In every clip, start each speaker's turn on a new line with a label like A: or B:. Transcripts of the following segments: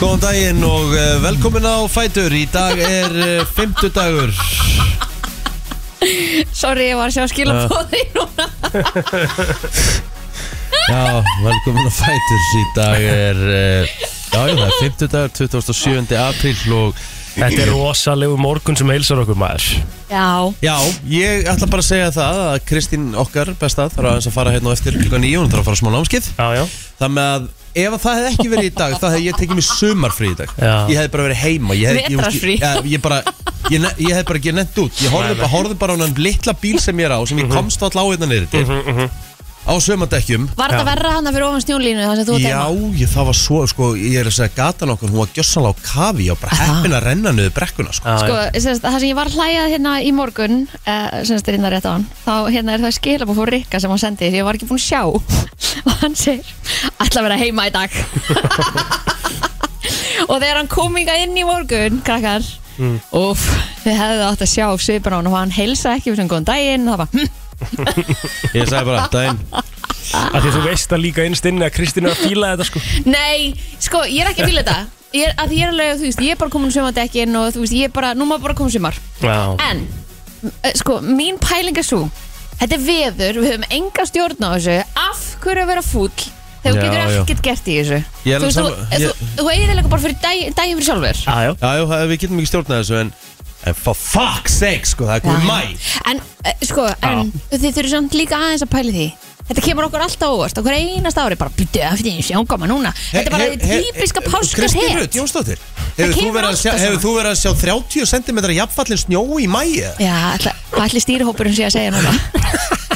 A: Góðan daginn og eh, velkomin á Fætur Í dag er eh, fimmtudagur
B: Sorry, ég var að sjá skilabóði núna
A: Já, velkomin á Fætur Í dag er eh, Já, já, það er fimmtudagur, 27. apríl og
C: Þetta er rosalegu morgun sem heilsar okkur maður
B: Já,
A: Já, ég ætla bara að segja það að Kristín okkar besta þarf aðeins að fara hérna á eftir klukkan 9 hún þarf að fara á smá námskið
C: Já, já
A: Það með að ef að það hefði ekki verið í dag þá hefði ég tekið mér sumarfrí í dag
C: Já.
A: Ég hefði bara verið heima ég hefði,
B: Vetrarfrí.
A: ég, ég, ég, bara, ég, ne- ég hefði bara ekki nefnt út Ég horfði bara, horfði bara á hann litla bíl sem ég er á sem ég
C: Mhm.
A: komst allá hérna niður til á sömandekkjum
B: var þetta verra hana fyrir ofan snjólínu þar sem þú hérna?
A: Já,
B: tegma?
A: ég, það var svo, sko, ég er að segja gatan okkur, hún var gjössanlega á kafi og bara heppin að renna niður brekkuna, sko
B: Sko, semst, það sem ég var að hlæja hérna í morgun uh, semst er hérna rétt á hann þá hérna er það skilabóð fór Rikka sem hann sendi sem ég var ekki búin að sjá og hann segir, ætla að vera heima í dag og þegar hann kom inga inn í morgun krakkar, mm. uff þið hefðu átt að sjá svipur á hann og hann heilsa ekki fyrir góðan daginn og það bara, hm,
A: Ég sagði bara, daginn
C: Af því að þú veist að líka innst inni að Kristín er að fíla þetta sko
B: Nei, sko, ég er ekki að fíla þetta Ég er, að ég er alveg, þú veist, ég er bara komin sumadekkin og þú veist, ég er bara, nú maður bara komin sumar
C: Já
B: En, m- eh, sko, mín pæling er svo Þetta er veður, við höfum enga stjórn á þessu Af hverju að vera fúll Þegar þú
A: Já,
B: getur
A: já.
B: ekkert gert í þessu
A: Ég er
B: Þú veist,
A: alveg
B: þú,
A: sammála- ég-
B: þú, þú eigið þeirlega bara fyrir dag, daginn fyrir sjálfur
C: Já, já
A: Já, já, það- við getum ekki stjórnað þessu, en, en for fuck's sake, sko, það er komið mæ
B: En, eh, sko, en þið þurfum samt líka aðeins að pæli því Þetta kemur okkur alltaf óvart, okkur einast ári bara byttu af því að sjá koma núna Þetta er bara
A: He- he-
B: því
A: he- eh,
B: típiska páskars
A: Kristín
B: hit
A: Rutt, Jónsdóttir
B: Það
A: Hefur þú
B: kemur
A: verið að
B: alltaf
A: sjá-
B: svona.
A: hefur þú verið að sjá 30 cm jafnfallin snjói í mæja?
B: Já, ætla- hvað ætli stýrihópurinn sé að segja núna?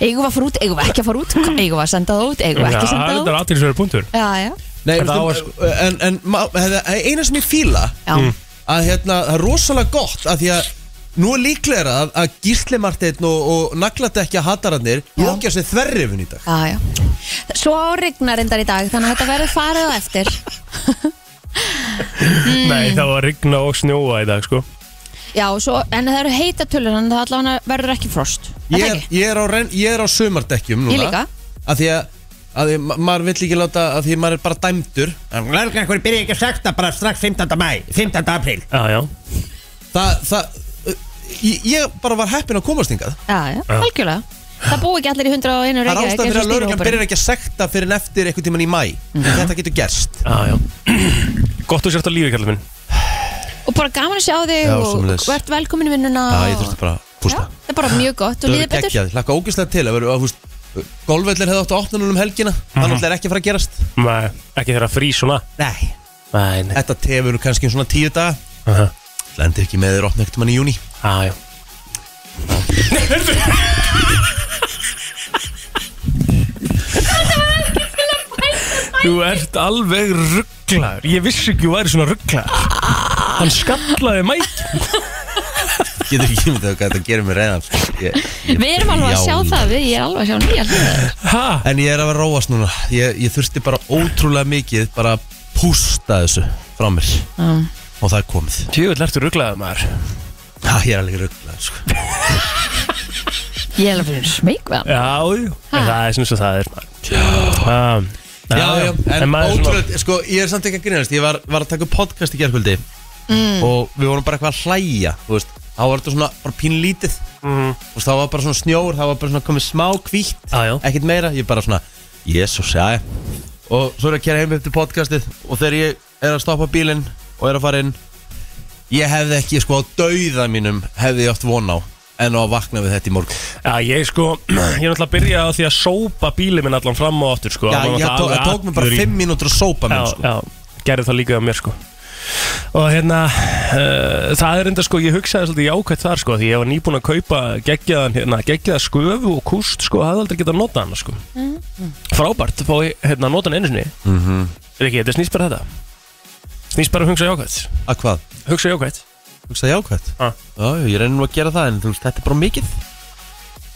B: Eigum við að fara út, eigum við ekki að fara út, eigum við að senda það út, eigum við
C: Já,
B: ekki
C: þetta
B: að senda það
C: er
B: út?
C: aðtilsverður punktur
B: Já, já,
A: Nei,
C: En
A: en,
C: það
A: en, en, en ma- hefði- eina sem ég fíla
B: já,
C: Mm.
A: að hérna, það er rosalega gott að því að nú er líklegra að, að gíslimarteinn og, og nagladekja hatarannir
B: Já.
A: lókja sér þverrifun í dag
B: já, já. Svo regnar endar í dag, þannig að þetta verður farið á eftir.
C: Nei, það var að rigna og snjóa í dag sko
B: Já, svo, en það eru heita tölur, þannig að allavega verður ekki frost. Er Það
A: ég,
B: ekki?
A: ég, er á ren, ég er á sömardekkjum núna
B: Ég líka.
A: að því að að því ma- maður vill ekki láta að því maður er bara dæmdur
D: Lörgna, hvernig byrja ekki að sekta bara strax 15. mæ, 15. apríl
C: Já, já
A: það, það, ég, ég bara var heppin að komast hingað
B: Já, já, algjörlega. Það búi ekki allir í 101
A: það er
B: reykja,
A: ástæð fyrir að lauruglan byrjar ekki að sekta fyrir en eftir einhvern tíman í mæ
B: Mhm.
A: þetta getur gerst
C: Já, já Gott þú sért á lífi, kallið minn
B: Og bara gaman að sjá þig
A: Já,
B: og
A: sömuleiðis.
B: verðt velkomin í vinnuna.
A: Já, ég
B: og-
A: þurfti bara að pústa.
B: Já, Það er bara mjög gott og líður betur.
A: geggjað, hlakka ógeðslega til að vera, að, húst, golfvellir hefði átt á 8. um helgina
C: Mhm.
A: þannig að það er ekki að fara að gerast
C: Nei, ekki þegar að frýs svona
A: Nei,
C: Nei, nei
A: þetta tefur kannski um svona tíu daga
C: Aha.
A: Lendir ekki með þér 8. ekkert mann í júni
C: Já, já Þú ert alveg rugglaður Ég vissi ekki þú væri svona rugglaður Hann skallaði mæk
A: Getur ekki myndið hvað þetta gerir mér reyðan ég,
B: Við erum alveg að
A: Já.
B: sjá það, við, ég er alveg að sjá nýja hlutir.
C: Ha?
A: En ég er að vera að róast núna ég, ég þurfti bara ótrúlega mikið bara að pústa þessu frá mér og það er komið
C: Tjöfull ertu rugglaður maður
A: ha, Ég er alveg ruggla sko.
B: Ég er alveg fyrir smeg við hann.
C: Já, jú En það er sem svo það er maður um,
A: Já, já,
C: maður er
A: en,
C: svona-
A: ótrúlega sko, Ég er samt ekki að grínast Ég var, var að taka upp podcast í gerkvöldi og við vorum bara eitthvað að hlæja þú veist. þá var þetta svona bara pínlítið
C: Mhm.
A: og það var bara svona snjór það var bara svona komið smá kvítt
C: Já, já.
A: ekkert meira, ég bara svona jésús, já, já og svo er ég að kera heim eftir podcastið og þegar ég er að stoppa bílinn og er að fara inn ég hefði ekki sko á dauða mínum hefði ég oft von á en á að vakna við þetta í morgun
C: Já, ég sko, ég er náttúrulega að byrja á því að sópa bíli minn allan fram og aftur sko
A: já,
C: Hann var
A: ég
C: náttúrulega
A: tók,
C: alveg
A: tók mér bara
C: allur í-
A: 5 mínútur að sópa mér
C: já,
A: sko.
C: já, gerði það líka á mér sko og hérna uh, það er enda sko, ég hugsaði svolítið jákvæmt þar sko, því ég var nýbúin að kaupa geggjaðan hérna, geggjaða sköfu og kúst sko, hafði aldrei getað að nota hana sko
B: Mhm.
C: frábært, fá ég hérna að nota hana einu sinni mm -hmm. ekki, þetta snýst bara þetta snýst bara um að hugsa jákvæmt
A: að hvað?
C: hugsa jákvæmt
A: hugsa jákvæmt
C: Ha.
A: já, já, ég reynir nú að gera það en þú veist, þetta er bara mikið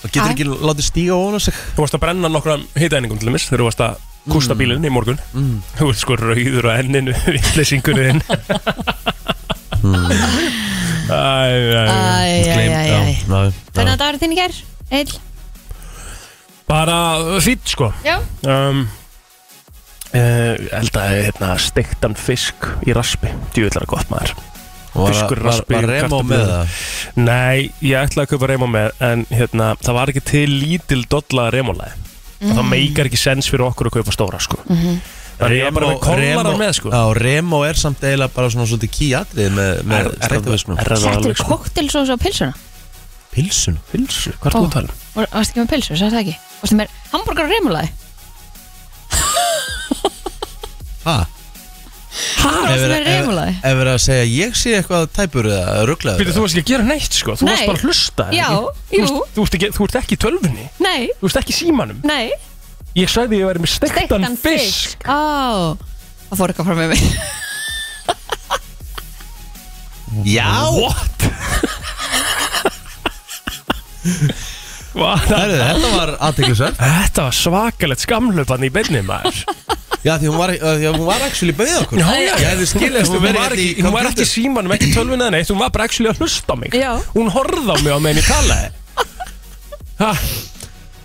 A: það getur
B: Ha.
A: ekki látið stíga ofan á sig Mm.
C: Þú varst að brenna nokkra hitaeiningum til þess Þegar þú varst að kústa bílinn í morgun Þú varst sko rauður á enninu Vittlesingunni þinn Æ, æ, æ.
B: Æ, æ, æ, æ, æ.
A: Mm. já,
B: Hvernig að dagur þinn í gerð? Eil?
C: Bara fýtt sko
B: Já.
C: um, uh, eldaði hérna, steiktan fisk í raspi djúvillara gott maður
A: Var,
C: Fiskur,
A: var,
C: raspi,
A: var Remo
C: kartöflur.
A: með það?
C: Nei, ég ætlaði að kaupa reyma með en hérna, það var ekki til lítil dolla reymálaði mm. það meikar ekki sens fyrir okkur að kaupa stóra sko. mm
B: Mhm.
C: -hmm. Þannig ég er bara með kollarar með sko.
A: Já, Remo er samt eiginlega bara svona svolítið kýjatrið með, með
C: Er- er það-
A: steiktafisknum.
C: er það
B: Settur
C: alveg
B: þú
C: sko
B: koktelsós á pilsuna?
A: Pilsun?
C: Pilsu, hvað er þú
B: Ó.
C: að tala um?
B: Var- Varstu ekki með pilsu, sagði það ekki? Varstu með hambúrgar og remulaði?
A: Ha?
B: Varstu með remulaði?
A: Ef verið að segja ég sé eitthvað tæpur eða rugglaður
C: Býtu, þú varst ekki að gera neitt sko, þú
B: Nei.
C: varst bara að hlusta er
B: Já,
C: ekki?
B: jú.
C: Þú, varst, þú, varst ekki, þú ert ekki í tölvunni,
B: Nei,
C: þú ert ekki í símanum
B: nei
C: Ég sagði ég væri með steiktan,
B: Steiktan
C: fisk.
B: fisk Ó, það fór eitthvað frá með mig
A: Já
C: What? What?
A: Herðu, þetta var aðteklisverð
C: Þetta var svakalegt skamlöpan í beinni maður
A: Já, því hún var, uh, því að hún var actually beðið okkur Ég hefði skilið
C: Hún var ekki, hún var ekki í símanum, ekki í tölvunni eða neitt Hún var bara actually að hlusta á mig
B: Já.
C: Hún horfði á mig á meðan ég talaði ha,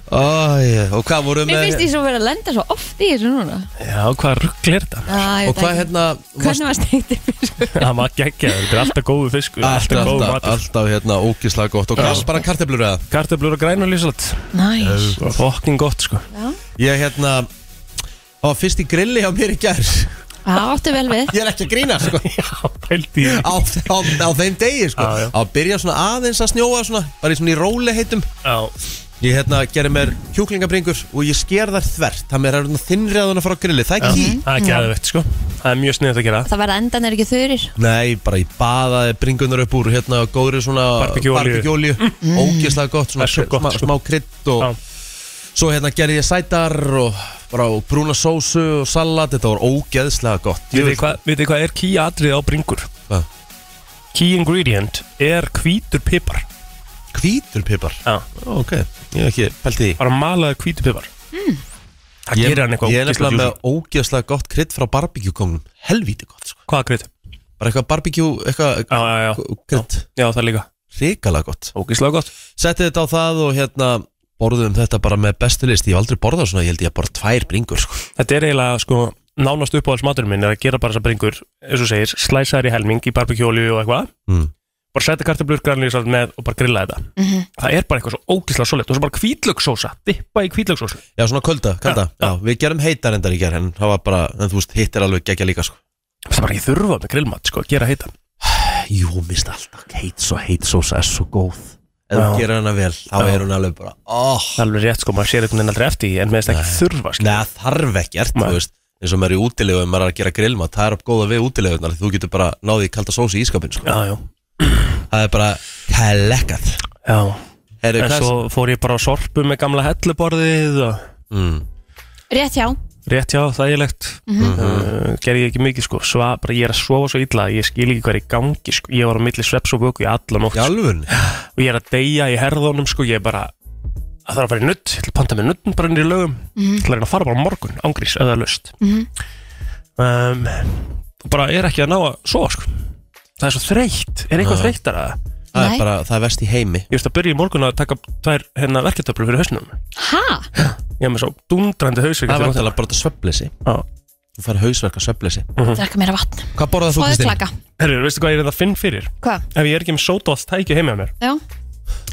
A: Æ, og hvað voru
B: Mér
A: með
B: finnst ég svo verið að lenda svo oft í þessu núna
C: Já, hvað ruggl er þetta?
B: Æ, ég
A: Og
B: veit
A: hvað
B: ekki.
A: hérna varst-
B: Hvernig var steikti fiskur?
C: Það var geggjaður, þetta er alltaf góðu fisk
A: Alltaf,
C: Alltaf góðu
A: alltaf,
C: matur
A: alltaf hérna ógislega gott Og hvað, bara karteblur eða?
C: Kartöflur og græn og lísalat
B: Næs
C: Fokking gott sko
A: Ég hérna Það var fyrst í grilli hjá mér í gær Ég
B: Það áttu vel við
A: er ekki að grína, sko
C: Já, pældi ég
A: á, á, á þeim degi, sko
C: Já, já.
A: Á að byrja svona aðeins að snjóa svona Bara í svona í róli heitum
C: Já,
A: Ég hérna gerði mér kjúklingabringur og ég sker þær þvert Það mér er svona þinnri að hún að fara á grilli, það er ký
C: það er geðvegt sko Það er mjög sniðið að gera
B: Það verða endan er ekki þurir
A: Nei, bara ég baðaði bringunar upp úr hérna góðri svona
C: Barbecue-olíu. Mm.
A: barbecue-olíu Ógislega gott, svona
C: Það er svo gott,
A: smá,
C: sko.
A: smá krydd og
C: Já.
A: Svo hérna gerði ég sætar og bara og brúna sósu og salat Þetta var ógeðslega gott
C: Vitið þið hvað, vitið þið hvað er key atrið á bringur?
A: Hvað?
C: Key ingredient er hvítur pipar
A: Hvítur pipar
C: Já
A: Ó, Ok, ég hef ekki pælt í því
C: Bara malaður hvítur pipar mm. Það
A: Ég,
C: gerir hann eitthvað
A: ég er nefnilega
C: ógeðslega
A: með ógeðslega gott krydd frá barbecue-kongnum Helvíti gott, sko
C: juicy. Hvað krydd?
A: Bara eitthvað barbecue, eitthvað
C: Já, já, já
A: krydd
C: Já, það líka
A: Ríkalega gott
C: Ógeðslega gott
A: Settið þetta á það og hérna Borðum þetta bara með bestu list Ég hef aldrei borðað svona, ég held ég að bara tvær bringur, sko
C: Þetta er eiginlega sko Nánast uppáhalds maturinn minn er að gera bara þessa bringur eins og segir, slæsa þær í helming í barbekjóli og eitthvað
A: Mm.
C: bara setja kartablur grænlýsar með og bara grilla þetta það er bara eitthvað svo ógeðslega svolít og svo bara kvítlöksósa, dippa í kvítlöksósu
A: Já, svona kölda, kölda. Já,
C: Já, já.
A: við gerum heitar endar í gerð, en það var bara, en þú veist, hitt er alveg geggja líka, sko.
C: það er bara ekki þurfa með grillmat sko, að gera heita
A: Jú, mist alltaf, heit svo heit sósa er svo góð. Ef þú
C: Já.
A: gerir hana vel, þá
C: Já.
A: er hún alveg bara, oh. óh,
C: Það er alveg rétt sko, maður sér einhvern veginn aldrei eftir því en með þess ekki þurfa sko.
A: neða þarf ekkert,
C: Nei.
A: þú veist, eins og maður er í útilegu ef maður er að gera grillmat, það er upp góða við útilegunar, þú getur bara náðið í kalda sósi í ískapin, sko.
C: Já, já,
A: Það er bara, það er lekkað.
C: já
A: Heru,
C: En svo fór ég bara á sorpu með gamla helluborðið og
A: mm,
B: Rétt hjá
C: rétt já, þægilegt mm uh, Gerði ég ekki mikið sko, Sva, bara ég er að sofa svo illa að ég skil ekki hvað er í gangi sko. Ég var á milli sveps og vöku í alla nótt
A: í
C: sko.
A: alvun,
C: og ég er að deyja í herðunum sko, ég er bara að það er að fara í nutt, ég ætla að panta með nuttin bara niður í lögum ég ætla að reyna að fara bara á morgun, ángrís eða löst mm um, bara er ekki að ná að sofa sko. það er svo þreytt, er eitthvað
A: Já.
C: þreyttara
A: það
B: Nei.
A: er bara, það er vest í heimi.
C: ég veist að byrja í morgun að taka tvær hérna, verketöflur fyrir hausnum
B: Ha?
C: ég er með svo dundrandi hausvík
A: Það er vantilega bara svefleysi, þú fær hausverka svefleysi.
B: Drakka mér að vatn
A: Hvað borðað þú,
B: Fáðu
A: Kristinn?
B: klaka
C: Mhm. herru, veistu hvað ég er það finn fyrir
B: Hvað?
C: ef ég er ekki með sótóð tæki heima hjá mér
B: Já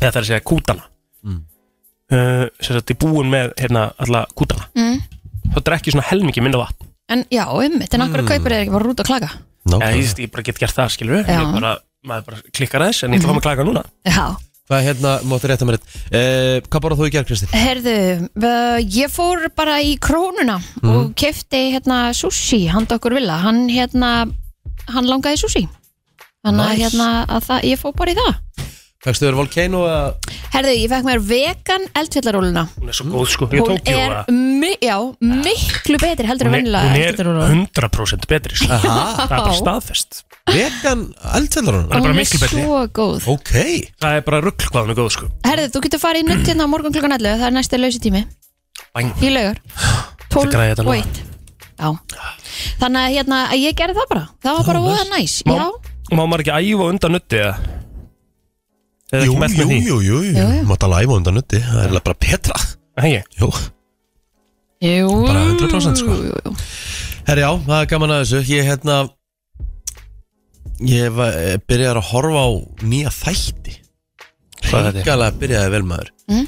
C: eða það er að segja kútana
A: Mm.
C: uh, sem sagt ég búin með hérna, alla kútana
B: mm.
C: þá drekk ég svona helmingi minna vatn
B: En já, ummitt En
A: Mm.
B: akkur kaupir þeir ekki bara rút og klaka
A: Nákvæmlega.
C: okay. ég, ég bara get gert það skilur við
B: Já.
C: Ég bara, maður bara klikkar aðeins en ég ætla að fá mig að klaka núna
B: Já
A: Hvað hérna, máttu rétt að mér þetta eh, Hvað borðað þú í gerð, Kristinn?
B: Herðu, uh, ég fór bara í krónuna
C: Mhm.
B: og kefti hérna sushi, handa okkur vilja hann hérna, hann langaði sushi þannig að
A: Nice.
B: hérna að það, ég fór bara í það
A: Fækstu þér Volcano eða
B: Herðu, ég fekk mér vegan eldfjallaróluna
C: hún er svo góð sko, ég
B: hún
C: tók ég á
B: er
C: það
B: mi já, miklu betri heldur en
C: hún er,
B: vennilega
C: hún er
B: eldfjallaróluna
C: 100% betri sko. það
A: Aha,
C: er bara staðfest
A: vegan eldfjallarunum
C: bara
B: hún er
C: miklu betri.
B: svo góð
A: Ok
C: það er bara ruggl hvað hún er góð sko
B: Herðu, þú getur farið í nutt hérna á morgun klukkan 11 það er næsti lausi tími
C: Bang.
B: í laugar
C: græði
B: 12
C: þetta núna.
B: og 1 Já. Þannig að hérna, að ég gerði það bara Það var bara
A: Já,
B: voða
A: nice.
B: næs
C: Má-
B: Já,
C: má maður ekki æfa undan nutti eða eða
A: Jú,
C: ekki mest
A: jú,
C: með því
A: jú, jú,
B: Jú, jú.
A: Mátt að læfa undan nutti Það er eiginlega bara betra
C: Nei,
A: Jú
B: Jú,
A: Bara 100% sko.
B: jú, jú.
A: Herri já, það er gaman að þessu Ég hérna Ég var, eh, byrjaði að horfa á nýja þætti
C: Hvað er þetta?
A: Gælega byrjaði vel maður
B: Mm.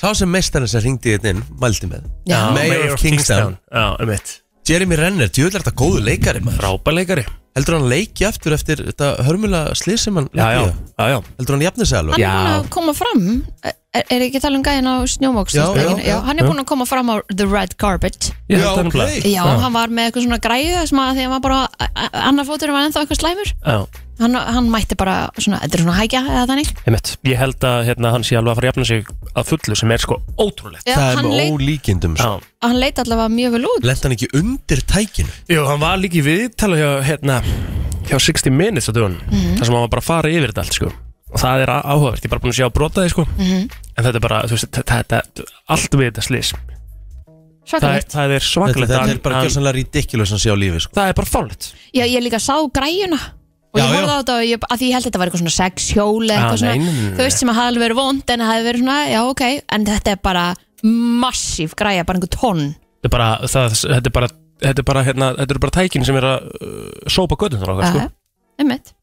A: Sá sem meistarinn sem ringdi þetta inn Mældi með
B: Já.
A: Mayor, of Kingstown,
C: Já, um mitt
A: Jeremy Renner, djöðlega þetta góðu leikari maður
C: Ráparleikari
A: Heldur hann leiki aftur eftir þetta hörmulega slið sem hann
C: Já, já,
A: lendi í?
C: já, já
A: Heldur hann jafnir sig alveg
B: Hann
C: Já.
B: er búin að koma fram Er, er ekki að tala um gæðin á snjómóks
A: Já, já, já.
B: Hann er búin að koma fram á The Red Carpet
C: Ég
A: Já,
C: held það nefnilega.
A: ok.
B: Já, hann var með eitthvað svona græðu sem að því að maður bara, a- a- annar fóturinn var ennþá eitthvað slæmur
C: Já,
B: hann, hann mætti bara svona, þetta er svona hækja eða þannig
C: einmitt Ég held að hérna, hann sé alveg að fara að jafna sig að fullu sem er sko ótrúlegt
B: Já,
A: Það er
B: hann,
A: með
B: leit,
A: ólíkindum sko.
C: Já
B: hann leit allavega mjög vel út
A: Lent hann ekki undir tækinu
C: Jú, hann var líka í viðtala hjá, hérna, hjá 60 Minutes á dögun
B: Mhm.
C: þar sem hann var bara að fara yfir þetta allt sko og það er á- áhugavert, ég er bara búin að sjá að brota því sko
B: Mhm.
C: en þetta er bara, þú veist, þetta, þetta allt við þetta slís það,
B: svakalegt
C: það er
A: Þetta,
C: svakalegt
A: þetta
C: að
A: er bara
C: hann-
A: gjössanlega ridiculous að sé á lífi sko.
C: það er bara fálitt
B: Já, ég líka sá græjuna og
A: Já,
B: ég horfði
A: já.
B: á þetta og ég, að því ég held að þetta var eitthvað svona sex hjól eða
C: Ah, nei,
B: eitthvað
C: nei,
B: svona,
C: nei, nei.
B: þú veist sem að hafði verið vond en hafði verið svona, já ok, en þetta er bara massíf græja, bara einhver tonn
C: þetta er bara, það, þetta er bara Þetta er bara, hérna, þetta er bara tækin sem er að uh, sópa göttum þar okkar, sko.
B: Aha, einmitt.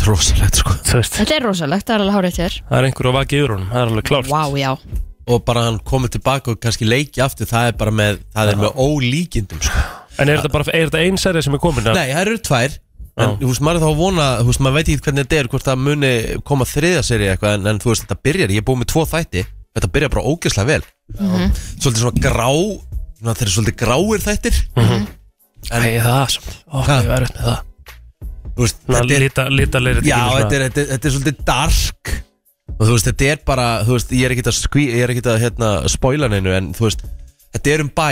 A: Trósalegt sko
C: Þú veist,
B: Þetta er rosalegt, það er alveg hárið þér
C: það er einhver að vaki yfir honum, það er alveg klárt.
B: Vá, já,
A: Og bara hann komið tilbaka og kannski leiki aftur Það er bara með, það er með ólíkindum sko.
C: En er þetta bara, er þetta ein serið sem er komin?
A: Nei, það eru tvær En
C: Já.
A: þú veist, maður er þá að vona Þú veist, maður veit ekki hvernig þetta er Hvort það muni koma þriðja seri eitthvað en, en þú veist, þetta byrjar, ég er búið með tvo þætti Þetta byrjar bara ógeðslega vel Svolítið svona grá svona, Þeir eru svolítið gráir þættir
C: Nei, Mhm. það er samt. Ó,
A: Ha?
C: ég verður með það.
A: Þú veist,
C: Ná,
A: þetta er
C: lita, lita leirið
A: Já, þetta er, þetta, er, þetta er svolítið dark og þú veist, þetta er bara þú veist, ég er ekkert að, skví, ég er ekkert að hérna, spoila neinu en þú veist, þetta er um bæ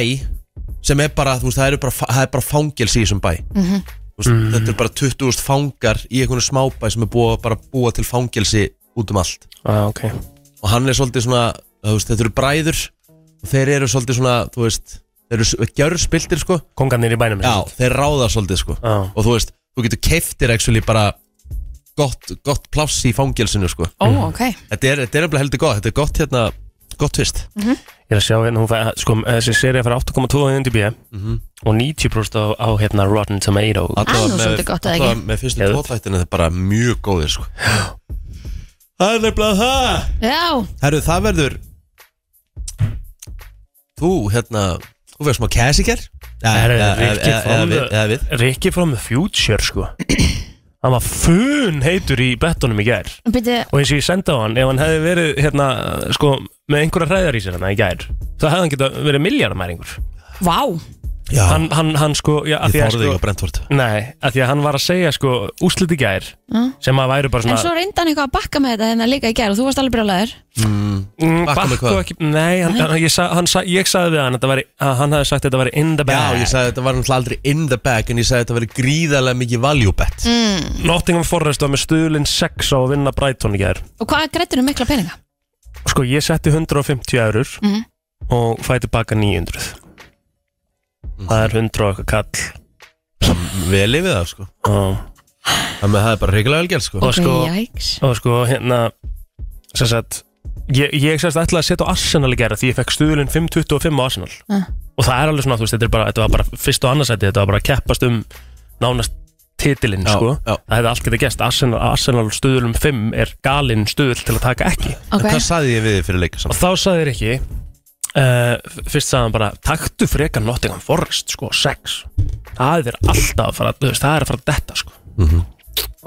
A: sem er bara, þú veist, það er bara, það er bara fangels í þessum bæ þú veist,
C: Mhm.
A: þetta er bara 20.000 fangar í einhvern smábæ sem er búið að bara búa til fangelsi út um allt
C: Ah, ok.
A: og hann er svolítið svona, þú veist, þetta eru bræður og þeir eru svolítið svona, þú veist þeir eru gjörspiltir, sko
C: Kongarnir í bænum. Ah.
A: Já, þeir ráða svolítið sko
C: Já.
A: Og þú veist, þú getur keiftir actually bara gott, gott pláss í fangelsinu sko
B: ó,
C: Mm.
B: ok
A: Þetta er, þetta er nefnilega heldur gott, þetta er gott hérna Gott tvist
B: Mhm.
C: Ég er að sjá hérna, hún fæ, sko, þessi serið fær 8,2 á IMDb og 90% á, á hérna Rotten Tomatoes.
A: Mhm. Alla
B: nú
A: vega
B: svolítið gott, eða
A: alla vega
B: ekki?
A: með fyrstu
C: Geðveikt.
A: tóðfættinu þetta er bara mjög góðir sko Það er nefnilega það
B: Já,
A: Herru, það verður Þú, hérna Þú verður smá kæsiker
C: Herru, Rikki frammi-
A: Eða við
C: Ricky from the Future, sko. hann var fun heitur í bettunum í gær.
B: byrju,
C: Og eins og ég sendi á hann, ef hann hefði verið, hérna, sko, með einhverja hræðar í sér hérna í gær, þá hefði hann getað verið miljardamæringur.
B: vá
A: Já,
C: Hann, hann, hann, sko, já, að
A: þið
C: því að,
A: þorðið
C: sko,
A: ekki á Brentford
C: nei, að því að hann var að segja, sko, úsliti gær,
B: Mm.
C: sem að væri bara svona...
B: En svo reyndi hann eitthvað að bakka með þetta hérna líka í gerð og þú varst alveg brjólaður
C: Mm,
A: Bakka með
C: Bakko
A: hvað?
C: ekki, nei, hann, hann, ég, sa, hann, sa, ég sagði við hann að þetta væri- að hann hafði sagt að þetta væri in the
A: Já,
C: bag
A: ég sagði þetta var náttúrulega aldrei in the bag En ég sagði þetta verið gríðarlega mikið value bet
B: Mm.
C: Nottingham Forest var með stuðlinn 6 á að vinna Brighton í gær
B: Og hvað grættir mikla peninga?
C: Sko, ég setti 150 eurur
B: Mhm.
C: og fæ tilbaka 900 Það er 100 og eitthvað kall
A: Vel yfir það sko
C: og,
A: Það með það er bara reikilega velgjald sko
C: og sko,
B: Jæks
C: og sko hérna sem sagt ég, ég sem sagt ætlaði að setja á Arsenal í gera því ég fekk stuðlinn 5.25 á Arsenal
B: Ah.
C: og það er alveg svona, þú veist, þetta er bara, þetta var bara fyrst og annarsæti, þetta var bara að keppast um nánast titilinn,
A: Já,
C: sko
A: já.
C: það hefði allt getið gæst, Arsenal, Arsenal stuðlum 5 er galinn stuðl til að taka ekki
B: Ok,
A: Hvað saði ég við þið fyrir leika
C: og
A: saman?
C: þá sagði þér ekki uh, fyrst sagði hann bara taktu frekar Nottingham Forest sko 6 það er alltaf að fara þú veist, það er að fara að detta sko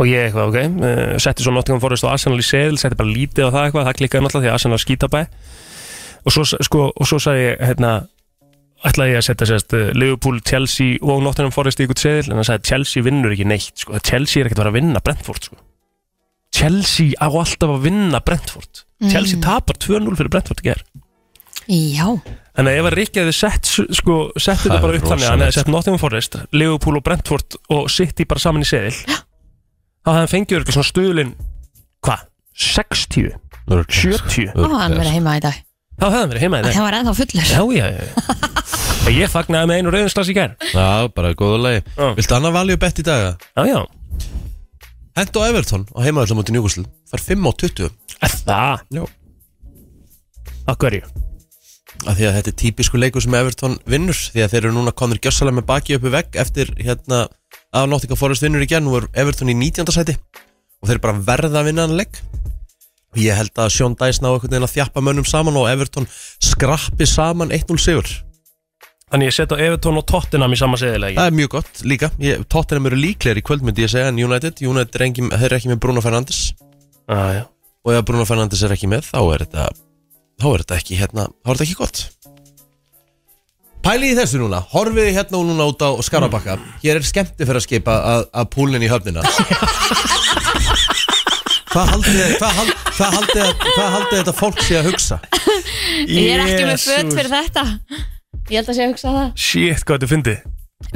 C: og ég eitthvað ok uh, setti svo Nottingham Forest og Arsenal í seðil setti bara lítið á það eitthvað það klikkaði náttúrulega því að Arsenal skítabæ og svo, s- sko, og svo sagði ég hérna ætlaði ég að setja sérst uh, Liverpool, Chelsea og Nottingham Forest í ykkur seðil en hann sagði Chelsea vinnur ekki neitt sko. Chelsea er ekkert að vera að vinna Brentford sko. Chelsea á alltaf að vinna Brentford Chelsea tapar 2-0 fyrir Brentford í ger
B: já
C: Þannig að ef að Rikki hefði sett, s- sko, sett þetta
A: Það
C: bara
A: er
C: upp þannig að hann
A: rosalegt,
C: hefði sett Nottingham Forest, Liverpool og Brentford og City bara saman í seðil þá hefði hann fengið eitthvað svona stuðlinn hvað? 60? 70?
B: Ó, hann verið heima í dag
C: Þá hefði hann verið heima í þeim
B: Það var ennþá fullur
C: Já, já, já, já En Ég fagnaði með einu rauðinslas í gær
A: Já, bara góða lagi
C: Já.
A: Viltu annar value bet í dag? eða?
C: Já, já
A: Hent og Everton á heimaðallum út í Newcastle Það er 5 á 20
C: Er Það,
A: Já
C: að hverju?
A: að því að þetta er típisku leikur sem Everton vinnur því að þeir eru núna konur gjössalega með baki uppi vegg eftir hérna að Nottingham Forest vinnur í gerð, nú er Everton í 19. sæti og þeir bara verða að vinna hann leik og ég held að Sean Dyson á einhvern veginn að þjappa mönnum saman og Everton skrappi saman 1-0 sigur
C: Þannig ég setja Evertón og Tottenham í sama seðilega
A: Það er mjög gott líka Ég- Tottenham eru líklegir í kvöld myndi ég segja en United United er ekki, þeir eru ekki með Bruno Fernandes
C: ah,
A: og ef Bruno Fernandes er ekki með þá er þetta þá er þetta ekki hérna þá er þetta ekki gott Pælið í þessu núna, horfið þið hérna og núna út á Skarabakka Hér er skemmti fyrir að skipa að, að púlinn í höfnina Hvað haldið þið- hvað hald, hvað haldið hvað haldið þetta fólk sé að hugsa?
B: Ég er ekki með föt fyrir þetta Ég held að sé að hugsa það
C: Shit, hvað þetta fyndi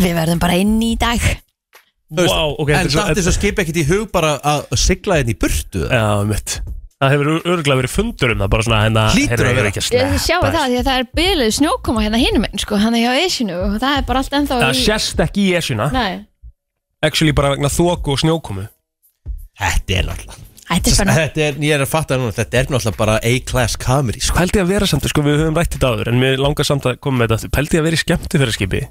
B: Við verðum bara inn í dag
A: Þú veist,
C: Vá, ok, þetta er
A: en
C: svo-
A: datt þess að skipa ekkit í hug bara að sigla hérna í burtu eða?
C: Já, mitt Það hefur örgulega verið fundur um það bara svona hérna
A: Hlýtur
C: hérna,
A: að
C: ég er
A: vera.
C: ekki að
B: Ég þið sjáu
C: sleppa
B: það því að það er bylið snjókoma hérna hinum einn sko, hann er hjá Esinu og það er bara allt ennþá
C: Það sérst ekki í esuna
B: Nei,
C: Actually bara vegna þóku og snjókomu
A: Þetta er náttúrulega
B: þetta er spennandi
A: Þetta er, ég er að fatta núna, þetta er náttúrulega bara A-class comedy sko.
C: Pældi að vera samt, sko, við höfum rætt þetta áður En við langar samt að koma með þetta aftur. Pældi að vera í skemmti fyrir skipi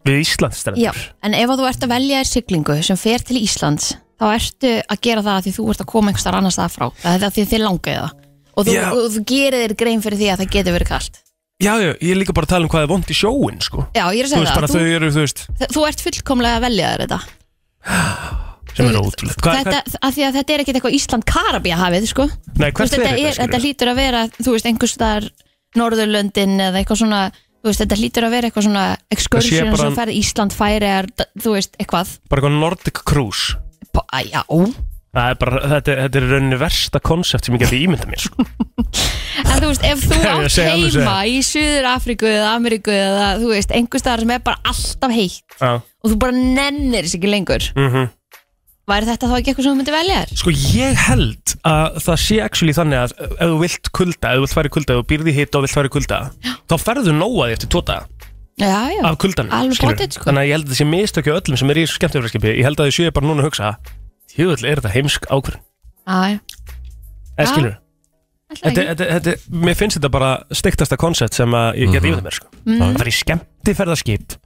C: Við
B: Já,
C: Íslandstrendur
B: en ef að þú ert að velja þér siglingu sem fer til Íslands þá ertu að gera það af því þú ert að koma einhvers þar annars það frá það er það af því þið langaði það og þú,
C: Já.
B: og þú gerir þér grein fyrir því að það getur verið kalt
C: já, já, ég er líka bara að tala um hvað er vond í sjóin sko.
B: Já, ég
C: Þú
B: er að segja
C: veist
B: það,
C: bara
B: þú,
C: þau eru, þú veist
B: þú, ert fullkomlega að velja þér þetta
C: Sem er ótrúlegt Hvað-
B: þetta, af því að þetta er ekkit eitthvað Ísland-Karabía hafið, sko
C: Nei,
B: Þú veist,
C: hvert
B: þetta,
C: er
B: er, þetta
C: þetta? skilur?
B: hlýtur að vera þú veist, einhvers staðar Norðurlöndin eða eitthvað svona, þú veist, þetta hlýtur að vera eitthvað svona
C: Það sé
B: excursion
C: bara-
B: sem færði Ísland færi þú veist, eitthvað
C: Bara eitthvað Nordic Cruise
B: Bá, já, en
C: Það er bara, þetta, er- þetta er í rauninni versta konsept sem ég geti ímyndað mér sko.
B: þú veist, ef þú
C: Ég
B: átt
C: segi alveg
B: heima í Suður Afríku eða Ameríku eða þú veist, einhvers staðar sem er bara alltaf heitt
C: Já.
B: og þú bara nennir þess ekki lengur
C: Mhm.
B: væri þetta þá ekki eitthvað sem þú myndir velja þér?
C: Sko ég held að það sé actually þannig að ef þú vilt kulda, ef þú vilt fara í kulda, ef þú býrði hitt og vilt fara í kulda, þá ferðu nóa því eftir tóta
B: Já, já,
C: af kuldanum.
B: Alveg
C: skilurðu.
B: pottet, sko.
C: Þannig að ég held að það sé mistökja öllum sem er í skemmtifræðskipi, ég held að þau séu bara núna að hugsa, tjóðall er þetta heimsk ákvörðun.
B: já, já
C: Eða
B: Já,
C: skilur,
B: ætlaði
C: Eh, þetta,
B: ekki.
C: þetta, þetta, mér finnst þetta bara stiktasta koncept sem að ég geti yfir mér sko.
B: Mhm.
C: Það er í skemmtifræðskip,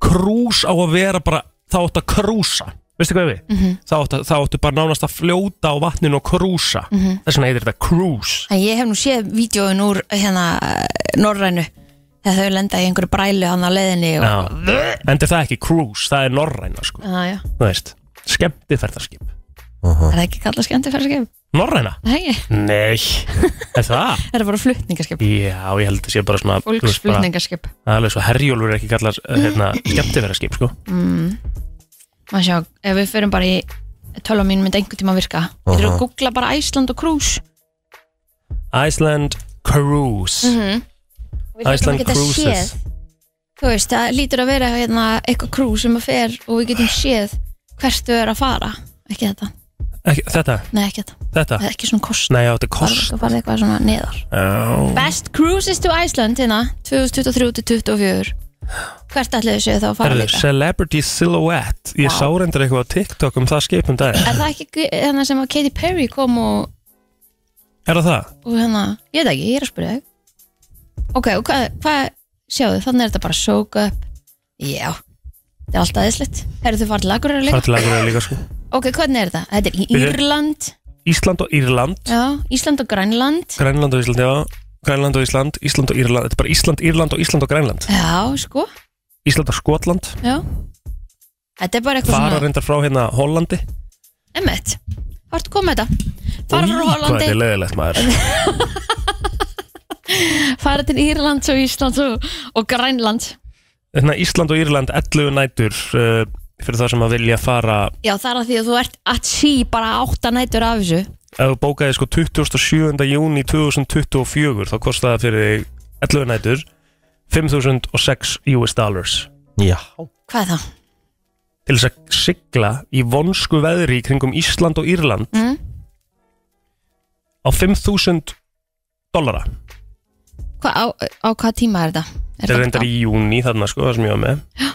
C: krús á að vera bara, þá átt að krúsa. Veistu hvað við? Mm
B: Mhm.
C: -hmm. þá, áttu, þá áttu bara nánast að fljóta á vatninu og krúsa.
B: Mhm.
C: Þess vegna heitir þetta cruise.
B: En ég hef nú séð vídjóin úr hérna norrænu þegar þau lenda í einhverju brælu hann að leiðinni og,
C: Já. Enda er það ekki cruise, það er norræna sko.
B: já, já.
C: Þú veist, skemmtiferðarskip
B: Er það ekki kallað skemmtifærskepp?
C: Norræna?
B: Nei,
C: Nei Er það?
B: það er bara flutningarskepp
C: Já, ég held að sé bara svona þú veist, bara-
B: Fólksflutningarskepp
C: Það er alveg svo herjólfur er ekki kallar hérna, skemmtiferðarskip sko.
B: Mm. Má sjá, ef við förum bara í tölva mín myndi einhvern tíma virka Þú eru að googla bara Æsland og Cruise
C: Iceland Cruise
B: Mhm. Við hljótum
C: Iceland
B: að geta
C: Cruises.
B: séð. Þú veist, það lítur að vera hérna, eitthvað cruise sem að fer og við getum séð hvert þau eru að fara Ekki þetta,
C: ekki, Þetta,
B: nei ekki þetta
C: þetta
B: Ekki svona kost
C: Nei, já, þetta er
B: Það
C: kost
B: er bara eitthvað svona neðar
C: Já.
B: Best Cruises to Iceland hérna 2023-2024 Hvert ætlaðu séu þá að fara
C: Herðu,
B: líka?
C: Celebrity Silhouette Ég
B: Vá.
C: sá reyndar eitthvað á TikTok um það skipum dag
B: Er það ekki hérna sem að Katy Perry kom og,
C: Er það það?
B: og hérna, ég veit ekki, ég er að spyrja þig Ok, og hvað, hvað sjáðu, þannig er þetta bara soak up Já, þetta er alltaf aðeinslegt Herðu þau farið til Akureyri líka?
C: Fartilagur líka sko
B: Ok, hvernig er þetta? Þetta er í
C: Byrju.
B: Írland,
C: Ísland og Írland
B: já, Ísland og Grænland
C: Grænland og Ísland, já Grænland og Ísland, Ísland og Írland Þetta er bara Ísland, Írland og Ísland og Grænland
B: Já, sko,
C: Ísland og Skotland
B: já Þetta er bara eitthvað
C: Fara reyndar frá hérna Hollandi
B: Emmett, hvað ertu komið með þetta? Fara frá
C: Í, Hvað
B: Hollandi
C: þetta er leiðilegt maður
B: fara til Írlands og Íslands og, og Grænland
C: Hérna Ísland og Írland 11 nætur uh, Fyrir það sem að vilja fara
B: Já, það er að því að þú ert að sí bara átta nætur af þessu
C: Ef þú bókaði sko 27. júni 2024 Þá kostar það fyrir þig 11 nætur 5006 US dollars
A: Já
B: Hvað er það?
C: Til þess að sigla í vonsku veðri í Kringum Ísland og Írland
B: Mm?
C: Á 5000 dollara
B: Hva, á, á hvað tíma er þetta?
C: Þetta er reyndar
B: í
C: í júni þarna sko Það sem ég var með
A: Mhm.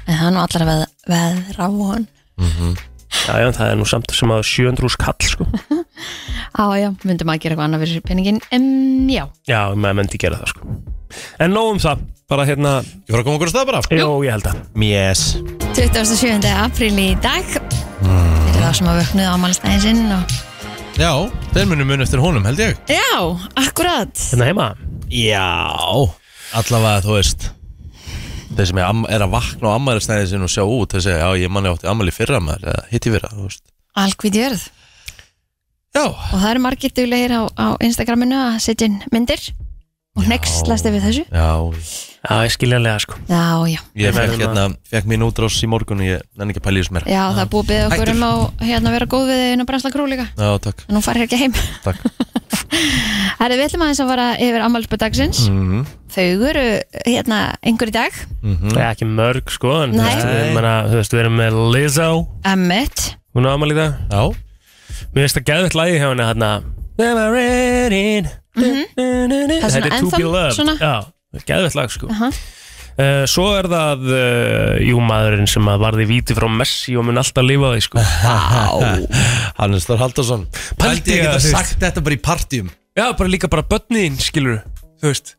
B: Það er nú allar að veð, veðra von
C: Já, já, en það er nú samt sem að 700 skall sko.
B: Á, já, myndum maður að gera eitthvað annað fyrir peningin um, Já,
C: Já, maður myndi gera það sko. En nóg um það, bara hérna
A: Ég fara að koma okkur á stað bara
C: Jó, ég held að
A: Yes
B: 27. apríl í dag Fyrir þá sem að vöknuð á málstæðin sinn og...
A: Já, þeir munum mun eftir honum held ég
B: Já, akkurat
C: Hérna heima
A: Já Allavega þú veist Þeir sem er, am- er að vakna á ammælisnæði sinn og sjá út Þeir segja, já ég manni átti ammæli í fyrra maður Eða hitt í fyrra, þú veist
B: Alkvít jörð
A: Já
B: Og það eru margir duglegir á, á Instagraminu að setja inn myndir Og nextlast við þessu
A: Já,
C: Já, ég skiljanlega sko
B: Já, já,
A: ég
C: Við
A: fekk
C: verðum
A: hérna, fekk mín útrás í morgun og ég nenni ekki að pæla í þessu meira
B: já það er búið að beða okkur
A: Hættur.
B: um að hérna, vera góð við einu brennsla krú líka
A: Já, takk,
B: En hún farir ekki heim
A: takk
B: Herri, við ætlum aðeins að fara yfir ammálspöð dagsins
A: mm
B: Þau eru hérna einhver í dag
A: -hmm.
C: Mhm, Það er ekki mörg sko en,
B: Nei.
C: þú veist, við- ég meina, Þú veist, við erum með Lizzo
B: Emmett
C: Hún á amal í dag
A: Já,
C: Mér finnst það geðvægt lagi hjá henni hérna Never ending
B: Mhm. Það
C: Þetta
B: er svona
C: er To Be
B: anthem,
C: Loved
B: svona.
C: Já, geðvægt lag sko
B: Aha.
C: Uh, svo er það uh, jú maðurinn sem að varði víti frá Messi og mun alltaf lifa á því sko
A: Hannes Þór Haldarsson
C: Pældi
A: Pældi ég
C: að
A: geta
C: þú
A: sagt þetta bara í partjum
C: Já, bara líka bara börnin, skilur Þú veist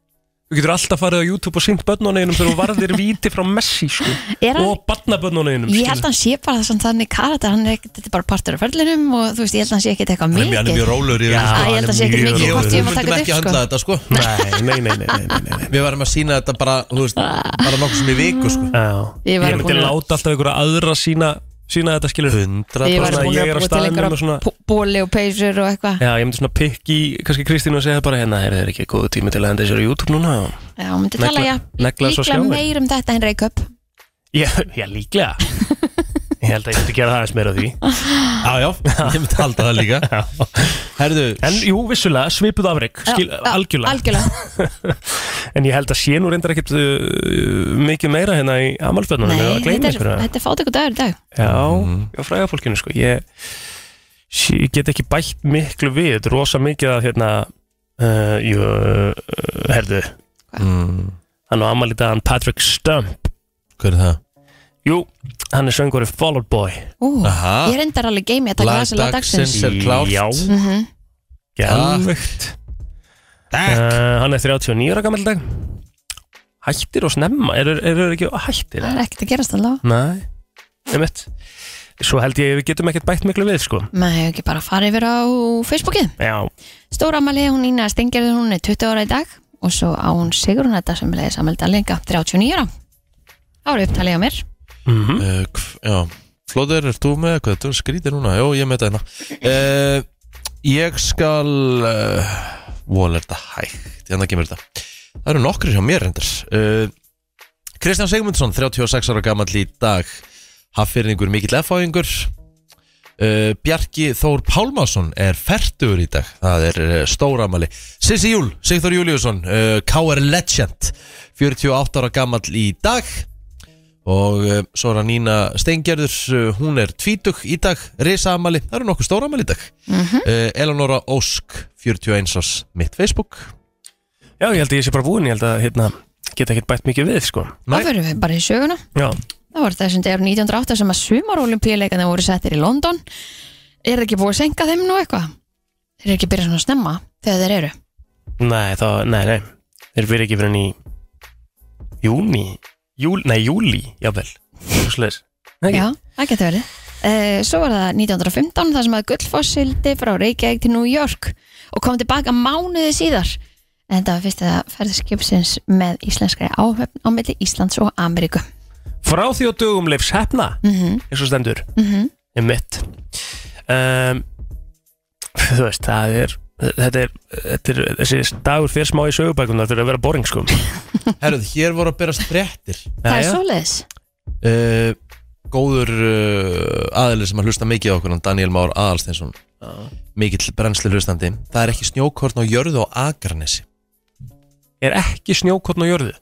C: Þú getur alltaf farið á YouTube og synt börnunum þegar þú varðir víti frá Messi sko
B: Er hann-
C: og barnabörnunum
B: Ég held að hann sé bara þessan þannig karakter hann er ekkert, þetta er bara partur af ferlinum og þú veist, ég held að hann sé ekkert eitthvað
A: Hann er mjög- hann er mjög
B: mikið
A: rólegur í
C: Já,
A: þessu, sko.
B: Æ, ég held að sé ekkert
C: Mjög
B: mikið
A: Ég
C: rólegur.
A: og
B: hvort
A: þú
B: ég um að
A: myndum
B: taka
A: ekki
B: þetta
A: handla
B: upp,
A: þetta sko
C: Nei, nei, nei, nei, nei, nei, nei, nei.
A: Við varum að sína þetta bara, þú veist, bara nokkuð sem í viku sko
C: Já, ég,
B: Ég var
C: myndi
B: búin að-
C: láta alltaf einhverja aðra sína, sína þetta skilur
B: sko
A: 100%
B: Ég var
C: Bara
B: búin
C: ég
B: að
C: er á
B: búið til
C: staðnum og
B: einhverja
C: svona-
B: pó- bóli og peysur og eitthvað
C: Já, ég myndi svona pikki, kannski Kristín og segja bara hérna, er það ekki góðu tími til að henda sér á YouTube núna?
B: Já, hún myndi
C: Negla-
B: tala, já,
C: negla svo
B: líklega
C: skjáinn.
B: meir um þetta en Reykjöp
C: Já, já líklega Ég held að ég myndi gera það aðeins meira af því
A: Já, já, ég myndi halda það líka Herðu,
C: En jú, vissulega, svipuð afreg, skil,
B: Já, já,
C: algjörlega
B: Algjörlega,
C: En ég held að sé nú reyndar ekkert uh, mikið meira hérna í amalspennunum
B: nei,
C: að gleyma
B: þetta er,
C: einhverja
B: þetta er fátöku dagur í dag
A: Mhm.
C: Já, já, fræga fólkinu sko ég, sí- ég get ekki bætt miklu við, þetta er rosa mikið að hérna uh, jú, uh, herðu
A: mm,
C: hann á amal í dagann Patrick Stump
A: hver er það?
C: Jú, hann er söngur í Fall Out Boy
B: Ú,
A: Aha.
B: Ég reyndar alveg geimi að taka
A: Lag
B: þessi lag dagsins
A: dagsins. Sem klárt.
C: Já,
B: Mhm.
C: gæðvögt
A: Takk
C: uh, Hann er 39 ára gammal dag Hættir og snemma, eru er, er ekki hættir?
B: Það er ekkert að gerast allavega
C: Nei, einmitt Svo held ég að við getum ekkert bætt miklu við sko
B: Maður hefur ekki bara farið yfir á Facebookið
C: Já,
B: Stóra amali, hún Ína Stengjörður, hún er 20 ára í dag og svo á hún Sigrun þetta sem leiði samalda lenga, 39 ára. Það voru upptalið á mér.
C: mhm
A: uh, hv- Já, Flóður, er þú með eitthvað? Þú skrítir núna, já, ég með þetta hérna uh, Ég skal uh, Vol, er þetta hægt? Þannig að kemur þetta Það eru nokkri hjá mér reyndar uh, Kristján Sigmundsson, 36 ára gamall í dag Haffyrningur, mikill efáingur uh, Bjarki Þór Pálmason er færtur í dag Það er uh, stóramali Sissi Júl, Sigþór Júliusson uh, KR Legend 48 ára gamall í dag Og uh, svo er hann Nína Steingerður uh, Hún er tvítug í dag Risamali, það eru nokkuð stóramali í dag
B: Mhm.
A: uh, Eleonora Ósk 41 ás mitt Facebook
C: Já, ég held að ég sé bara búinn, ég held að hérna, geta ekkert bætt mikið við, sko.
A: Nei.
B: Það fyrir við bara í söguna.
C: Já,
B: Það var þessum degur 1908 sem að sumarolimpíuleikana voru settir í London. Er það ekki búið að senka þeim nú eitthvað? Þeir eru ekki að byrja svona snemma þegar þeir eru.
C: nei, þá, nei, nei, þeir fyrir ekki fyrir henni í júni, júl, nei, júli, jável, svo sliðis.
B: Já, það getur verið. Uh, svo var það 1915 þar sem að Gullfoss sildi frá Reykjavík til New York og kom tilbaka mánuði síðar. En þetta var fyrst að ferði skipsins með íslenskari áhöfn á milli Íslands og Ameríku.
C: Frá því á dögum leifs hefna,
B: Mm
C: eins og stendur,
B: Mhm.
C: er mitt. Um, þú veist, það er, þetta er, þetta er, þessi dagur fyrir smá í sögubækunar fyrir að vera boring, sko.
A: Herruð, hér voru að berast fréttir
B: Það er
C: Jæja.
B: svoleiðis.
A: uh, Góður uh, aðli sem að hlusta mikið á okkur hann Daniel Már Aðalsteinsson Mikill brennslu hlustandi Það er ekki snjókorn á jörðu á Akarnesi
C: Er ekki snjókotn á jörðu?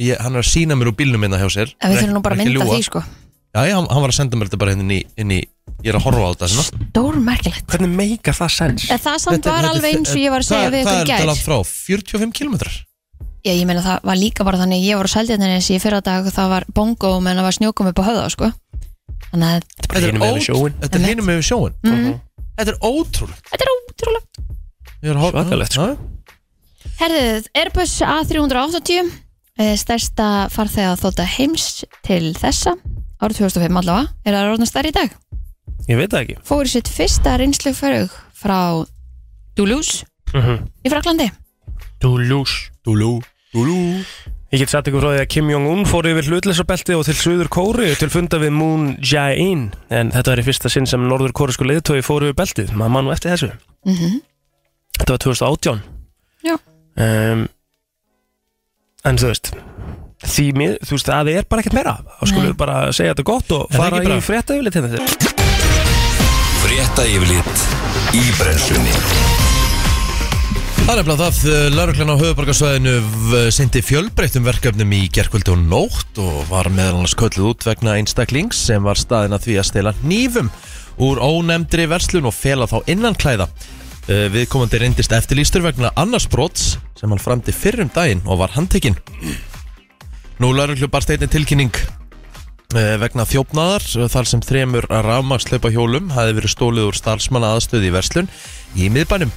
A: Ég, Hann er að sína mér úr bílnum minna hjá sér
B: En við þurfum nú bara að
A: Hann er ekki
B: mynda
A: ljúga.
B: því sko.
A: Já, já, hann, hann var að senda mér þetta bara hérna inn í, inn í Ég er að horfa á þetta svona.
B: Dór merkilegt.
C: Hvernig meikar það sens?
B: En það samt
A: Þetta-
B: var
A: þetta-
B: alveg eins og ég var að
A: Hvað-
B: segja við
A: hvað
B: ykkur
A: er
B: í
A: þetta
B: gær.
A: langt frá? 45 kilometrar?
B: Já, ég meina það var líka bara þannig, ég var á Sældjarnirins í fyrra dag og það var bongo menn það var snjókum upp á höða sko. Þannig Þannig að
C: bara hinum megin við
A: ótrú-
C: sjóinn.
A: Þetta er hinum yfir sjóin Þetta er ótrúlegt
B: Mhm. þetta er ótrúlega
A: Ég er að horfa-
C: Svakalegt, sko.
A: Já.
B: Herðið, Airbus A380 eh, stærsta farþega þóta heims til þessa árið 2005 allavega, er að orðna stærri í dag
C: Ég veit það ekki
B: fór í sitt fyrsta reynsluförug frá Duluth í Fraklandi
C: Dulús
A: Dúlú Dúlú
C: Ég get satt ykkur frá því að Kim Jong-un fór yfir hlutleysabelti og til Suður Kóri til funda við Moon Jae-in en þetta var í fyrsta sinn sem Norður Kórisku leiðtói fór yfir beltið, maður mann nú eftir þessu
B: Mhm.
C: Þetta var 2018
B: Já.
C: um, En þú veist því mið, þú veist, það er bara ekkert meira þá skulum
B: Nei.
C: við bara segja þetta gott og
A: það
C: fara
A: ekki bara-
C: í frétta yfirleitt hérna þér
E: Frétta yfirlit í brennslunni
A: Það er nefnilega það, lauruglan á höfubarkasvæðinu sindi fjölbreyttum verkefnum í gerkvöldu og nótt og var meðal annars kölluð út vegna einstaklings sem var staðin að því að stela nýfum úr ónefndri verslun og fela þá innan klæða. Eh, Viðkomandi reyndist eftirlýstur vegna annars brots sem hann framdi fyrrum daginn og var handtekinn. Nú lauruglu barst einnig tilkynning eh, vegna þjófnaðar eh, þar sem þremur rafmagsleipa hjólum hafi verið stólið úr starfsmanna aðstöði í verslun í miðbænum.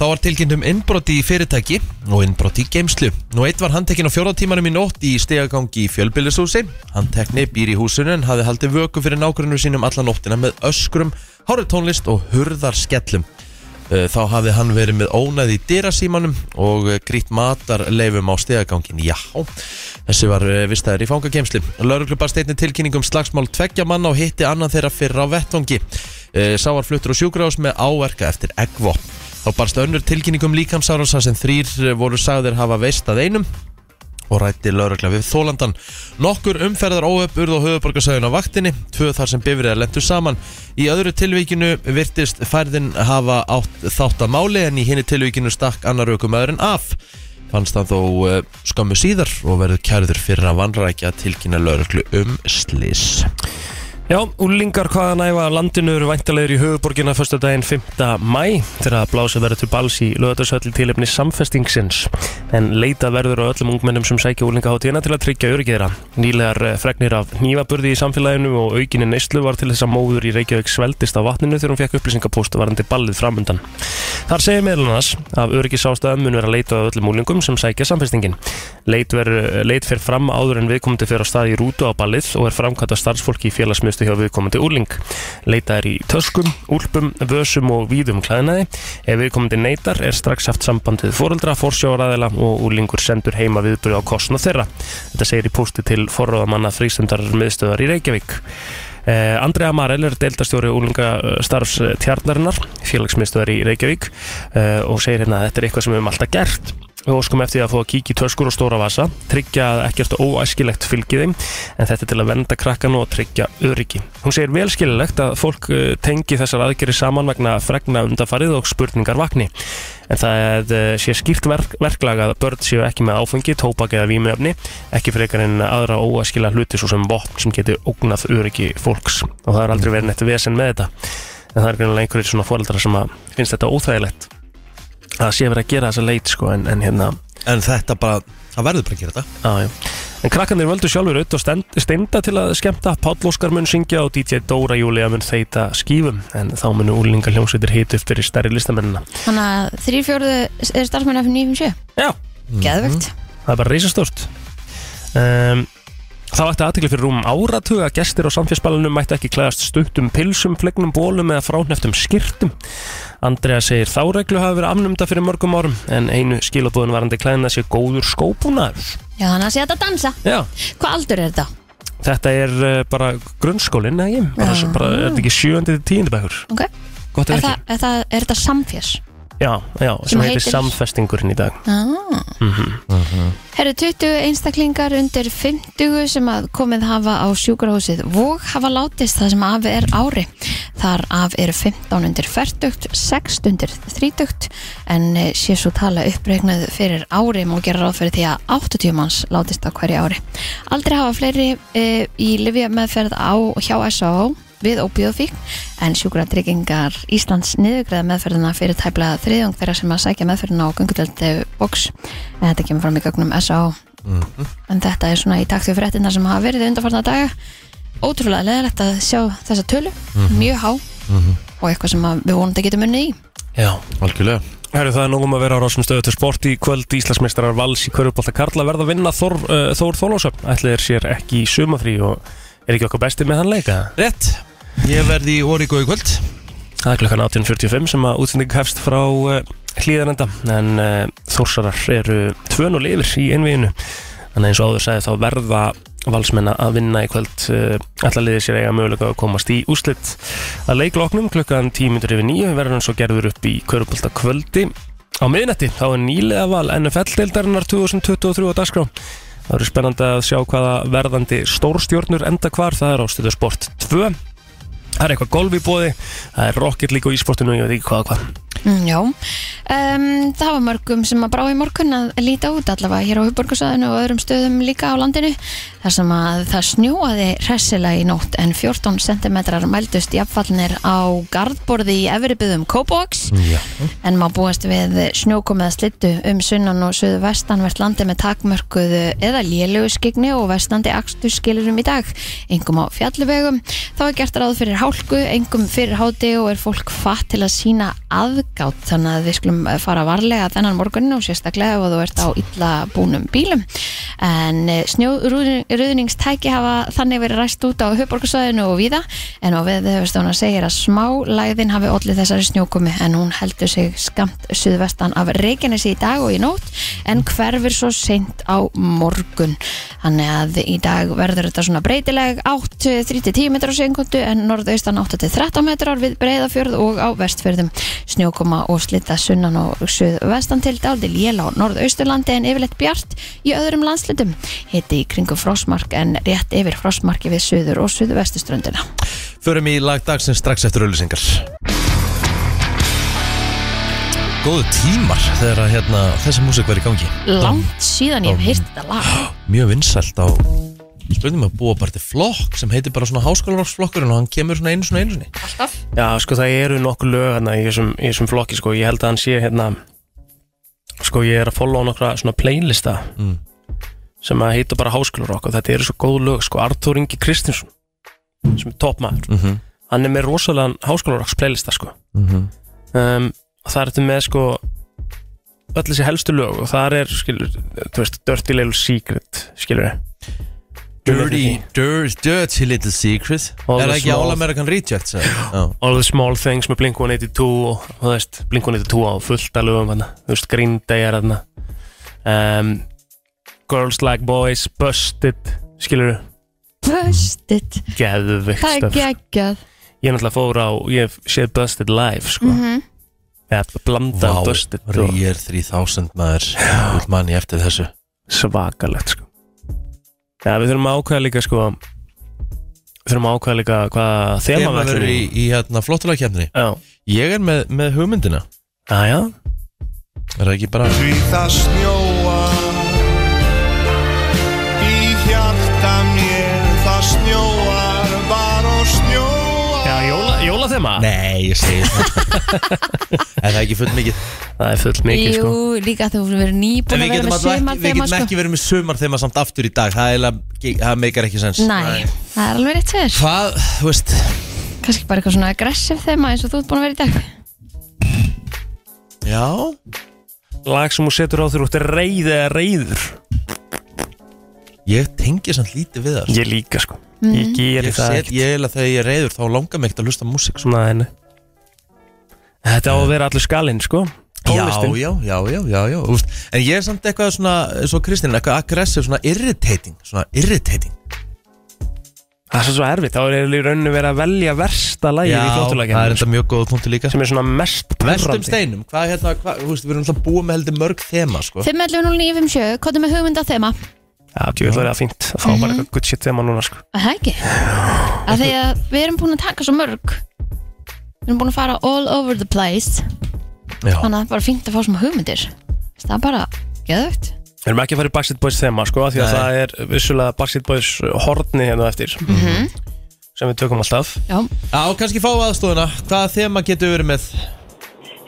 A: Þá var tilkynnt um innbroti í fyrirtæki og innbroti í geimslu. Nú eitt var handtekinn á fjóratímanum í nótt í stegagangi í fjölbillishúsi. Handtekni býr í húsinu en hafði haldið vöku fyrir nágrunnu sínum alla nóttina með öskrum, hárið tónlist og hurðarskellum. Eh, Þá hafði hann verið með ónæði í dyrasímanum og eh, grýtt matarleifum á stegagangin. Já, þessi var vistæður í fangageimslu. Lörglu barst einni tilkynning um slagsmál tveggja manna og hitti annan þeirra fyrra á vettvangi. Eh, Sá var fluttur á sjúkrahús með áverka eftir eggvopn. Þá barst önnur tilkynningum líkamsáransa sem þrýr voru sagðir hafa veist að einum og rætti laurugla við þólandan. Nokkur umferðar óöpp urð á höfuborgarsæðun á vaktinni, tvö þar sem bifriðar lentu saman. Í öðru tilvíkinu virtist færðin hafa átt þátt að máli en í hinni tilvíkinu stakk annar aukumæðurinn af. Fannst hann þó eh, skömmu síðar og verður kærður fyrir að vanrækja að tilkynna lauruglu um slis.
C: Já, úlingar hvaða næfa landinu eru væntalegir í höfuborginna fyrsta daginn 5. mæ þegar að blása verður til bals í löðarsöllu tilefni samfestingsins en leita verður á öllum ungmennum sem sækja úlingaháttíðina til að tryggja öryggiðra. Nýlegar eh, fregnir af nývaburði í samfélaginu og aukinni neyslu var til þess að móður í Reykjavík sveldist á vatninu þegar hún fekk upplýsingapóst varandi ballið framundan. Þar segir meðlunas af öryggisástæðum mun vera leita á öllum úlingum sem sækja samfestingin. Leit, ver, leit fer fram áður en viðkomandi fer á stað í rútu á ballið og er framkvæmt af starfsfólki í félagsmiðstu hjá viðkomandi úling. Leita er í töskum, úlpum, vösum og víðum klæðnaði. Ef viðkomandi neitar er strax haft sambandið fóreldra, forsjáraðila og úlingur sendur heima viðbúri á kostna þeirra. Þetta segir í pústi til forráðamanna frístundar miðstöðar í Reykjavík. Eh, Andrea Marell er deildastjóri úlinga starfs tjarnarinnar, félagsmiðstöðar í Reykjavík eh, og segir hérna að þetta er eitthvað sem við höfum alltaf gert Við óskum eftir því að fá að kíkja í töskur og stóra vasa, tryggja að ekkert óæskilegt fylgi þeim, en þetta er til að venda krakkan og tryggja öryggi. Hún segir velskililegt að fólk eh, tengi þessar aðgerri saman vegna fregna undafarið og spurningar vakni. En það eh, sé skýrt verk, verklag að börn séu ekki með áfengi, tóbak eða vímöfni, ekki frekar en aðra óæskila hluti svo sem vopn sem geti ógnað öryggi fólks. Og það er aldrei verið neitt vesen með þetta. En það er greinlega einhverjir svona fóreldrar sem að finnst þetta óþægilegt að sé verið að gera þessa leit sko en, en hérna
A: En þetta bara, það verður bara að gera þetta.
C: Já, já. En krakkanir völdu sjálfur auðvitað og stend- steinda til að skemmta Páll Óskar mun syngja og DJ Dóra Júlia mun þeita skífum En þá munu úlingar hljómsveitir hit upp fyrir stærri listamennina
B: Þannig að þrýr fjórðu er starfsmenn af 957
C: Já,
B: Geðvögt
C: það er bara reisastort um, Það vakti aðtekli fyrir rúm áratug að gestir á samfélagsbalunum mættu ekki klæðast stuttum pilsum, flegnum bólum eða fráneftum skirtum Andrea segir þá reglu hafi verið afnumda fyrir mörgum árum en einu skilabúðun varandi klæðina sé góður skópunar
B: Já, þannig að sé þetta að dansa
C: Já,
B: Hvað aldur er þetta?
C: Þetta er uh, bara grunnskólinn, eða ég? Bara,
B: Já.
C: bara, er þetta ekki sjöndi til tíundi bekkur?
B: Ok.
C: Gott
B: Er,
C: ef
B: það,
C: ekki.
B: er, það, er þetta samfjars?
C: Já, já, sem,
B: Sem
C: heitir
B: heitir-
C: samfestingurinn í dag.
B: Ah.
C: Mm
B: Herru 20 einstaklingar undir 50 sem að komið hafa á sjúkrahúsið og hafa látist það sem af er ári. Þar af eru 15 undir 40, 6 undir 30 en eh, sé svo tala uppreiknuð fyrir ári má gera ráð fyrir því að 80 manns látist á hverju ári. Aldrei hafa fleiri e, í lifja meðferð á hjá S.A.O. við óbíðofík en sjúkratryggingar Íslands niðurgreða meðferðina fyrir tæplega þriðjung þeirra sem að sækja meðferðina á eh, göngudeldi boks en þetta kemur
C: Mhm.
B: fram í gögnum S.A.O. en þetta er svona í takt við fréttina sem hafa verið undanfarna daga ótrúlega leðilegt að sjá þessa tölu mjög há
C: Mhm.
B: og eitthvað sem að við vonandi getum unnið í
C: Já
A: Algjörlega
C: Herru, það er nógum að vera á rásum stöðu til sport í kvöld Íslandsmeistarar Vals í Körubólta Karla verða að vinna Þór, uh, Þór Þólásöfn ætli þeir sér ekki í sumafrí og er ekki okkar besti með hann leika
A: Rétt Ég verði í Origo í kvöld
C: Það er klukkan 18.45 sem að útsending hefst frá uh, hlýðanenda en uh, Þórsarar eru tvön og lifir í innvíðinu þannig að eins og áður sagði þá verða valsmenn að vinna í kvöld uh, allar liðið sér eiga möguleika að komast í úslit að leikloknum klukkan 10.09 verður hann svo gerður upp í Körubólta kvöldi Á miðnætti þá er nýlega val NFL-deildarinnar 2023 á dagskrá. Það eru spennandi að sjá hvaða verðandi stórstjórnur enda hvar, það er ástöðu sport 2. Það er eitthvað golf í bóði, það er rocket líka á ísportinu og ég veit ekki hvað og hvað.
B: Mm, Já, um, það var mörgum sem að brá í morgun að líta út allavega hér á Hubborgarsæðinu og öðrum stöðum líka á landinu þar sem að það snjóaði hressilega í nótt en 14 cm mældust jafnfallnir á gardborði í efribyðum Kópavogs
F: Mhm.
B: en má búast við snjókomi eða slittu um sunnan og söðu vestanvert landi með takmörkuðu eða lélugu skigni og vestandi akstu skilurum í dag, engum á fjallvegum þá er gert ráð fyrir hálku engum fyrir háti og er fólk fatt til að sína aðgátt þannig að við skulum fara varlega þennan morgunin og sérstaklega ef þú ert á illa búnum bílum en eh, snjóruðningstæki hafa þannig verið ræst út á höfborgarsvæðinu og víða en á veðuðstofna segir að smá læðin hafi allir þessari snjókomi en hún heldur sig skamt suðvestan af Reykjanesi í dag og í nótt en hverfur svo seint á morgun þannig að í dag verður þetta svona breytileg 8-10 metrar á sekundu en norðaustan 8-13 metrar við breyðafjörð og á vestfjörðum snjókoma og slita sunnan og suðvestan til dáldi lél á norðausturlandi en yfirleitt bjart í öðrum landslitum hitti í kringu frosmark en rétt yfir frosmarki við suður og suðvestuströndina
A: Förum í lag dagsins strax eftir auðlýsingar Góðu tímar þegar að hérna, þessi músík var í gangi
B: langt síðan ég hef heyrt þetta lag
A: Mjög vinsælt á spurningum að búa bara til flokk sem heitir bara svona háskólaroksflokkurinn og hann kemur svona einu svona einu svona
B: alltaf
C: Já, sko það eru nokkuð lög hérna í þessum, í þessum flokki, sko. Ég held að hann sé hérna, sko ég er að followa nokkra svona playlista
A: Mm.
C: sem að heita bara Háskólar okkur. Þetta eru svo góð lög, sko. Arthur Ingi Kristinsson, sem er toppmaður,
A: Mhm.
C: hann er með rosalega Háskólar okkur playlista, sko.
A: Mhm.
C: um, og það er þetta með, sko, öll þessi helstu lög og þar er, skilur, þú veist, Dirty Little Secret, skilur ég.
A: Dirty, dirty, dirty little secret
C: All
A: Er það
C: the
A: ekki
C: small-
A: All American Rejects? eða? Já,
C: All the Small Things með Blink-182 og og þú veist, Blink-182 á fullt að lögum hana, þú veist, Green Day er hana um, Girls Like Boys, Busted skilur þú,
B: Busted,
C: geðvikt
B: það er
C: stöf
B: geggjað
C: ég náttúrulega fór á, ég hef séð Busted live sko,
B: mm -hmm.
C: eða blanda
A: Vá,
C: wow, Busted sko. og
A: Rear 3000 maður Úl manni eftir þessu
C: svakalegt sko Já, við þurfum að ákveða líka sko við þurfum að ákveða líka hvaða þema
A: Þema
C: við
A: verður
C: ætlum
A: í,
C: í
A: í hérna, flottulegkefni
C: Já,
A: Ég er með, með hugmyndina
C: já, já
A: Er það ekki bara
F: Því það snjóar Í hjarta mér það snjóar Bara og snjóar
C: Já, jóla, jóla
A: Nei, ég segi það En það er ekki full mikið
C: Það er full mikið
B: Jú,
C: sko
B: líka þú verður nýbúin
A: En
B: að
A: við
B: vera
A: getum,
B: með
A: alltaf ekki,
B: sumar
A: við
B: þema
A: getum
B: sko.
A: ekki verið með sumar þegar samt aftur í dag Það, er eiginlega ekki- það meikar ekki sens
B: Næ, það er alveg rétt fyrir
A: Hvað, þú veist
B: Kanski bara eitthvað svona aggressiv þema eins og þú ert búin að vera í dag
A: Já
C: lag sem hún setur á þér út er reyð eða reyður
A: Ég tengi samt lítið við það
C: ég líka sko
B: Mm.
C: ég geri
A: Ég
C: það
A: set,
C: ekki
A: ég eiginlega þegar ég er reyður þá langar mig ekkert að hlusta á músík sko.
C: svona henni þetta á
A: Eh.
C: að vera allur skalinn sko
A: Já,
C: tónlistin
A: já, já, já, já, já úst. En ég er samt eitthvað svona, svo Kristín eitthvað aggressiv, svona irritating Svona irritating
C: það er svo- svo erfitt þá er í rauninu verið að velja versta lægið í
A: það er
C: þjóttulækjum
A: enda mjög góða punktu líka
C: sko. sem er svona mest
A: Vestum
C: pyrrandi
A: steinum, hvað hérna, hvað, þú veist, við erum alltaf búið með heldur mörg þema, sko
B: 5.11.09.57, kóttu með hugmynda þema
C: já, djú, það er það fínt að fá
G: Mhm.
C: bara eitthvað gutt shit þema núna sko
B: Að það ekki Að því að við erum búin að taka svo mörg Við erum búin að fara all over the place
A: Já,
B: Þannig að það er bara fínt að fá svona hugmyndir Það er bara geðvögt
C: við erum ekki að fara í Backstreet Boys þema sko af því að
A: Nei.
C: það er vissulega Backstreet Boys horni hérna á eftir
G: Mhm.
C: sem við tökum alltaf
B: Já,
A: Já, kannski fá aðstofuna Hvaða þema getur verið með?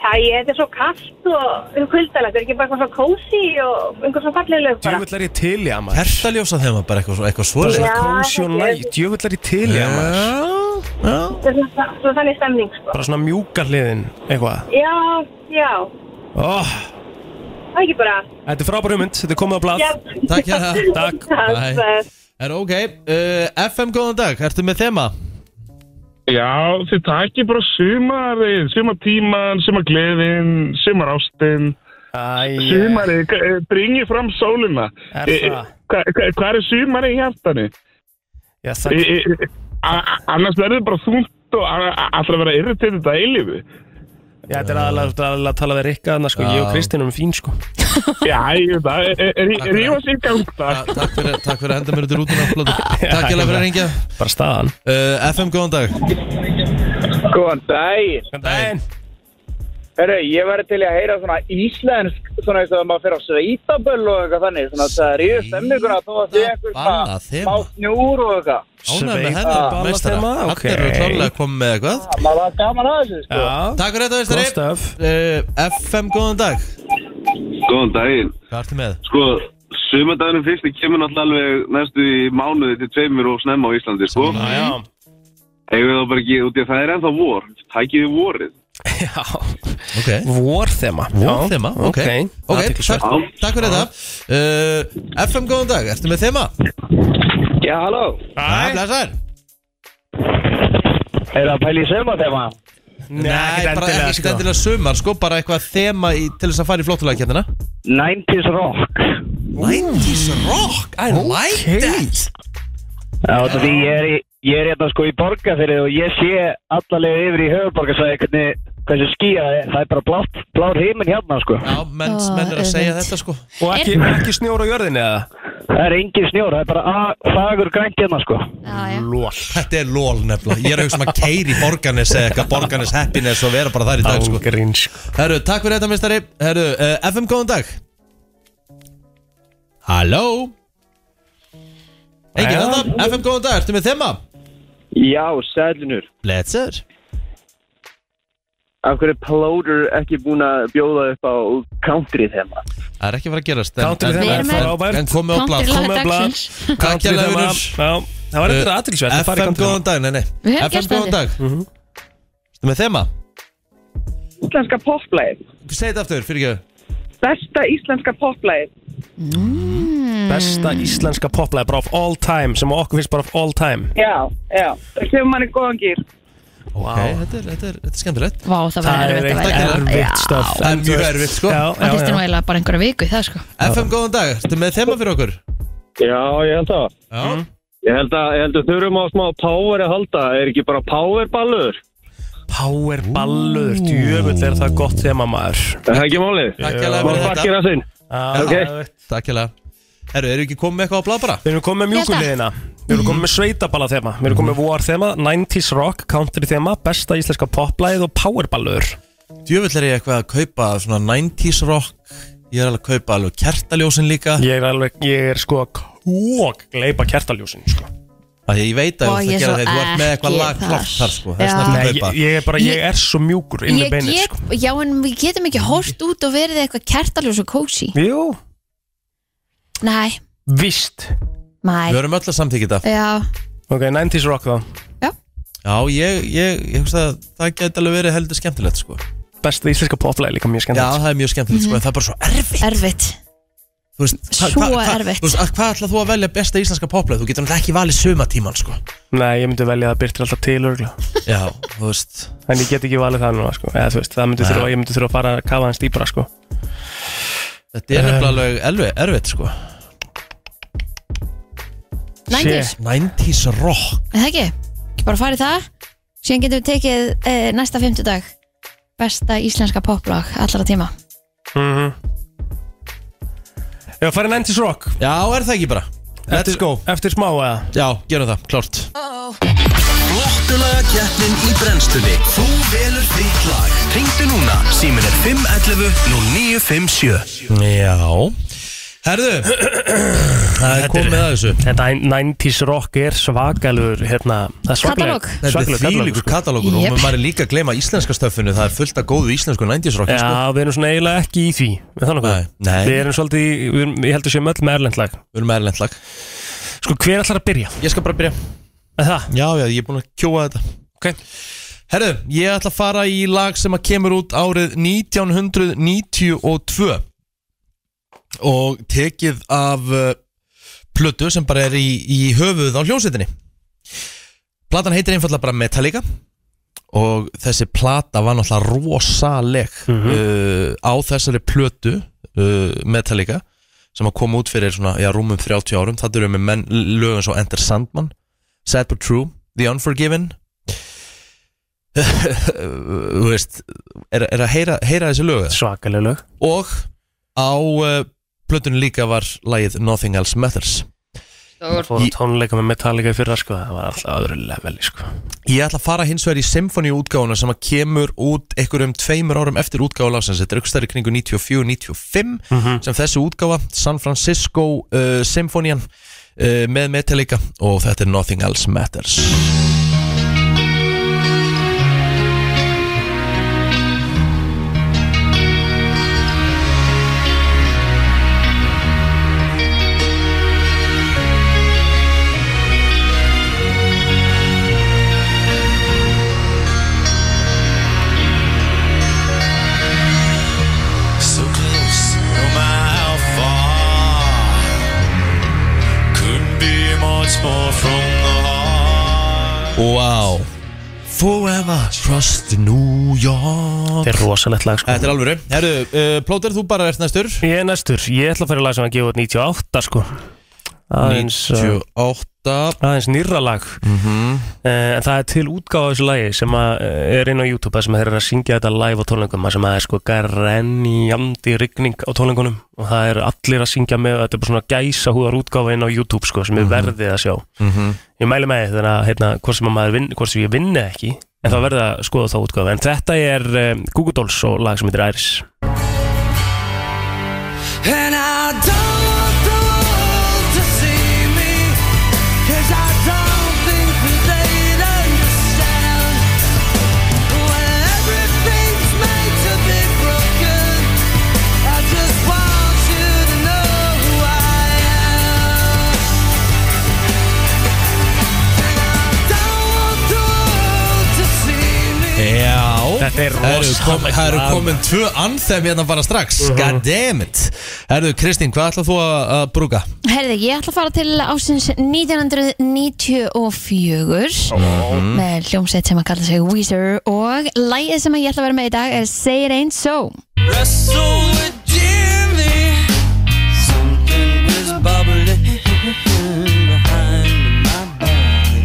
G: Það Æ, þetta er svo kallt og umkvöldalegt, er ekki bara eitthvað svo kósi og einhver svo falleg lög bara.
C: Djöfull er ég til í að maður
A: Kertaljósa þeim var bara eitthvað, svo-
C: Það
A: eitthvað
C: er
A: svoleið
C: svona
G: Já,
C: kósi og
G: þetta er-
C: næ Djöfull er ég til í að maður
A: já
G: Þetta er svona, svona þannig stemning, sko.
C: Bara svona mjúka hliðin Eitthvað
G: Já, já,
C: oh,
G: það er ekki bara.
C: Þetta er frábæru mynd Þetta er komið á blað
G: Já,
A: Takk hjá það
C: Takk
A: Bye.
G: það er...
A: Er ok, uh, FM góðan dag, ertu með þema?
H: Já, þið takir bara sumarið, sumartíman, sumargleðin, sumarástin,
C: Æ,
H: sumarið, k- eh, bringið fram sólina.
C: Er
H: Eh, eh,
C: það?
H: hva- hva- Hvað er sumarið í hjartanu? Eh,
C: já, það
H: eh, eh, a- a- Annars verður þetta bara þungt og a- a- allra vera irritið þetta eilífu.
C: Já, þetta er aðalega þetta er aðalega að tala við Rikka Þannig sko, ég og Kristinn erum fín sko
H: Já, ég veit það, eh, eh, rí- rífa sér í gang
A: Ja,
H: það.
A: takk, fyrir, takk fyrir að henda mér út í rútuna Plóti. Takk hjá það fyrir að ringja
C: hérna. Bara staðan
A: uh, FM góðan dag
F: Góðan daginn.
C: Dæin
F: Herru, ég væri til í að heyra svona íslensk, svona eins og að maður fer á sveitaböll og eitthvað þannig, svona þess að ríðu stemminguna þó að sé einhver
A: Sveitaballa
F: svona
A: þema.
F: smá snjúr og eitthvað.
A: Ánægð með
C: Sveita-
A: hennar meistara
C: þema,
A: Hann
C: ok.
A: er klálega komið með eitthvað
F: Það maður var gaman að þessu, sko.
C: Já
A: Takk fyrir þetta
C: Góð
A: meistari
C: stöf
A: uh, FM góðan dag
I: Góðan daginn.
A: Hvað ertu með?
I: Sko, sumardagurinn fyrsti kemur náttúrulega alveg næstu í mánuði til tveimur og snemma á Íslandi, sko.
C: Já
I: Eigum við þá bara ekki út í að það er ennþá vor. Tækið við vorið.
C: Já
A: Ok
C: Vorþema
A: Vor þema, ok, ok, takk,
C: Takk
A: takk fyrir þetta uh, FM góðan dag, ertu með þema?
F: Já, halló.
A: Nei, blessar
F: Er það pæli í sömatema?
C: Nei, ekki
A: bara
C: endilega
A: ekki
C: sko
A: endilega sumar, sko, bara eitthvað þema í, til þess að fara í hérna, flottulegakjöndina
F: 90's rock.
A: 90s rock, I like that
F: Já, þetta því ég er, í- ég er hérna sko í borgarfyrir og ég sé allavega yfir í höfuborgarsæði hvernig hversu skýja það er. Það er bara blátt, blár heiminn hérna, sko.
A: Já, menn,
B: Ó,
A: menn er að segja
B: auðvitað.
A: þetta, sko
C: Og ekki, ekki snjór á jörðinni eða
F: Það er engin snjór, það er bara a- fagur grænt hérna, sko.
B: Já, já.
C: Lól
A: Þetta er lól nefnilega, ég er að hugsa maður keiri borgarnes eða eitthvað borgarnes happiness og vera bara þar í dag sko.
C: Ágríns sko.
A: Herru, takk fyrir þetta mistari Herru, uh, FM góðan dag Halló Engin
C: Já.
A: þetta, FM góðan dag, ertu með þema?
F: Já, sæðlunur.
A: Bletsur
F: Af hverju er Plóder ekki búin að bjóða upp á country þema?
A: Það er ekki að fara að gerast
C: Country
A: en,
C: þema
B: Við
A: en,
B: erum
A: en,
B: með-
A: en,
C: frábært.
A: en komið á blad
B: Country
C: komið
B: lag
C: á blað.
B: dagsins
A: Takk
C: Country
A: hérna
C: þema.
A: vinur
C: Já, það var eitthvað aðtilsvægt að fara í
A: FM
C: country Mhm.
A: góðan dag, nei nei
B: Við höfum
A: FM
B: gert
A: góðan dag Ertu með þema?
G: Íslenska poplæð,
A: Segð þetta aftur, fyrir
G: besta íslenska poplæð.
A: Mm.
C: Besta íslenska poplæði bara of all time sem okkur finnst bara of all time
G: Já, já, það kemur manni góðan gýr.
A: okay, þetta, er, þetta, er, þetta er skemmtilegt
B: Vá, það var
C: Það er
B: erfitt að
C: eitthvað
B: vera
C: erfitt stöf
A: Það er mjög erfitt, sko.
C: Já,
B: Það þurfti
C: já,
B: nú
C: já
B: eiginlega bara einhverja viku í það sko
A: FM góðan dag, ertu með þema fyrir okkur?
F: Já, ég held að.
A: Já
F: Ég held að, ég held að þurfum á smá power að halda. Er ekki bara powerballur?
C: Power ballur, djöfull er það gott þema maður
F: Er það ekki málið?
A: Takk hérlega
F: Má
A: fyrir þetta
F: bakkir að sinn.
C: Já,
F: Ok.
C: það er-
A: Takk hérlega Herru, eru ekki komið með eitthvað á blað bara?
C: Við erum komið með
B: Ég held að.
C: mjúkuliðina Við erum komið með sveitabala þema Við erum
A: Mhm.
C: komið með vor þema, 90s rock, country þema Besta íslenska poplæð og powerballur
A: Djöfull er ég eitthvað að kaupa svona 90s rock Ég er alveg að kaupa alveg kertaljósin líka
C: Ég er alveg, ég er sko Kók, gleipa kertaljósin sko.
A: Það ég veit að
B: Ó,
A: þú ert
B: ég er
A: að gera
B: svo
A: þetta Þú ert með
B: ekki
A: eitthvað lag
B: þar.
A: klárt þar sko Þess
B: Já.
A: vegna ertu
C: Nei,
A: að
C: ég,
A: kaupa
C: ég er bara, ég
B: Ég-
C: er svo mjúkur inn í
B: Ég
C: beinið
B: get,
C: sko.
B: já en við getum ekki hort út og verið eitthvað kertaljós og kósi
C: Jú,
B: Nei,
C: víst
A: Við
B: mæ,
A: erum öll að samtíkja þetta
B: já
C: Ok, 90s rock þá
A: Já, ég, ég, ég hugsa að það geti alveg verið heldur skemmtilegt sko
C: Besta íslenska poplæð líka mjög
A: Já,
C: skemmt
A: það er mjög skemmtilegt sko En það er bara svo erfitt
B: Erfitt
A: Þú veist, hva-
B: Svo
A: hva- hva-
B: erfitt.
A: Þú veist, að- hvað ætlað þú að velja besta íslenska poplega? Þú getur náttúrulega ekki valið sumatíman sko
C: Nei, ég myndi velja að byrtir alltaf til örgla
A: Já, þú veist
C: En ég get ekki valið það núna sko. Eða, þú veist, það myndi þurfa, Ég myndi þurfa að fara að kafa hans dýbra sko.
A: Þetta er nefnilega alveg erfitt, erfitt sko
B: 90s,
A: 90s rock
B: er það ekki? Ekki bara farið það Síðan getum við tekið e, næsta fimmtudag Besta íslenska poplag allra tíma
C: mm Já, farið 90s rock
A: Já, er það ekki bara? Let's
C: Eftir-
A: go
C: Eftir smá eða
A: Já, gerum það, klárt
J: Flottulaga keppnin í brennstunni Þú velur þitt lag Ringdu núna, símin er 511 0957
A: Já Herðu Það er komið að þessu
C: Þetta 90's rock er svakalur hérna, Það er svakaleg
A: Þetta er
C: sko.
A: þvílíkur katalógur
C: Jep.
A: og maður er líka að gleyma íslenska stöffinu það er fullt af góðu íslensku nændisrokki sko.
C: Já, við erum svona eiginlega ekki í því Við þannig að
A: nei.
C: Við erum svolítið, í- við erum, ég heldur sem öll með erlend lag
A: Við erum með erlend lag
C: Sko, hver ætlar að byrja?
A: Ég skal bara byrja
C: Það?
A: Já, já, ég er búin að kjóa þetta
C: Ok
A: Herðu, ég ætla að fara í lag sem að kemur út árið 1992 og tekið af uh, plötu sem bara er í, í höfuð á hljómsveitinni Platan heitir einfallega bara Metallica og þessi plata var náttúrulega rosaleg
C: Mhm.
A: uh, á þessari plötu uh, Metallica sem að koma út fyrir svona, já, rúmum 30 árum það eru við með menn, lögum svo Enter Sandman Sad But True, The Unforgiven þú veist er, er að heyra, heyra þessi lög
C: svakaleg lög
A: og á uh, plötunum líka var lagið Nothing Else Matters
C: Stór Fór á tónleika með Metallica í fyrra sko Það var alltaf öðru level sko
A: Ég ætla að fara hins vegar í symfóníútgáfuna sem að kemur út einhverjum tveimur árum eftir útgáfa lásins, þetta er ykkur stærri kringu 94-95
C: Mhm.
A: sem þessi útgáfa San Francisco uh, Symfónían uh, með Metallica og þetta er Nothing Else Matters
F: So close, no matter how far. Couldn't be much more from the heart.
A: Wow Forever Trust New York
C: Þetta er rosalegt lag sko
A: Þetta er alvöru Herru, uh, Plóter, þú bara ert næstur
C: Ég er næstur, ég ætla að fara í lag sem að gefa út 98 sko Aðeins, uh,
A: 98
C: aðeins nýrra lag Eh, En það er til útgáfa af þessu lagi sem að eh, er inn á YouTube þar sem þeir eru að syngja þetta live á tónleikum þar sem að það er sko garrenjandi rigning á tónleikunum og það er allir að syngja með þetta er bara svona gæsa húðar útgáfa inn á YouTube sko sem er verðið að sjá
A: Mhm.
C: Ég mæli með því þannig að hérna, hvort sem, að maður vinn, hvort sem ég vinni ekki en það verða að skoða þá útgáfa en þetta er um, Google Dolls og lag sem heitir Iris
F: And I don't want the world to see me Cause I don't think that they'd understand When everything's made to be broken I just want you to know who I am And I don't want the world to see me
A: Já
C: Þetta er
A: Herru,
C: rosalegt
A: kom, herru
C: lag. Mhm.
A: komin tvö anþem hérna bara strax God damn it Herru, Kristín, hvað ætlað þú að, að brúka?
B: Herði, ég ætla að fara til ásins 1994
C: Mm.
A: Mhm.
B: með hljómsveit sem að kalla sig Weezer og lægið sem ég ætla að vera með í dag er Say It Ain't So
F: Wrestle with Jimmy. Something was bubbling behind my body.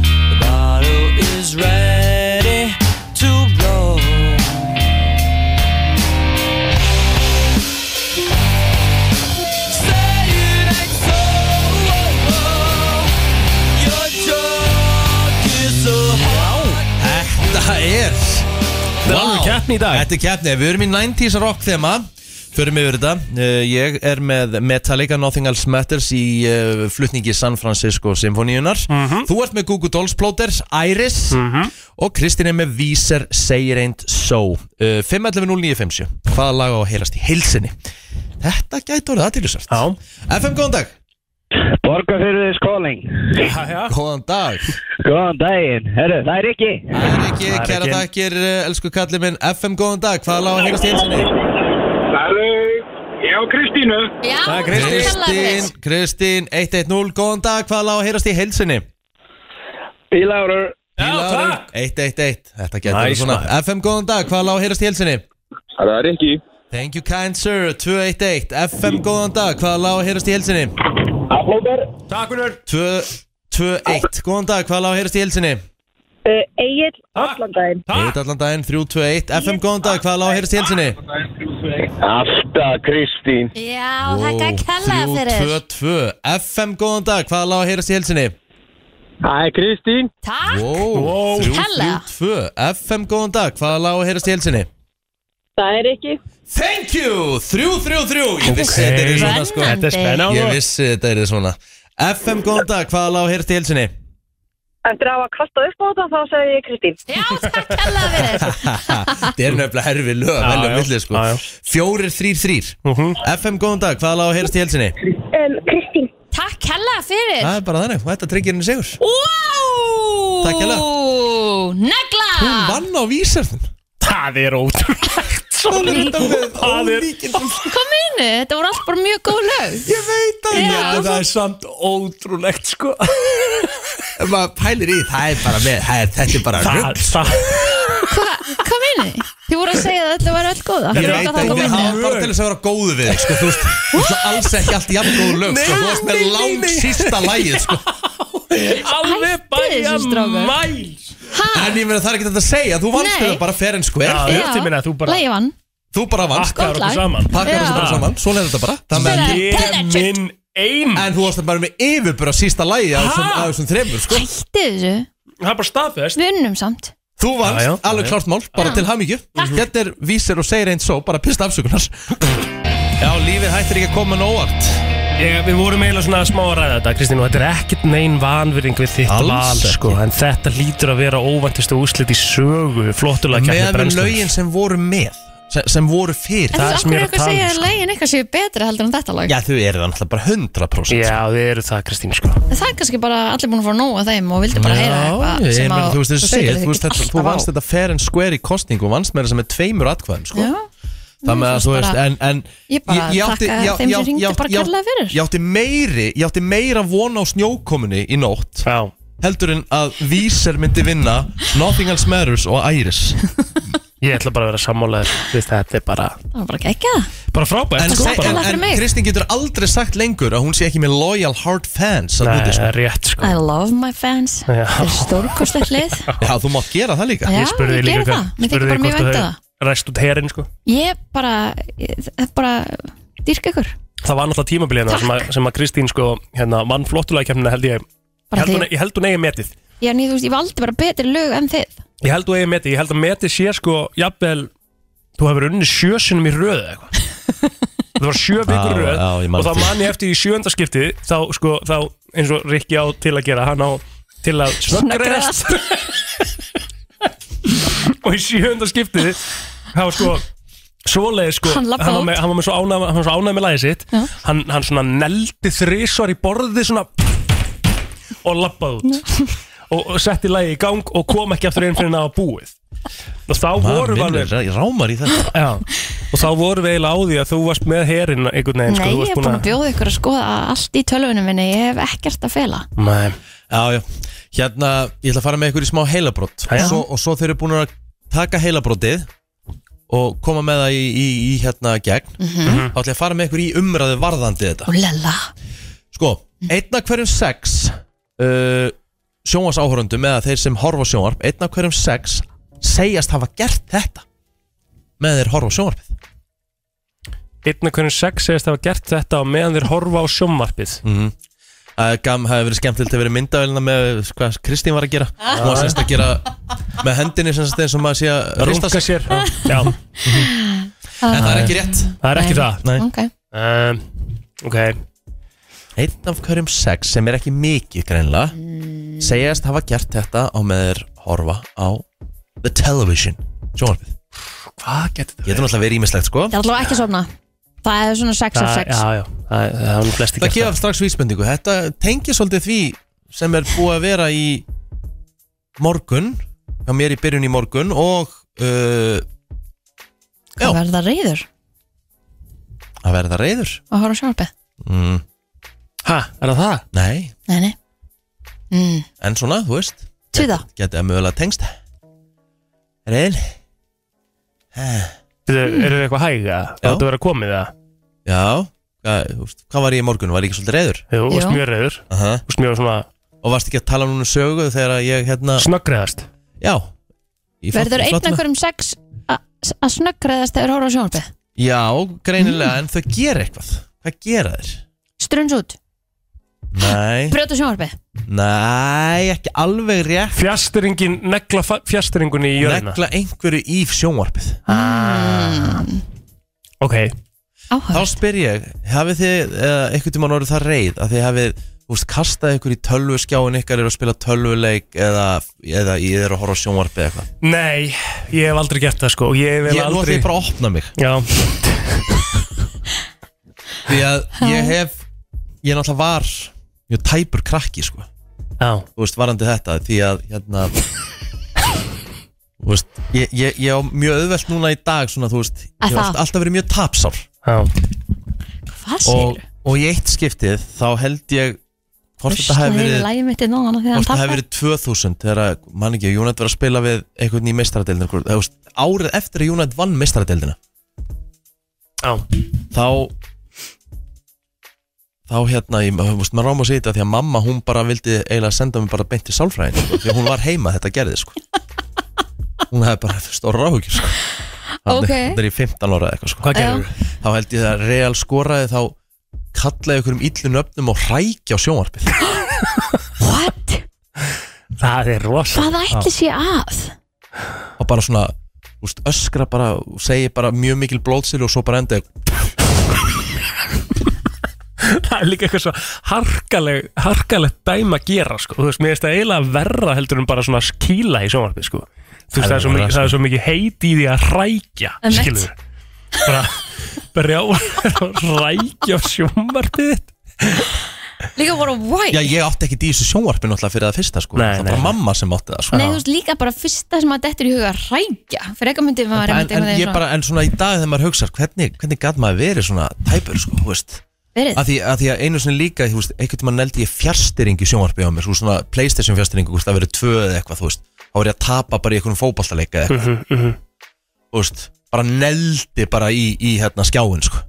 F: The bottle is ready to blow. Say it ain't so. Your joke is so hard.
A: Þetta er
C: er alveg keppni í dag.
A: Þetta er keppni, við erum í 90s rock þema Förum yfir þetta uh, Ég er með Metallica Nothing Else Matters í uh, flutningi San Francisco Symfóníunar
C: Mhm.
A: Þú ert með Google Dolls Plóter, Iris Og Kristín er með Víser Say It Ain't So uh, 5.11.09.50 Hvaða lag á að heilast í heilsinni? Þetta gæti orðið aðtýrlisvært
C: Já,
A: FM, góðan dag
K: Borgarfyrðis calling
C: já, já.
A: Góðan dag
K: Góðan daginn, herru, það er ekki
A: Það er ekki,
C: Það er
A: kæra
C: ekki.
A: takkir, elsku kallið minn FM, góðan dag, hvaða lag á að heilast í heilsinni?
H: Halló, ég og Kristínu
B: Já,
C: Það er Kristín.
B: takk kærlega fyrir.
A: Kristín, Kristín, 110, góðan dag, hvað lág að heyrast í heilsinni?
K: Bílárur
C: já takk
A: 111, þetta getur
C: Nice,
A: nice, svona
C: maður.
A: FM, góðan dag, hvað lág að heyrast í heilsinni?
H: Það er ekki
A: Thank you kind sir, 211 FM, góðan dag, hvað lág að heyrast í heilsinni?
K: Aflóber
A: 221, góðan dag, hvað lág að heyrast í heilsinni?
G: Uh, Egil allan daginn.
A: Heit allan daginn, 321 FM, góðan dag, hvað lág að heyrast í heilsinni?
K: Alltaf Kristín
B: Já, takk að kella fyrir
A: 322 FM, góðan dag, hvað lág að heyrast í heilsinni?
K: Æ, Kristín
B: Takk,
A: Wow,
B: Hella.
A: 332 FM, góðan dag, hvað lág að heyrast í heilsinni?
I: Það er ekki
A: Thank you, 333 Ég vissi
F: Ok.
A: þetta er svona sko
F: Þetta er spennandi.
A: Ég vissi þetta er svona FM, góðan dag, hvaða lág hér til sinni?
G: Eftir að hafa kastað upp á þetta þá segi ég Kristín.
B: Já, takk
A: Það er nefnilega herfi lög að velja á milli sko Fjórir, þrýr, þrýr
B: Mhm.
A: FM, góðan dag, hvaða lág hér til sinni?
G: um, Kristín.
B: Takk hella fyrir
A: Það er bara þannig, og þetta tryggir henni sigur
B: Wow
A: Takk hérlega.
B: Negla
A: Hún vann á vísarðin
C: Það er ótrúlegt
A: Hún er þetta með
C: Það er-
A: ólíkindum
B: Kom inni, þetta voru allt bara mjög góð lög
A: Ég veit
B: að Já,
C: En það er samt ótrúlegt sko
A: Ef maður pælir í, það er bara með það er, Þetta er bara rugg
B: Hvað, kom inni? Þið voru að segja að þetta var öll góða
A: Ég veit ekki, við hafa bara til þess að vera góðu við þig, sko, þú veist, þú veist alls ekki allt jafn góðu lög, sko, þú veist með
F: nei, nei,
A: lang
F: nei.
A: sísta lægið, sko
F: Alveg bæja mæl
A: En ég meina það er ekki þetta að segja, þú vannst
F: Nei.
A: þetta bara fair and square
C: Já, ég minna, þú bara-
B: Lægi vann
A: Þú bara vannst
C: Pakkar Gott okkur lag. saman.
A: Pakkar
C: Já.
A: okkur bara saman, svo leiði þetta bara Það með
C: Ég er minn ein
A: En þú varst bara með yfirbura sísta lægi á
C: Ha?
A: þessum- á þessum þremur, sko
B: Hætti þessu
C: Það er bara staðfest
B: Við unnum samt
A: Þú
C: Já, já,
A: vannst,
C: já,
A: alveg
C: já.
A: klárt mál, bara
B: Já.
A: til hamingju Þetta er vísir og segir eins svo, bara pist afsökunars Já, lífið hættir ekki að koma nóvart
C: Ég, við vorum eiginlega svona smá að ræða þetta Kristín og þetta er ekkert neinn vanvirðing við þitt
A: Alls
C: val sko, en þetta lítur að vera óvæntistu úslit í sögu flottulega kemni
A: Meðan við lögin sem voru með, sem, sem voru fyrir
B: En þú akkur er eitthvað að
C: um, sko.
B: segja að lægin eitthvað séu betra heldur en þetta lag
A: Já, þau eru það náttúrulega bara sko. 100%
C: Já, þau eru það, Kristín, sko
B: Það er kannski bara allir búin að fá nóg af þeim og vildi bara heyra eitthvað
A: ég
B: sem
A: meina,
B: að
A: þú veist þessi
B: setur
A: segir,
B: þig
A: þú veist þetta, þú
B: alltaf á.
A: vannst þetta fair and square í kostningu og vannst með þetta með tveimur atkvæðum, sko
B: Já,
A: Það með að þú veist,
B: bara-
A: en, en
B: Ég bara þakka þeim sem hringdu bara kærlega fyrir.
A: Ég átti meiri, ég átti meira von á snjókomunni í nótt
C: Já
A: Heldur en að Víser myndi vinna Nothing Else Matters og Iris
C: Ég ætla bara að vera sammálaður við þetta er bara
B: Það var bara geggjað
C: Bara frábært
A: En,
C: sko,
A: en,
C: bara.
A: en, en Kristín getur aldrei sagt lengur að hún sé ekki með loyal hard fans að úti, sko.
C: Nei, rétt sko
B: I love my fans
C: Já.
B: Þetta er stórkostlegt lið
A: Já, þú mátt gera það líka
B: Já,
C: Ég spurði
B: ég
C: líka
B: geri það. Mér þykir
C: spurði
B: bara mjög
C: hvort
B: vænt
C: þau
B: um
C: Ræst út herinn sko
B: Ég bara, ég, það er bara dyrk ykkur
C: Það var náttúrulega tímabiliðina sem, að- sem að Kristín sko hérna, vann flottulega kemni held ég ég
B: Bara
C: held,
B: því-
C: hún, e- ég held hún eigi metið
B: Ég, ný, veist, ég valdi bara betri lög en þið
C: Ég held hún eigi metið Ég held að metið sé sko jafnvel Þú hefur unnið sjösunum í röðu eitthvað Það var sjö vikur í
A: Já,
C: röð
A: já, ég man
C: Og þá
A: eftir.
C: man ég eftir í sjöndaskipti Þá sko, þá eins og Rikki á til að gera Hann á til að snöggrast og í sjönda skiptið það var sko svoleiði sko
F: Hann labbaði
C: var með, hann var með svo ánæg hann var svo ánæg með lagið sitt
F: Já.
C: hann, hann svona neldi þrisvar í borði svona og labbaði út og, og setti lagið í gang og kom ekki aftur einn fyrir en það var búið og þá voru við alveg
A: Ég rámar í þetta
C: já, og þá voru við eiginlega á því að þú varst með herinn einhvern veginn
B: Nei,
C: sko, þú
B: ég
C: varst
B: er búin að bjóða ykkur að skoða allt í tölvunum minni Ég hef ekkert að fela
C: Nei.
A: Já, já. Hérna, ég ætla að fara með ykkur í smá heilabrótt og
C: já.
A: svo, og svo þeir eru búin að taka heilabróttið og koma með það í, í, í hérna gegn
B: Mhm.
A: þá ætla ég að fara með ykkur í umræðu varðandi þetta
B: Úlala
A: Sko, einna hverjum sex uh, sjónvars áhörundum eða þeir sem horfa á sjónvarp einna hverjum sex segjast hafa gert þetta með þeir horfa á sjónvarpið
C: einna hvernig sex segist að hafa gert þetta og meðan þeir horfa á sjómvarpið
A: mm -hmm. Gam hafi verið skemmtilegt að vera myndavélina hérna með hvað Kristín var að gera Hún var semst að gera með hendinni semst eins og maður sé að
C: Runka
A: hrista
C: sér Já
A: En það er ekki rétt
C: Það er ekki
A: Nei.
C: það
A: Nei.
B: Ah. Ok.
C: um, Ok
A: Einn af hverjum sex sem er ekki mikið greinlega
B: Mm.
A: segjast hafa gert þetta á með þeir horfa á the television sjónvarpið
C: Hvað getur
A: Getur náttúrulega verið ímislegt sko
B: Það er allavega ekki að sofna Það er svona 6 af 6
C: já, það, það er hann flesti
A: Það gefa strax vísbendingu Þetta tengir svolítið því sem er búið að vera í morgun hjá mér í byrjun í morgun og uh,
B: Hvað verður það reyður
A: að verða reyður
B: að horfa á sjálfið?
A: mm.
C: Ha, er það það?
A: Nei,
B: Nei, nei mm.
A: en svona, þú veist
B: Tuða
A: Getið að mögulega tengst Reyðin
C: Eru þau eitthvað hæga? Já Þú verður að komið það?
A: Já, hvað, þú veist, hvað var ég í morgun? Var ég ekki svolítið reyður?
C: Jú, þú varst mjög reyður Þú smjög svona
A: Og varst ekki að tala um núna sögu þegar ég hérna
C: Snöggreðast
A: Já Ég fatt-
B: Verður
A: ég fatt
B: einna
A: það.
B: hverjum 6 að snöggræðast þegar horfa á sjálfið?
A: Já, greinilega, en þau gera eitthvað Hvað gera þeir?
B: Struns út
A: Nei,
B: Brjóta sjónvarpið
A: nei, ekki alveg rétt
C: Fjastringin, negla fjastringunni í jörðina
A: Negla einhverju í sjónvarpið
C: ah. Ok
A: Þá spyr ég, hafið þið uh, einhvern tímann orðið það reið að þið hafið þú veist, kastað ykkur í tölvuskjáin ykkar eru að spila tölvuleik eða, eða ég er að horfa á sjónvarpið eða eitthvað
C: Nei, ég hef aldrei gert það sko Ég hef
A: Ég- nú ætla
C: aldrei
A: ég bara að opna mig
C: Já
A: Því að ég hef Ég náttúrulega var Mjög tæpur krakki sko
C: Já.
A: Þú veist varandi þetta Því að hérna Þú veist Ég, ég, ég á mjög auðvelt núna í dag Svona þú veist
B: Að
A: Ég hef
B: það?
A: alltaf, alltaf verið mjög tapsár
C: Já
B: Hvað segir
A: og, og í eitt skiptið Þá held ég Hvort þetta
B: Ruslaði
A: hefði
B: yfir
A: verið
B: lagið mitt í nóðan þegar hann
A: Hvort það hefði
B: tappar
A: verið 2000 Þegar mann ekki Júnætt var að spila við Einhvern í meistaradeildin Þú veist Árið eftir að Júnætt vann meistaradeildina
C: Já
A: þá þá hérna, ég, þú veist, maður ráma að segja þetta því að mamma, hún bara vildi eiginlega senda mig bara beint til sálfræðin, sko, því að hún var heima að þetta gerði, sko hún hefði bara stóra ráhugjur, sko
B: Ok.
A: þannig er í 15 ára eða eitthvað, sko
B: Hvað gerðirðu?
A: þá held ég að real skoraði þá kallaði ykkur um illu nöfnum og rækja á sjónvarpið
C: Það er rosa
B: Hvað ætli sé að?
A: og bara svona, úst, öskra bara og segi bara mjög mikil blóðsýri og svo bara endaði
C: Það er líka eitthvað svo harkaleg, harkalegt dæma að gera sko. Þú veist, mér finnst það eiginlega verra heldur en bara svona skíla í sjónvarpið sko. Þú veist, það er svo
A: Alveg
C: mikið,
A: verra, sko.
C: það er svo mikið heit í því að rækja
B: Emmett.
C: skilur við. bara berja á að rækja á sjónvarpið þitt.
B: Líka voru white
A: Já, ég átti ekki í þessu sjónvarpið náttúrulega fyrir það fyrsta, sko
C: Nei,
A: það var
C: nei,
A: bara
C: nei.
A: mamma sem átti það, sko
B: Nei, þú veist líka bara fyrsta sem að dettur í huga að rækja Fyrir eitthvað myndið maður
A: en,
B: einmitt
A: en,
B: einhvern
A: ég
B: veginn
A: bara,
B: svona
A: en svona í dag þegar maður hugsar hvernig, hvernig gæt maður verið svona tæpur sko, þú veist
B: Verið.
A: að því, að því að einu sinni líka þú veist, einhvern tímann neldi ég fjárstyring í sjónvarpi á mér svo svona playstation fjárstyring það verið tvö eða eitthvað þú veist þá er ég að tapa bara í einhvern fótballtaleika eða eitthvað þú veist bara neldi bara í, í hérna skjáin sko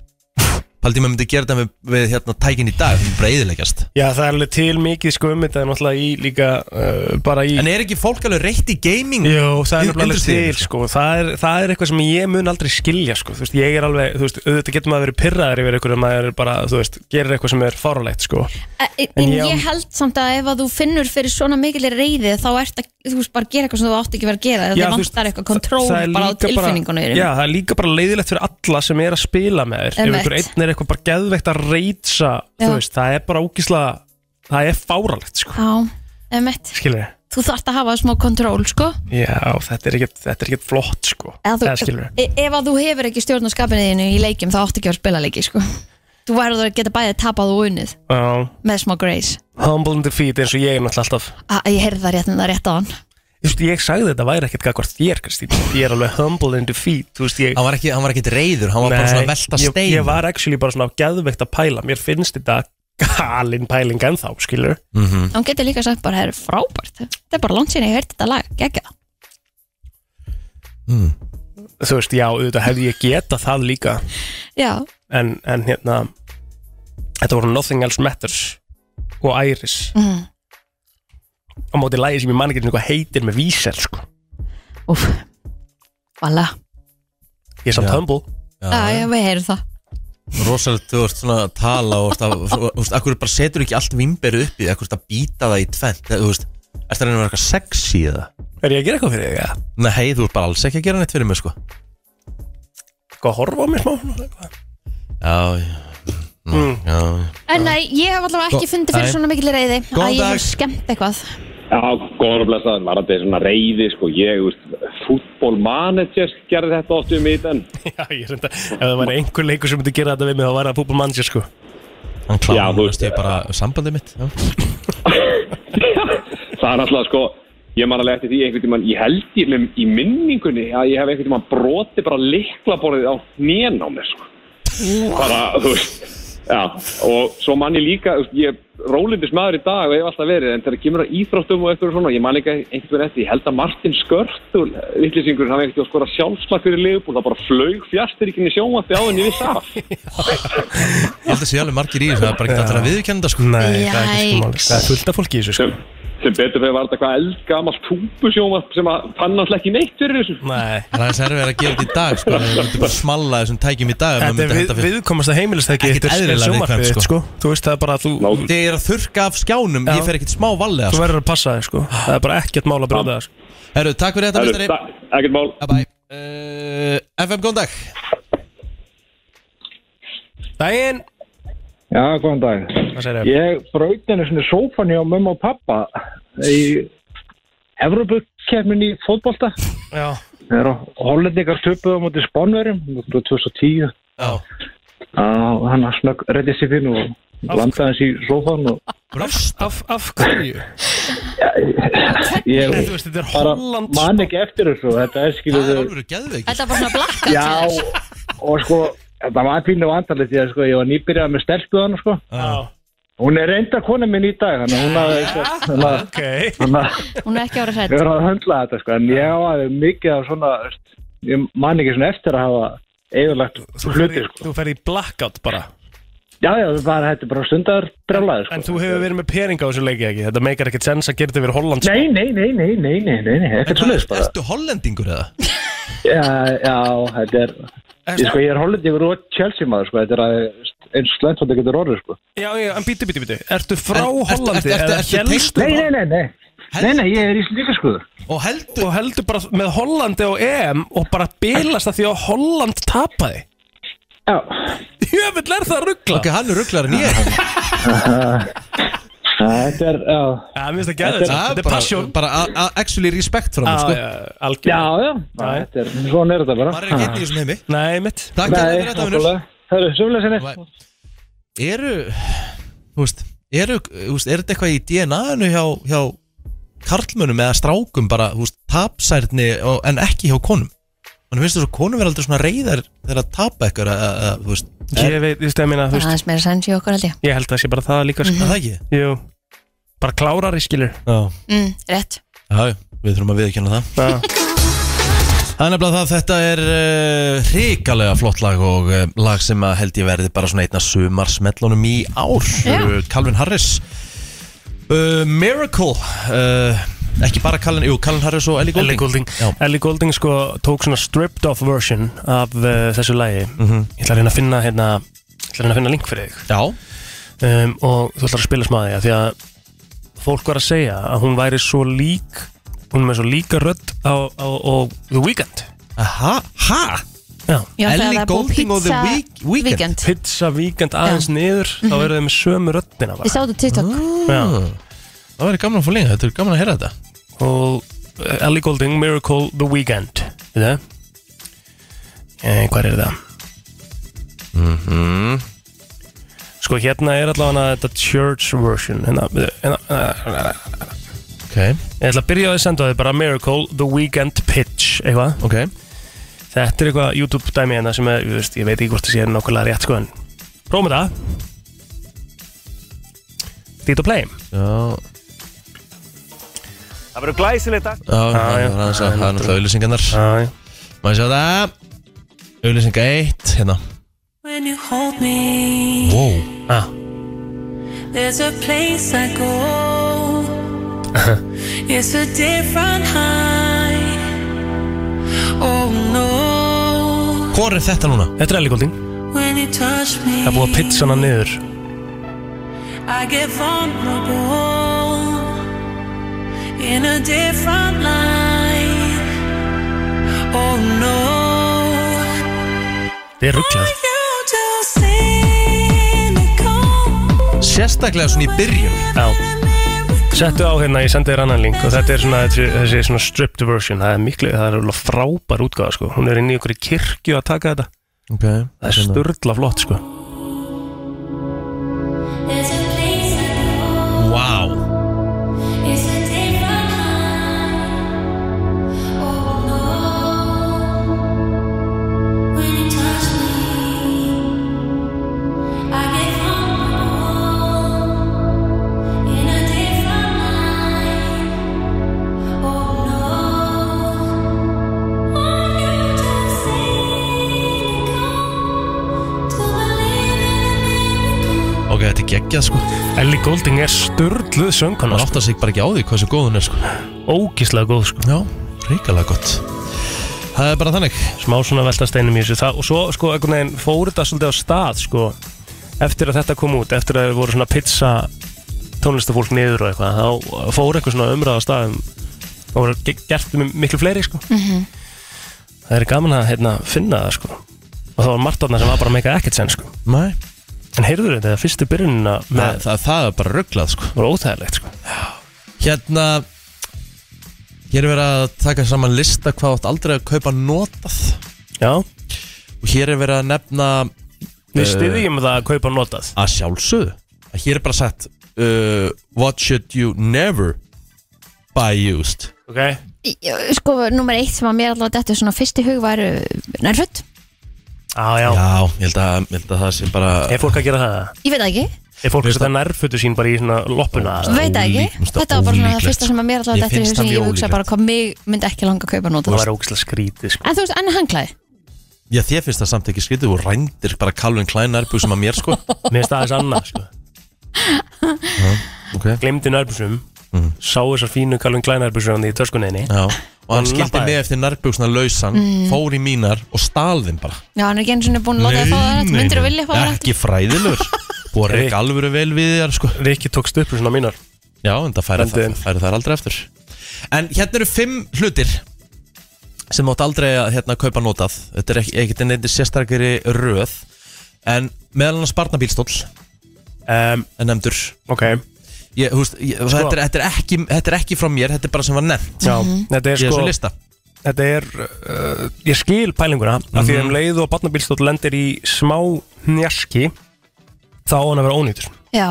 A: Paldi maður myndi gera þetta við, við hérna tækin í dag því breyðilegast
C: Já, það er alveg til mikið sko um þetta en náttúrulega í líka uh, bara í
A: En er ekki fólk alveg reytt í gaming?
C: Jó, það er
A: Í-
C: nefnilega alveg
A: industríunni,
C: til sko. það, er, það er eitthvað sem ég mun aldrei skilja sko. þú veist, ég er alveg, þú veist, auðvitað getur maður verið pyrraður yfir eitthvað, maður er bara, þú veist, gerir eitthvað sem er fárulegt sko.
B: En,
C: en
B: en
C: ég-
B: ég held samt að ef að þú finnur fyrir svona mikilir reyði þá ert að, þú veist, bara að gera eitthvað sem þú átt ekki verið að gera
C: Já,
B: Þið
C: þú veist,
B: vantar eitthvað kontról
C: það er
B: bara á
C: líka
B: tilfinningunum í raun.
C: Já, það er líka bara leiðilegt fyrir alla sem er að spila með þér Ef
B: Einmitt.
C: einhver einn er eitthvað bara geðveikt að reytsa
B: Já.
C: veist, Það er bara ógislega Það er fáralegt, sko
B: Já, emmett
C: Skilur við?
B: Þú þarft að hafa smá kontról, sko
C: Já, þetta er ekkert, þetta er ekkert flott, sko
B: Eða þú-
C: Það skilur við
B: e- Ef að þú hefur ekki stjórn á skapinu þínu í leikjum þá átt ekki að spila leiki, sko Þú verður að geta bæðið tapað og unnið
C: Já,
B: með smá grace
C: Humble and defeat eins og ég er náttúrulega alltaf
B: að Ah, Ég heyrði það rétt en það rétt á hann
C: Þú veist, ég sagði þetta væri ekkert gagvart þér, Kristín Ég er alveg humble and defeat, þú veist, ég
A: Hann var ekki, hann var ekki reyður, hann var bara svona að velta
C: ég,
A: stein
C: ég var actually bara svona geðveikt að pæla Mér finnst þetta galin pæling ennþá, skilur
A: Mhm.
B: Hún getur líka sagt bara, það er frábært Þetta er bara langt síðan ég heyrði þetta lag, geggja
C: Þú veist, já, auðvitað hefði ég geta það líka
B: Já,
C: en, en hérna þetta voru Nothing Else Matters og Iris
B: mm.
C: á móti lægi sem ég man ekki einu sinni hvað heitir með vísel sko.
B: úf Vala,
C: ég er samt
A: Já.
C: humble
A: Já,
B: já, já, við heyrum það
A: rosalegt þú ert svona að tala og þú veist, að- þú veist, akkur bara setur ekki allt vimberu upp í, akkur ert að býta það í tvent þú veist, ert það að reyna að vera eitthvað sexy eða?
C: er ég að gera eitthvað fyrir þig? eða?
A: Nei, þú ert bara alls ekki að gera neitt fyrir mig, sko
C: Eitthvað að Sko, horfa á mér smá? Eitthvað?
A: Já, já,
C: Mm.
A: já
B: En nei, ég hef allavega ekki
A: Gó-
B: fundið fyrir
A: nei.
B: svona mikil reyði
A: Góðan
B: að ég
A: dag.
B: hef skemmt eitthvað
I: Já, góður og blessaður, var þetta svona reyði, sko, ég, þú veist, fútbólmanager gerði þetta oft um í den.
C: Já, ég reynda, ef það var einhver leikur sem myndi gera þetta við mig þá var það Púpa Mansi sko.
A: Hann
I: Já,
A: kláði,
I: þú
A: þú
I: veist,
A: veist, ég bara sambandið mitt já.
I: Það er alltaf, sko, ég man alveg eftir því einhvern tímann, ég held ég með í minningunni að ég hef einhvern tímann broti bara liklaborðið á hnén á mér, sko. Bara, þú veist, já, og svo man ég líka, þú veist, ég er rólindis maður í dag og hef alltaf verið, en þegar kemur að íþróttum og eitthvað svona, ég man líka einhvern tímann eftir, ég held að Martin Skörtul, vittlýsingurinn, hann hefði ekki að skora sjálfslag fyrir liðbúl, það bara flög fjastiríkinni sjónvandi á henni við saf.
A: Ég held að sé alveg margir í þessu, það er bara ekki allir að viðurkenna þetta, sko
C: Nei, það er ekki sko máli
B: Yikes.
C: Það er fullt af fólki í þessu sko.
I: sem betur fyrir var þetta eitthvað eldgamalt túpusjónvarp sem að fann alltaf ekki neitt fyrir þessu
C: Nei
A: Það er særfið að gera þetta í dag sko Það myndi bara smalla þessum tækjum í dag ef maður
C: Þetta
A: myndi
C: er
A: henda
C: við,
A: fyrir-
C: viðkomast að heimilistæki
A: Ekkert eðlilega viðkvæmt, sko.
C: Þú veist það er bara að þú
A: Þegar ég er að þurrka af skjánum Ég fer ekkert smá vallega
C: Þú
A: sko.
C: verður að passa þig sko Það er bara ekkert mál að brjóða það sko
A: Herru, takk fyrir þetta
C: Herru,
A: mistari
C: takk,
I: Ekkert mál
A: Bye bye uh, FM, góðan dag
C: Dæin
L: Já, góðan dag.
C: Hvað segir
L: Ég braut einu svona sófan hjá mömmu og pappa í Evrópukefnin í fótbolta.
C: Já
L: Þegar hollendingar töpuðu á móti spánverjum, þetta var 2010.
A: Já.
L: Að hann snögg reddi sér fyrir og landaði hans í sófan og
C: Bröst Af, af hverju?
L: ég
C: Þú veist, þetta er
L: bara
C: Holland
L: man ekki eftir þessu. Þetta er skilur þau.
A: geðveik
B: Þetta er bara svona blakka
L: Já, og sko, þetta var pínu vantarlegt því að sko, ég var nýbyrjað með stelpuðan sko.
C: Já.
L: Hún er reynda kona minn í dag, þannig að hún hafði... Þannig að...
C: Ok.
L: Þannig að...
B: Hún er ekki ára
L: Ég verður
B: hrætt
L: að höndla þetta sko, en ég hafa mikið af svona, veist, ég man ekki svona eftir að hafa eðurlegt hluti sko.
C: Þú ferð í blackout bara
L: Já, já, það var þetta er bara stundar brjálæði sko.
C: En þú hefur verið með peringa á þessu leiki ekki Þetta meikar ekkert sens að gera þetta yfir Holland sko.
L: Nei, nei, nei, nei, nei, nei, nei, nei, ekkert svoleiðis bara.
A: Ertu hollendingur eða?
L: Já, já, þetta er, ég sko, ég er hollendingur og Chelsea maður sko, þetta er að eins slæmt hvað þetta getur orðið sko.
C: Já, já, en bíti, bíti, bíti Ertu frá Hollandi
L: ertu-
C: eða
L: ertu
C: hélstu
L: Nei,
C: bara-
L: nei, nei, nei, nei, nei, ég er íslendingur sko.
A: Og heldur
C: Og heldur bara með Hollandi og EM Og bara bilast það því að Holland tapaði
L: Já
C: Jöfull er það ruggla
A: Ok, hann er rugglar en ég
L: Þetta er, já
C: Já, mér finnst það geðveikt. Þetta er
A: bara-
C: passion.
A: Bara a- a- actually respect frá mér
C: Já,
A: sko
C: já, algjörlega.
L: Já, já, þetta er, svona er þetta bara.
A: Maður er ekki einn í þessum heimi
C: Nei, mitt
A: Takk
L: Nei,
A: fyrir þetta, vinnur
L: nákvæmlega. Hörru, sömulega sinni.
A: Eru, þú veist Eru, þú veist, er þetta eitthvað í DNA-inu hjá, hjá karlmönum eða strákum bara, þú veist, tapsærni og, en ekki hjá konum Þannig finnst þess að konum vera aldrei svona reyðar þegar að tapa eitthvað, eða, eða, þú veist
C: Ég veit, ég stef minna, þú veist
B: aðeins meira sæns í okkur held ég
C: Ég held að það sé bara það líka sko.
A: Mhm. Er það ekki?
C: Jú Bara klárari skilur
A: Já,
B: mm, Rétt
A: já, já, við þurfum að viðkjöna það
C: Já
A: Það er nefnilega það, þetta er uh, hrikalega flott lag og uh, lag sem að held ég verði bara svona einna sumarsmellunum í ár
B: Já.
A: yeah. Calvin Harris uh, Miracle uh, ekki bara Calvin, jú, Calvin Harris og Ellie Goulding,
C: Ellie Goulding Ellie Goulding sko tók svona stripped off version af uh, þessu lægi
B: Mhm.
C: Ég ætla að reyna að finna hérna Ég ætla að reyna að finna link fyrir þig
A: Já
C: um, Og þú ætlar að spila smaði að því að Fólk var að segja að hún væri svo lík Hún er með svo líka rödd á, á, á The Weeknd
A: Aha, ha?
C: Já
B: Já, þegar Ellie það er búið Goulding og The pizza Week- Weeknd. Mhm. weekend.
C: Pizza Weekend aðeins niður Þá eru þau með sömu röddina bara
B: Ég sá þetta á TikTok
C: Já.
A: Það verður gaman að fá lengi, þetta er gaman að heyra þetta
C: Og uh, Ellie Goulding, Miracle, The Weeknd Við það? Eh, hvað er það?
A: mm -hmm.
C: Sko hérna er allavega þetta church version hérna, hérna, hérna, hérna.
A: Ok
C: Ég ætla að byrja á því að senda þið bara Miracle, The Weekend Pitch eitthvað
A: okay.
C: Þetta er eitthvað YouTube dæmi hérna sem er, ég veist, ég veit ekki hvort það sé nokkulega rétt sko en Prófum þetta Dít og play
A: Já,
C: Það verður glæsilegt
A: já, það er aðeins að- það er náttúrulega auðlýsingarnar Má ég sjá það Auðlýsinga 1, hérna
F: When you hold me,
A: Wow ah.
F: there's a place I go. It's a different high. Oh no,
A: Hvor er þetta núna?
C: Þetta er Ellie Goulding
F: when you touch me,
C: Það er búið að pitcha hana niður
F: I get vulnerable in a different line. Oh no,
C: Þetta er rugglað
F: you do cynical.
A: Sérstaklega svona í byrjun
C: Já Settu á hérna, ég sendi þér annan link og þetta er svona þessi, þessi svona stripped version það er miklu, það er alveg frábær útgáða sko hún er inn í einhverju kirkju að taka þetta
A: okay.
C: það er sturdla flott sko
A: Vá
F: To believe
A: geggjað sko
C: Ellie Golding er störluð söngkona sko.
A: Hún áttar sig bara ekki á því hvað sem góð hún er sko
C: Ógíslega góð sko
A: Já, ríkalega gott Það er bara þannig
C: Smá svona veltasteinum í þessu það, Og svo sko einhvern veginn fór þetta svolítið á stað sko Eftir að þetta kom út Eftir að það voru svona pizza tónlistafólk niður og eitthvað Þá fór eitthvað svona umræða á stað um, Það voru ge- gert um miklu fleiri sko
B: Mhm.
C: Það er gaman að hérna, finna það sko Og það var margt þarna sem var bara að meika ekkert sen sko
A: Nei
C: En heyrður þetta, fyrstu byrjunina
A: með... það, það er bara rugglað sko
C: Það var óþægilegt sko
A: Hérna Hér er verið að taka saman lista hvað átt aldrei að kaupa notað
C: Já
A: Og hér er verið að nefna
C: Við
A: eh,
C: styðjum það að kaupa notað
A: Að sjálfsögðu Að Hér er bara sagt uh, What should you never buy used
C: Ok
B: Í- Sko, nummer eitt sem að mér allavega dettur svona fyrst í hug var uh, nærföld
C: Já, já
A: Já, ég held að, ég held að það sé bara
C: Er fólk að gera það?
B: Ég veit það ekki,
C: Er fólk að setja nærfötu sín bara í svona loppuna?
B: veit það ekki Þetta var bara svona það fyrsta sem að mér allavega dettur í hug sem ég hugsa bara hvað mig myndi ekki langa að kaupa nota
A: Það
B: En
A: væri
C: ógislega skrítið sko.
B: þú veist, enn hanglaði
A: Já, þér finnst það samt ekki skrítið og rændir bara Calvin Klein nærbúsum að mér sko
C: Mér finnst aðeins annað sko
A: okay.
C: Glemdi nærbúsum Sá þessar fínu Calvin Klein nærbúsum hann í törskunniðinni
A: Já Og hann skildi mig eftir nærbúsna lausan
B: Mm.
A: Fór í mínar og stal þeim bara
B: Já, hann er ekki einu svona búin að láta það fá það rætt Myndir að vilja fá það rætt
A: Ekki fræðilur Búið að reyka alvöru vel við þér sko
C: Rikki tókst upp svona mínar
A: Já, en það færi það, færi það aldrei eftir En hérna eru fimm hlutir sem átt aldrei að hérna, kaupa notað Þetta er ekki- ekkert neitt sérstakari röð En meðal annars barnabílstóll
C: um,
A: En nefndur
C: Ok
A: ég, húst, ég,
C: Sko.
A: þetta, er, þetta, er ekki, þetta er ekki frá mér, þetta er bara sem var nefnt
C: Já,
B: Mhm.
C: þetta er
A: Ég
C: sko
A: svo lista
C: Þetta er, uh, ég skil pælinguna Af því að um leið og barnabílstótt lendir í smá njaski Þá á hann að vera ónýtur
B: Já,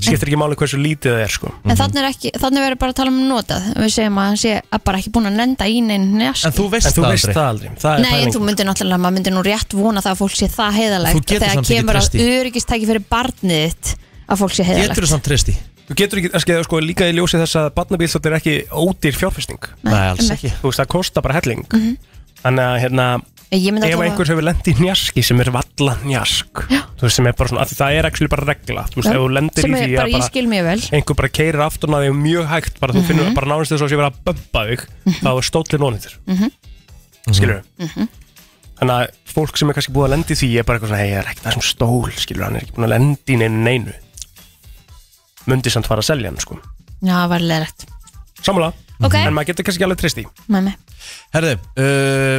C: Skiptir ekki máli hversu lítið það er sko
B: en þannig er ekki, þannig verður bara að tala um notað Við segjum að hann sé að bara ekki búin að nenda í neinn njaski.
C: en þú veist það aldrei Það er
B: Nei, en
C: pælingin.
B: þú myndir náttúrulega, maður myndir nú rétt vona það að fólk sé það heiðalegt
C: Þú getur
B: Þegar
C: samt ekki
B: kemur
C: treyst
B: að
C: því.
B: öryggistæki fyrir barnið þitt að fólk sé heiðalegt
A: samt treysti
C: Þú getur ekki, skeiðu, sko, líka í ljósi þess að barnabílstótt er ekki ódýr fjárfesting
A: Nei, alls
B: ekki.
C: Þú veist, það kostar bara helling
B: Mhm.
C: Þannig að, hérna,
B: Ég myndi
C: ef
B: allavega-
C: einhver hefur lendið í njaski sem er valla njask þú veist, sem er bara svona, af því það er ekki bara regla þú veist,
B: Já,
C: ef þú lendir í
B: sem
C: því
B: er
C: að
B: bara, ég skil mjög vel
C: einhver bara keirir afturna því mjög hægt bara þú
B: Mhm.
C: finnur bara nánast þess að sé verið að bömba þig þá er stóllin ónýttur
B: Mhm.
C: skilur þau
B: Mhm.
C: þannig að fólk sem er kannski búið að lendi því er bara eitthvað svona hei, ég er ekki það sem stól skilur hann er ekki búin að lendi í neinu neinu myndi samt fara að selja hann sko
B: Já, það var leiðrætt
C: samanlega
B: Ok.
C: en maður getur kannski ekki alveg trist í
B: Mæmi
A: Herði, uh,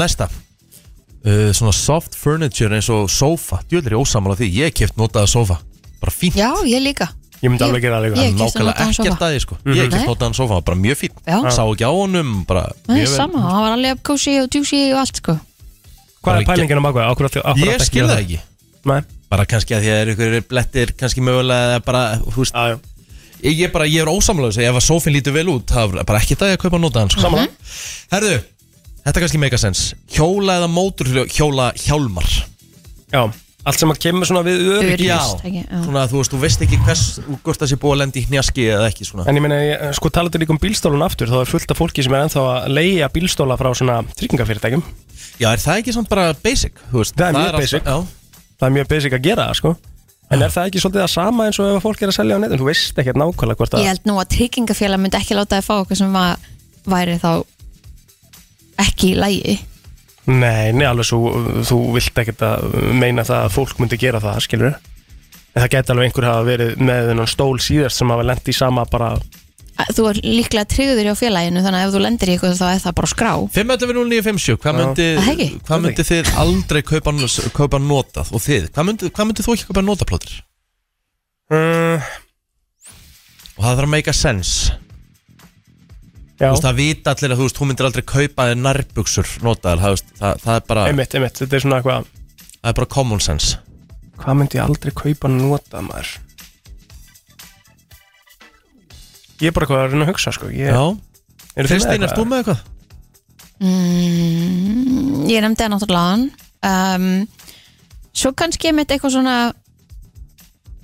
A: næsta uh, Svona soft furniture eins og sofa Djöðlir ég ósamal á því, ég keft notaða sofa Bara fínt
B: Já, ég líka
A: Ég myndi
B: alveg gera það líka. ég hef keypt
A: Nákvæmlega
B: notaðan
A: ekkert
B: sófa.
A: að því sko
B: Mhm.
A: Ég keft
B: Nei.
A: notaðan sofa, bara mjög fín
B: Já.
A: Sá ekki á honum, bara
B: Það
A: mjög
B: er
A: vel.
B: sama, það var alveg kósi og djúsi og allt sko
C: hvað er pælingin um aðkvæða?
A: Ég skil það ekki
C: Nei.
A: Bara kannski að því að það eru ykkur blettir Kannski mögulega eða bara, þú veist Ég, ég bara, ég er ósamlega þess að ef að sófin lítur vel út Það er bara ekki það að kaupa notaðan sko.
C: Sammála.
A: Herðu, þetta kannski make a sense Hjóla eða móturhjóla hjóla hjálmar
C: Já, allt sem að kemur svona við öryggi.
A: Já,
C: Öryggistæki, já.
A: svona að þú veist, þú veist ekki hvers Hvort það sé búið að lenda í hnjaski eða ekki svona
C: En ég meina, ég- sko talaðu líka um bílstólun aftur þá er fullt af fólki sem er ennþá að leia bílstóla frá svona tryggingafyrirtækjum
A: Já, er það ekki samt bara basic? Veist,
C: það er
A: það
C: mjög
A: er alltaf-
C: basic
A: já.
C: Það er mjög basic að gera það, sko En er það ekki svolítið það sama eins og ef að fólk er að selja á netin? Þú veist ekkert nákvæmlega hvort að
B: Ég held nú að tryggingafélag myndi ekki láta þið fá okkur sem var, væri þá ekki í lægi
C: Nei, nei, alveg svo þú vilt ekkert að meina það að fólk myndi gera það, skilur En það geti alveg einhver hafa verið með þennan stól síðast sem hafa lent í sama bara
B: Þú er líklega tryggður hjá félaginu þannig að ef þú lendir í eitthvað þá er það bara á skrá
A: 5.09.50, hvað
B: Það ekki.
A: myndi, hvað
B: Það
A: myndi þið aldrei kaupa, kaupa notað og þið, hvað myndi, hvað myndi þú ekki kaupa notað plótur?
C: Uh,
A: og það þarf að make a sense
C: Já.
A: Þú veist, það vita allir að þú veist, þú myndir aldrei kaupa þér nærbuksur notaðar, það, veist, það, það er bara
C: Einmitt, einmitt, þetta er svona eitthvað
A: Það er bara common sense
C: Hvað myndi ég aldrei kaupa notað maður? Ég er bara eitthvað að reyna að hugsa, sko ég...
A: Já.
C: Eru þið
A: Kristín, erst þú með eitthvað?
B: mm, Ég nefndi það náttúrulega hann um, Svo kannski ég myndi eitthvað svona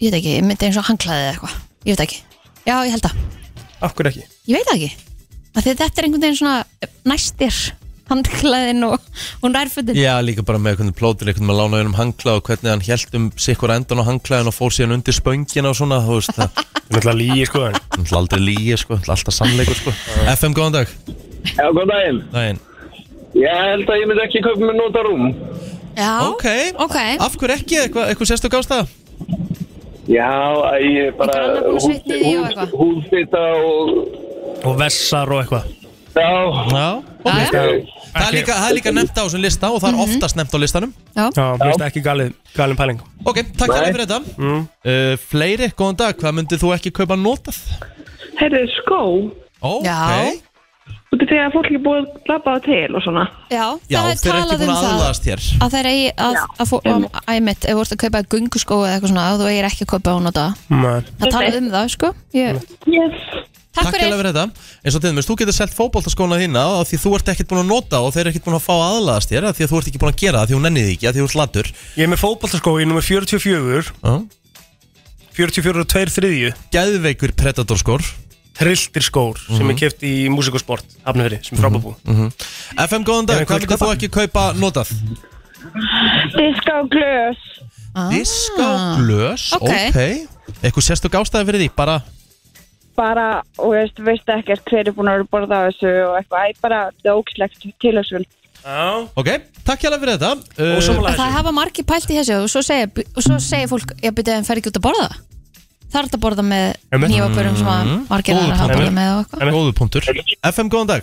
B: Ég veit ekki, ég myndi eins og hanglaði eða eitthvað Ég veit ekki, já ég held að
C: Af hverju ekki?
B: Ég veit það ekki Af því að Þetta er einhvern veginn svona næstir handklæðin og, og nærfötin
A: Já, líka bara með hvernig plótir einhvern með lánaðunum hangla og hvernig hann held um sikkur endan á hanglaðin og fór síðan undir spöngina og svona, þú veist það Það
C: er alltaf líi, sko Það
A: er náttúrulega aldrei líi, sko, það er alltaf sannleikur, sko FM, góðan dag
M: Já, góðan daginn
A: Daginn
M: Ég held að ég myndi ekki kaupa mér nota rúm
B: Já,
A: ok, okay. af hverju ekki, eitthvað, eitthvað sérstu gásta?
M: Já, ég bara
B: húðfita
M: húð, húðfita og
C: Og vessar og eitthvað
M: Já,
A: Já, ok Það er líka, það er líka nefnt á þessum lista og það er oftast nefnt á listanum
B: Já,
C: Já mér finnst ekki galið, galin pæling
A: Ok, takk fyrir fyrir þetta uh, Fleiri, góðan dag, hvað myndið þú ekki kaupa notað?
N: Herðu, skó.
A: Ó,
N: Já.
A: ok
N: Þú veit þegar fólk er búið að labbaða til og svona.
B: Já,
A: Já,
B: það er
A: þeir eru ekki
B: talað
A: búin
B: um
A: að
B: það
A: aðlaðast hér
B: að þeir eigi að, að, fó- að, að einmitt, ef þú ert að kaupa gunguskó eða eitthvað svona, að þú eigir ekki að kaupa hún á það
C: Nei.
B: það talað um það, sko ég,
N: yes.
A: Takk fyrir fyrir þetta eins og til dæmis, þú getur selt fótboltaskóna þína af því þú ert ekkert búin að nota og þeir eru ekkert búin að fá aðlaðast þér af því að þú ert ekki búin að gera það af því þú nennið því ekki, af því þú ert latur
C: Ég er með fótballtaskói nummer 44 44 og 2 þriðju
A: Gæðveikur predatorskór
C: Trilltir skór sem
A: Mhm.
C: ég kefti í músikusport Hafnifri, sem frábabú
A: FM, góðan dag, hvað myndir þú ekki kaupa notað?
N: Diska og glös.
A: Diska
B: Ah.
A: Glös,
N: Ok.
A: ok, Eitthvað sérstu gástaði fyrir því, bara
N: Bara, og veist, veist ekkert hver er búin að borða af þessu og eitthvað. Æ, bara, það er ógslegt tilhugsun.
A: Ok, takk hjá fyrir þetta Uh,
B: En það hafa margir pælt í þessu og svo segir, og svo segir fólk, ég byrja en fer ekki út að borða það er þetta að borða með
A: Einmitt.
B: nýjabörum sem að
A: Mm.
B: margir
A: Góður
B: aðra hafa
A: punktur.
B: borða með og eitthvað
A: Góðu punktur FM, góðan dag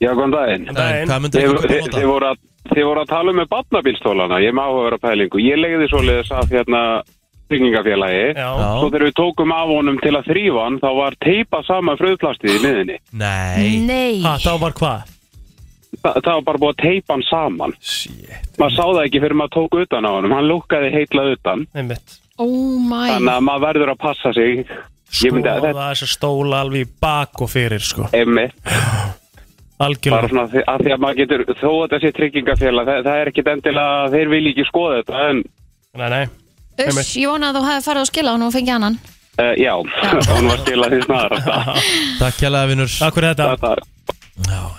O: Já, góðan daginn.
A: daginn. Hvað myndirðu
O: Þið-
A: kaupa
O: þið-
A: notað?
O: Þið voru að- þið voru að tala um með batnabílstólana, ég má að vera pælingu. Ég legði svoleiðis af hérna tryggingafélagi, svo þegar við tókum af honum til að þrýfa hann, þá var teipa sama fröðplastið í miðinni.
A: Nei
B: Nei
C: ha, Þá var hvað?
O: Þa, það var bara búið að teipa hann saman. Shit. Maður sá það ekki fyrir maður tók utan á honum, hann lúkkaði heitla utan.
C: Einmitt.
B: Oh
O: Þannig
B: my
O: að maður verður að passa sig. Ég myndi að
C: Skoða þess að stóla alveg í bak og fyrir sko.
O: Emmi
C: Algjörlega
O: bara svona að því- að því að maður getur þó að þessi tryggingafélag, það, það er ekkit endilega að þeir vilji ekki skoða þetta en
C: Nei, nei
B: Uss, ég vona að þú hefði farið á skila og nú fengið annan
O: Uh, já, hún var skilað því snarasta
A: Takk hjá vinnur
C: Takk fyrir
O: þetta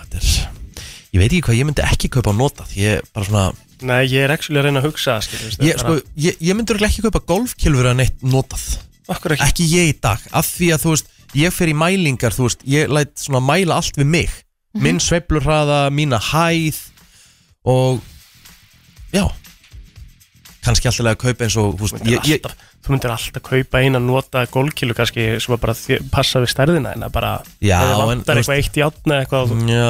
A: Ég veit ekki hvað ég myndi ekki kaupa notað Ég bara svona
C: Nei, ég er actually að reyna að hugsa skilur,
A: Ég, sko, ég, ég myndur ekki kaupa golfkilfur að neitt notað
C: Akkur ekki
A: Ekki ég í dag, af því að þú veist Ég fer í mælingar, þú veist Ég læt svona mæla allt við mig Minn sveiflurhraða, mína hæð Og Já kannski alltaf að kaupa eins og þú veist,
C: myndir
A: ég, ég,
C: alltaf, Þú myndir alltaf kaupa eina nota gólkilu kannski sem að bara þjö- passa við stærðina en að bara
A: Já,
C: ef það
A: en, þú
C: vantar
A: veist-
C: eitthvað eitt í átna eitthvað
A: Já,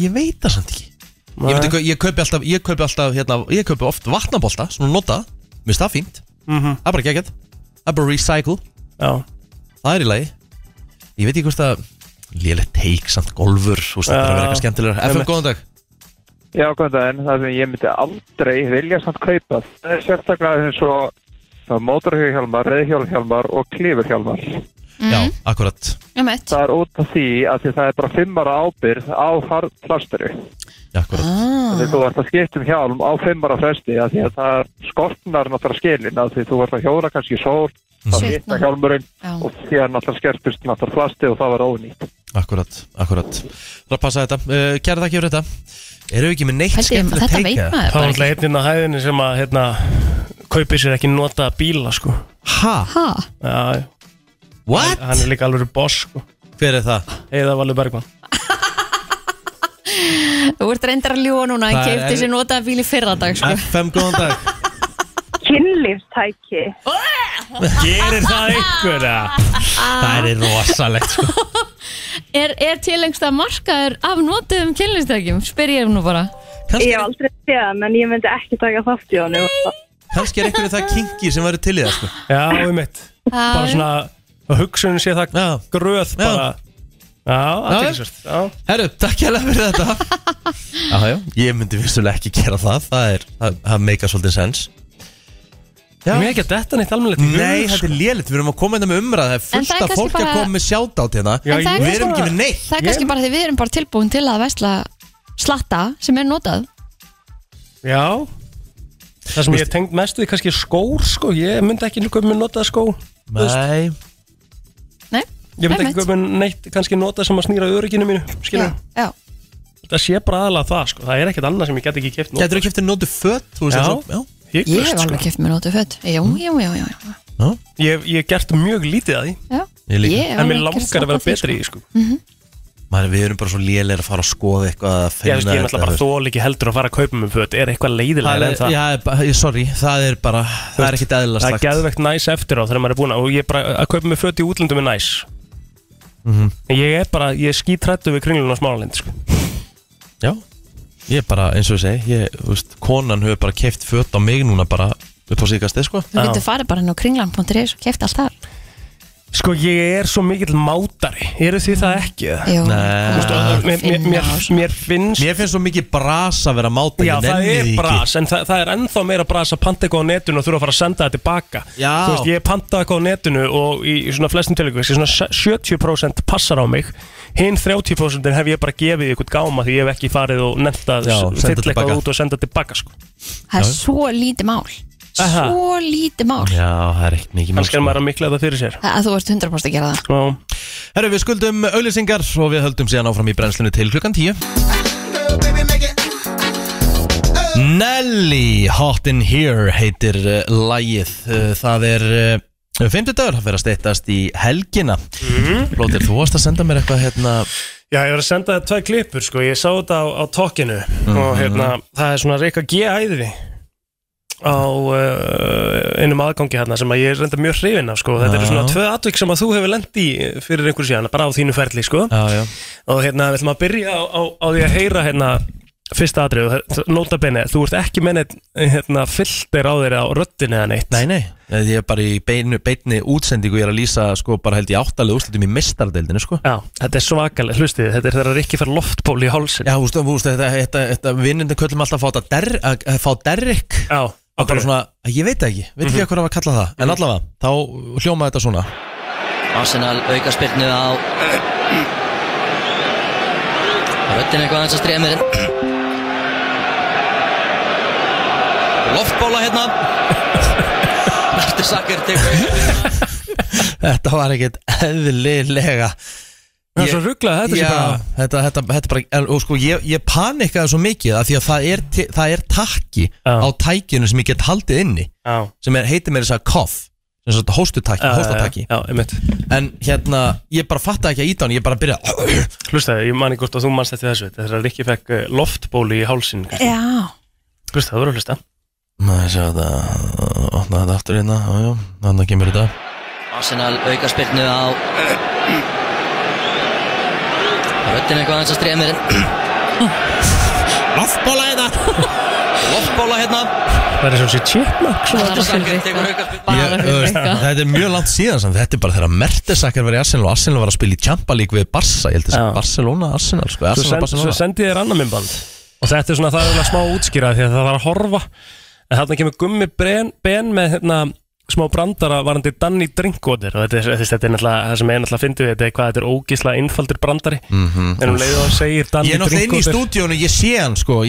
A: ég veit það samt ekki Ég, myndi,
C: Nei.
A: kau- ég kaupi alltaf, ég kaupi alltaf hérna, Ég kaupi oft vatnabólta, svona nota Mér finnst það fínt,
C: Mhm.
A: það er bara geggjart Það er bara recycle
C: Já.
A: Það er í lagi Ég veit ekki hvort að Lélegt teik samt golfur þú veist, Það er að vera eitthvað skemmtilegur FM, góðan dag
P: Já, góðan daginn. Það sem ég myndi aldrei vilja samt kaupa. Það er sérstaklega eins og það mótorhjálmar, reyðhjálmar og klifurhjálmar.
A: Já, akkurat.
P: Það er út af því að því það er bara fimm ára ábyrð á plastiru.
A: Akkurat.
P: Þegar þú ert að skipta um hjálm á fimm ára fresti að því að það skortnar náttúrulega skilin að því þú ert að hjóla kannski í sól, þá
A: Mhm.
P: hitta hjálmurinn og því að náttúrulega skerpist náttúrulega plasti og það var ónýtt.
A: Akkurat, akkurat Það er að passa þetta, uh, kæra þakki fyrir þetta Eru við ekki með neitt
B: Pældi,
A: skemmtilegt
B: þetta
A: teik,
B: veit
A: eða?
B: maður
C: Það var alltaf einn inn á hæðinni sem að hérna, kaupið sér ekki nota bíla sko.
A: Ha?
B: Ha?
C: Já, já.
A: What?
C: Hann, hann er líka alveg boss sko.
A: Hver er það?
C: Heiða Valur Bergman
B: Þú ert reyndar að ljúa núna, hann
A: Það er-
B: keipti sér notaða bíl í fyrradag sko.
A: FM, góðan dag
N: Kynlífstæki.
C: Gerir það einhver
A: Það er rosalegt sko
B: Er, er tilengsta markaður af notuðum kynlistækjum? Spyr ég nú bara
A: Ég
N: hef aldrei séð hann, en ég myndi ekki taka þátt í hann.
A: Kannski er einhverju það kingi sem væri til í það sko
C: Já, um mitt Bara svona að hugsunin sé það
A: já.
C: gröð bara Já, aðtilsvert
A: Herru, takk hjá fyrir þetta Jájá, ég myndi vissulega ekki gera það Það er, það, það meika svolítið sens Já.
C: Mér er ekki að detta neitt alveg
A: Nei, þetta er lélitt, við erum að koma hérna með umræð Það er
B: En
A: fullt
B: það er
A: af
B: kannski
A: fólki að
B: bara-
A: koma með sjátátt hérna
B: En það er
A: Við erum
B: kannski
A: ekki með
B: bara-
A: neitt
B: Það er kannski bara því við erum bara tilbúin til að vesla slatta sem er notað
C: Já Það sem ég tengd mest við kannski er skór sko. Ég myndi ekki nokkuð með notað skó
A: Nei
B: Nei,
C: Ég myndi ekki
B: Einmitt.
C: kaupa mér neitt kannski nota sem að snýra örygginu mínu skilur.
B: Já, já.
C: Það sé bara aðalega það sko. Það er ekkert annað sem ég get ekki keft nota
A: Gætirðu keypt þér notuð föt? þú veist,
C: Já,
A: eins og- já.
C: Ég,
B: Ég
A: sko.
B: hef alveg kæft mér notu fött Jú,
A: Mm.
B: jú, jú, jú, jú.
C: Ég ég hef gert mjög lítið að því
B: Já.
A: Ég líka.
B: Ég hef
C: En mér
B: alveg gert
C: langar að vera
B: samkvæmt því,
C: betri í því sko.
B: Mhm.
A: Maður, við erum bara svo lélir að fara að skoða eitthvað að
C: Ég
A: finna
C: veist, ég er náttúrulega bara þól ekki heldur að fara að kaupa mér föt Er eitthvað
A: Það
C: leiðilega en
A: er,
C: það
A: já, ba- ég- sorry, það er bara, það er ekkit eðla
C: Það er
A: slagt
C: geðvegt næs eftir á þegar maður er búin að- Og ég er bara að kaupa mér föt í útlöndum er næs
A: Mhm.
C: En Ég er bara, ég er skítrættu við kringlun og smálalind sko.
A: Já, ég er bara, eins og ég segi, ég, þú veist, konan hefur bara keift föt á mig núna bara upp á síkastið, sko
B: Þú getur farið bara inn á kringlan.is og kæft allt það
C: Sko ég er svo mikill mátari Eru því það ekki?
B: Jú.
C: Mér, mér, mér,
B: sko.
C: mér finnst
A: Mér finnst svo mikið bras að vera máta
C: Já, það er bras, en það, það er ennþá meira bras að panta eitthvað á netinu og þurfa að fara að senda það tilbaka
A: Já.
C: Þú veist, ég panta eitthvað á netinu og í, í svona flestum tilvíkum, þessi svona 70% passar á mig Hinn 30% hef ég bara gefið í eitthvað gáma því ég hef ekki farið og nefnt að
A: Já,
C: s-
A: senda
C: fylla eitthvað
A: tilbaka.
C: út og senda tilbaka sko.
B: Það er svo lítið mál
C: Aha.
B: Svo lítið mál
A: Já, það er ekkert mikið
C: Kannski er maður að mikla þetta fyrir sér
B: að þú ert 100% að gera það
C: Já.
A: Herru, við skuldum auðlýsingar og við höldum síðan áfram í brennslunni til klukkan 10 Nelly Hot in Here heitir uh, lagið uh, Það er uh, fimmtudagur, það fyrir að steyttast í helgina
B: Mhm.
A: Blótir, þú varst að senda mér eitthvað hérna
C: Já, ég var að senda það tvei klippur sko, ég sá þetta á, á tokkinu og
A: Mhm.
C: hérna, það er svona reyka G-æði á uh, einum aðgangi hérna sem að ég er reynda mjög hrifin af sko, þetta eru
A: Já.
C: svona tvö atvik sem að þú hefur lent í fyrir einhverju síðan, bara á þínu ferli sko
A: já, já.
C: og hérna, við ætlum að byrja á, á, á því að heyra hérna fyrsta atrið, nota bene, þú ert ekki með neitt, hérna, fylltir á þeirra á röddinu eða neitt
A: Nei, nei, eh, ég er bara í beinu, beitni útsendingu Ég er að lýsa, sko, bara held ég áttalega úrslutum í mestardeldinu, sko
C: Já, þetta er svakalega, hlustið, þetta er þegar Rikki fær loftból í hálsin
A: Já, þú veist, þú veist, þetta, þetta, þetta vinnindin köllum alltaf að fá, þetta der, að, að fá derrik
C: Já, Mhm.
A: og bara svona, ég veit það ekki, veit ekki hvað það var að kalla það En allavega, þá hljóma þetta svona
Q: Arsenal auka spilnu á Röttin eitthvað aðeins að stríða mér Loftbóla hérna Nartur Sakker
A: Þetta var ekkert eðlilega
C: Það er svo ruglað, þetta sé
A: Já,
C: bara-
A: þetta, þetta, þetta bara en, Og sko, ég, ég panikaði svo mikið af Því að það er, ti- það er takki á tækinu sem ég get haldið inni
C: Já.
A: Sem er, heitir mér þess að koff Sem svo hóstutakki,
C: Já, já, já.
A: hóstatakki
C: Já, einmitt
A: En hérna, ég bara fattaði ekki að íta hann Ég bara byrjaði
C: Hlustaði, ég man ekki hvort að þú manst eftir þessu Þetta er að Rikki fekk eh, loftbólu í hálsin
B: Já,
C: Hlustaði, það voru að hlusta
A: Maður sjá þetta Opnaði þetta aftur hérna, já, já, þannig að kemur þetta
Q: Arsenal auka spilnu á Röttin eitthvað aðeins að stríða mér Loftbóla hérna Loftbóla hérna
C: Það er sem sé chipmunk
Q: Nartur Sakker tekur auka
A: Ég, þú veist, þetta er mjög langt síðan samt, þetta er bara þegar Mertesakker var í Arsenal og Arsenal var að spila í Champa lík við Barca ég held þess að Barcelona, Arsenal sko,
C: Svo,
A: Arsenal,
C: send, svo
A: Barcelona.
C: sendi ég þér annan minnband Og þetta er svona, það er eiginlega smá útskýra Því að það var að horfa En þarna kemur gummi ben, ben með hérna, smá brandara varandi Danny Drinkwater Og þetta er, þetta er náttúrulega, það sem ég náttúrulega fyndi við Þetta er hvað, þetta er ógísla einfaldur brandari
A: Mhm.
C: En um leiðu að segir Danny
A: Ég er náttúrulega inn í
C: Drinkwater
A: stúdíónu, ég sé hann sko í,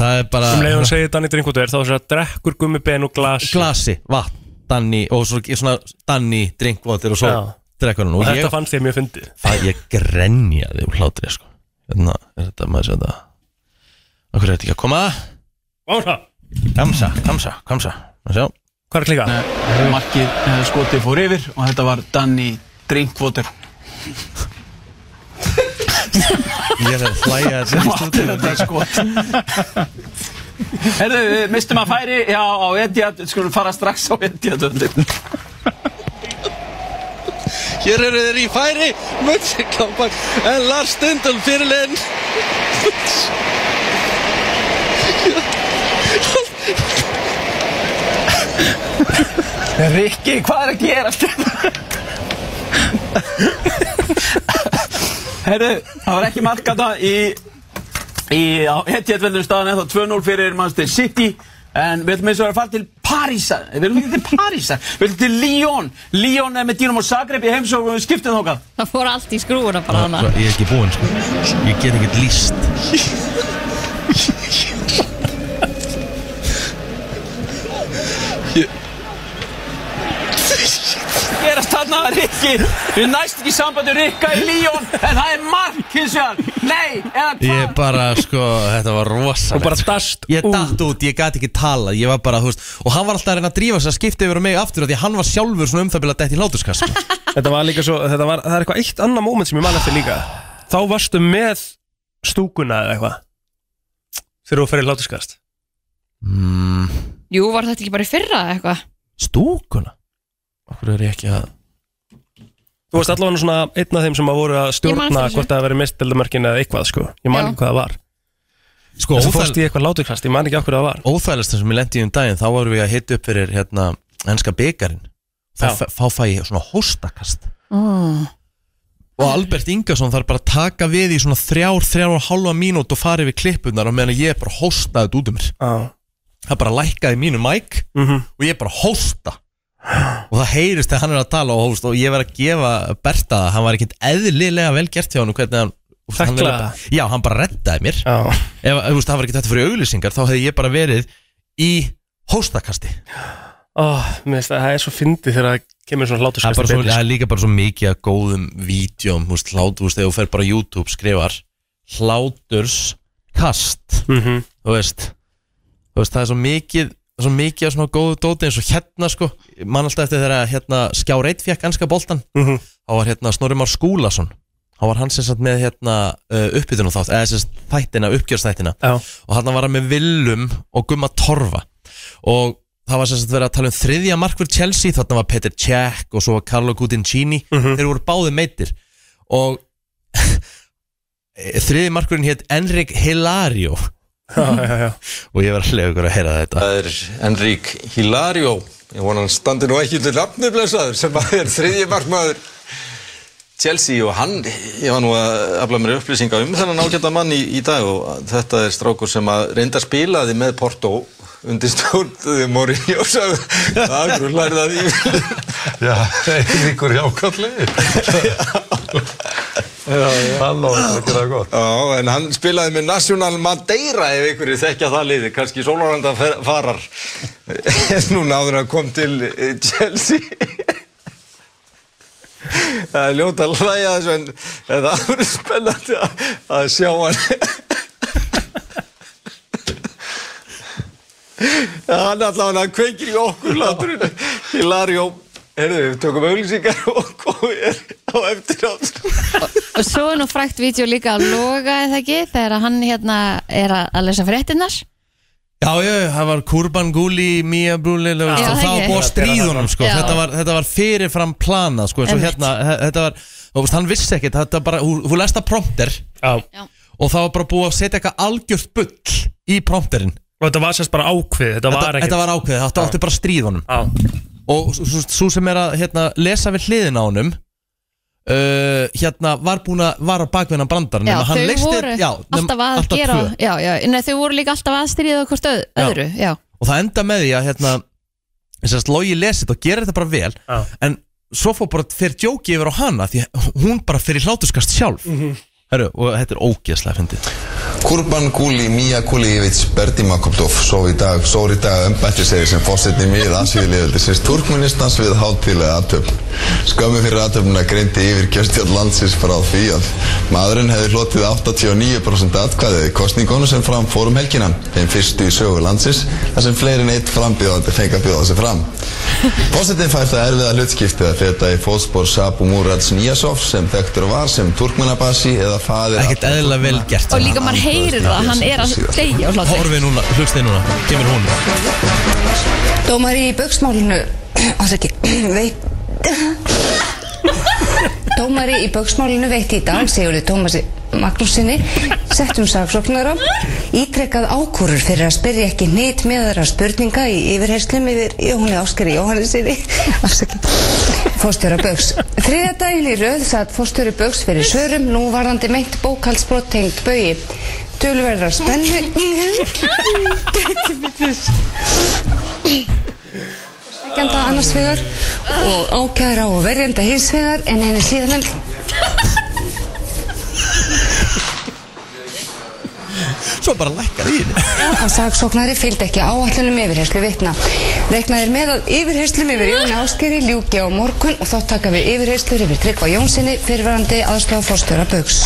A: Það er bara
C: Um leiðu að segir Danny Drinkwater Þá er það drekkur gummi ben og glasi
A: Glasi, vatn, Danni og svo, svona Danni, drinkvotir og svo
C: Já.
A: drekkur hann
C: Og
A: og
C: þetta
A: ég,
C: fannst ég mjög fyndið
A: það, ég grenjaði úr hlátri sko Þannig að þetta maður sé þetta Akkur er þetta ekki að koma
C: Vára
A: Kamsa, kamsa, kamsa Sjá
C: Hvað er klíka?
R: Markið eh, skotið fór yfir og þetta var Danny Drinkwater
A: Ég er að hlæja að
R: Sem átti
A: stúdíónu
R: þetta skot Herðu, við mistum að færi Já, á Etihad, skulum fara strax á Etihad
E: Hér eru þeir í færi, Mönchengladbach en Lars Stindl fyrirlegin
R: Rikki, hvað er að gera Herðu, það var ekki markata í í Etihad veldur staðan eða 2-0 fyrir Manchester City en við ætlum eins og að fara til Parísar við ætlum ekki til Parísar, við ætlum til Lyon Lyon er með Dynamo Zagreb í heimsókn og við skiptum þókað
B: það fór allt í skrúuna bara hana
A: Ég er ekki búinn sko Ég get ekkert líst
R: gerast þarna Rikki ekki Við næst ekki sambandi Rikka í Líón En það er mark hins vegar Nei, eða
A: Ég bara, sko, þetta var rosalegt Og bara
C: dast
A: Ég datt út, ég gæti ekki talað, ég var bara, þú veist Og hann var alltaf að reyna að drífa sig að skipta yfir á mig aftur af Því að hann var sjálfur svona um það byrja að dætt í sko. hláturskassa
C: Þetta var líka svo, þetta var, það er eitthvað eitt annað moment sem ég man eftir líka Þá varstu með stúkuna eða eitthvað Þegar þú fyrir hlátuskast
A: mm,
B: Jú, var þetta ekki bara í fyrra eða eitthvað?
A: Stúkuna? Okkur er ég ekki að
C: Þú varst allavega svona einn af þeim sem að voru að
B: Ég man eftir
C: stjórna
B: þessu.
C: Hvort það veri mistildamörkin eða eitthvað, sko Ég man
B: Já.
C: ekki hvað það var
A: Sko,
C: Þessu fórst í eitthvað láturkast, ég man ekki okkur það var
A: Óþægilegst sem ég lendi í um daginn Þá vorum við að hita upp fyrir, hérna, henska byggarinn Þá
C: Já.
A: fæ- þá fæ ég svona hóstakast
B: Mm.
A: Og Albert Ingarsson þarf bara að taka við í svona þrjár, þrjár og halva mínút og fara yfir klippunar og meðan ég bara hóstaði þetta út um mér
C: ah.
A: Það bara lækkaði mínu mæk og ég bara hósta og það heyrist þegar hann er að tala og hóst og ég verð að gefa Berta það, hann var ekkert eðlilega vel gert hjá hann hvernig hann úst, hann
C: Þakklaði
A: er bara- Já, hann bara reddaði mér
C: Já.
A: Ef þú veist, það var ekkert þetta fyrir auglýsingar þá hefði ég bara verið í hóstakasti
C: Ó, mér finnst það, það er svo fyndið þegar það kemur svona
A: Það er, bara
C: hláturskast
A: svo, það er líka bara svo mikið að góðum vídjum, húst, hlátur, húst, þegar þú fer bara á YouTube, skrifar hláturskast
C: Mhm.
A: þú veist þú veist, það er svo mikið svo mikið af svona góðu dóti eins og hérna sko, mann alltaf eftir þegar að, hérna Skjár Eitt fekk anska boltan
C: Mhm.
A: þá var hérna Snorri Már Skúlason þá var hann sem sagt með hérna uh, uppbytunum þátt, eða sem sagt þættina, uppgjörstættina
C: Já.
A: og hann var hann með Willum og Gumma Torfa og það var sem sagt verið að tala um þriðja markverð Chelsea, þarna var Peter Cech og svo var Carlo Gutincini, þeir voru báði meitir og þriði markurinn hétt Enrik Hilario og ég var hlega ykkur að heyra þetta
S: Það er Enrík Hilario Ég vona hann standi nú ekki undir nafni blessaður sem að er þriðji markmaður Chelsea og hann ég var nú að afla mér upplýsinga um þennan ágæta mann í, í dag og þetta er strákur sem að reynda spilaði með Porto undir stjórn Mourinho sagði Akkur lærði að því
T: Já, einhver hjákallegi
S: Já, já. Hann á þetta að gera gott Já, en hann spilaði með National Madeira ef einhverju þekkja það liði, kannski Sóloranda farar núna áður en hann kom til eh, Chelsea Það er ljóta að hlæja þessu en en það verður spennandi að, að sjá hann Já, hann allavega hann kveikir í okkur láturinn Hilario, herðu, við tökum auglýsingar og komum er á eftir átt
B: Og svo er nú frækt vídeo líka að loga eða ekki þegar hann hérna er að, að lesa fréttinnar
A: Já, já, já, það var Kurban Gúli, Mía Brúli og
B: Já,
A: það
B: það
A: var
B: ekki.
A: búið að stríðunum sko.
B: Já.
A: þetta, var, þetta var fyrirfram planað sko, eins og
B: Einmitt.
A: hérna, he- þetta var þú veist, hann vissi ekkert, þetta var bara, hún, hún lesta prompter
C: já.
A: og það var bara búið að setja eitthvað algjört bull í prompterinn
C: Og þetta var sérst bara ákveð, þetta var ekkert
A: Þetta var ákveðið, þetta átti bara stríðunum
C: Já.
A: og s- s- svo sem er að hérna, lesa við hliðin á honum Uh, hérna var búin að var á bakvinna brandar
B: Já,
A: nema hann
B: þau
A: leysti-
B: voru
A: já, nema-
B: alltaf að
A: alltaf
B: gera
A: tvö.
B: já, já, nei, Þau voru líka alltaf að stríða hvort öð,
A: Já.
B: öðru já.
A: og það enda með því að hérna, sérst, logi lesið og gerir þetta bara vel en svo fór bara fyrir djóki yfir á hana því að hún bara fyrir hlátuskast sjálf Heru, og þetta er ógeðslega fyndið
S: Kurban Kuli, Mija Kulijevic, Bertima Koptov sóf í dag, sór í dag embættisegir sem fórsetni mið asíðilegaldisins Turkmenistans við hátíðlega aðtöfn. Skömmu fyrir aðtöfnuna greindi yfir kjörstjórn landsins frá því að maðurinn hefði hlotið 89% atkvæðið í kostningunum sem fram fórum helgina, þeim fyrstu í sögu landsins, þar sem fleiri en eitt frambjóðandi fengi að bjóða sig fram. Fórsetin fær það erfiða hlutskiptið að feta í fótspor Sabu Murads Niyasov sem þekktur var sem Turkmenabasi eða faðir Ekkert
A: eðla vel gert
B: Og líka maður heyrir það, hann er að deyja og hlátur
A: Horfið núna, hlustið núna, kemur hún
U: Dómari í bauksmálinu Ásækki, veit Dómari í bauksmálinu veitti í dag Sigurði Tómasi Magnúsinni settum saksóknara ítrekkað ákúrur fyrir að spyrja ekki neitt meðra spurninga í yfirheyslum yfir Jóhanni Áskari Jóhannesinni afsakið Fórstjóra Bögs. Þriðja daginn í röð satt fórstjóri Bögs fyrir svörum, nú varðandi meint bókalsbrot tengt bögi. Tölverðar spennu sækjanda annars vegar og ákæra og verjanda hins vegar en henni síðan
A: Svo bara lækkar í henni
U: að saksóknari fylgdi ekki áallunum yfirherslu vitna. Reknaðir með að yfirherslum yfir Jóni Áskeri ljúki á morgun og þá taka við yfirherslur yfir Tryggva Jónssoni fyrirvarandi aðstofa fórstjóra Bögs.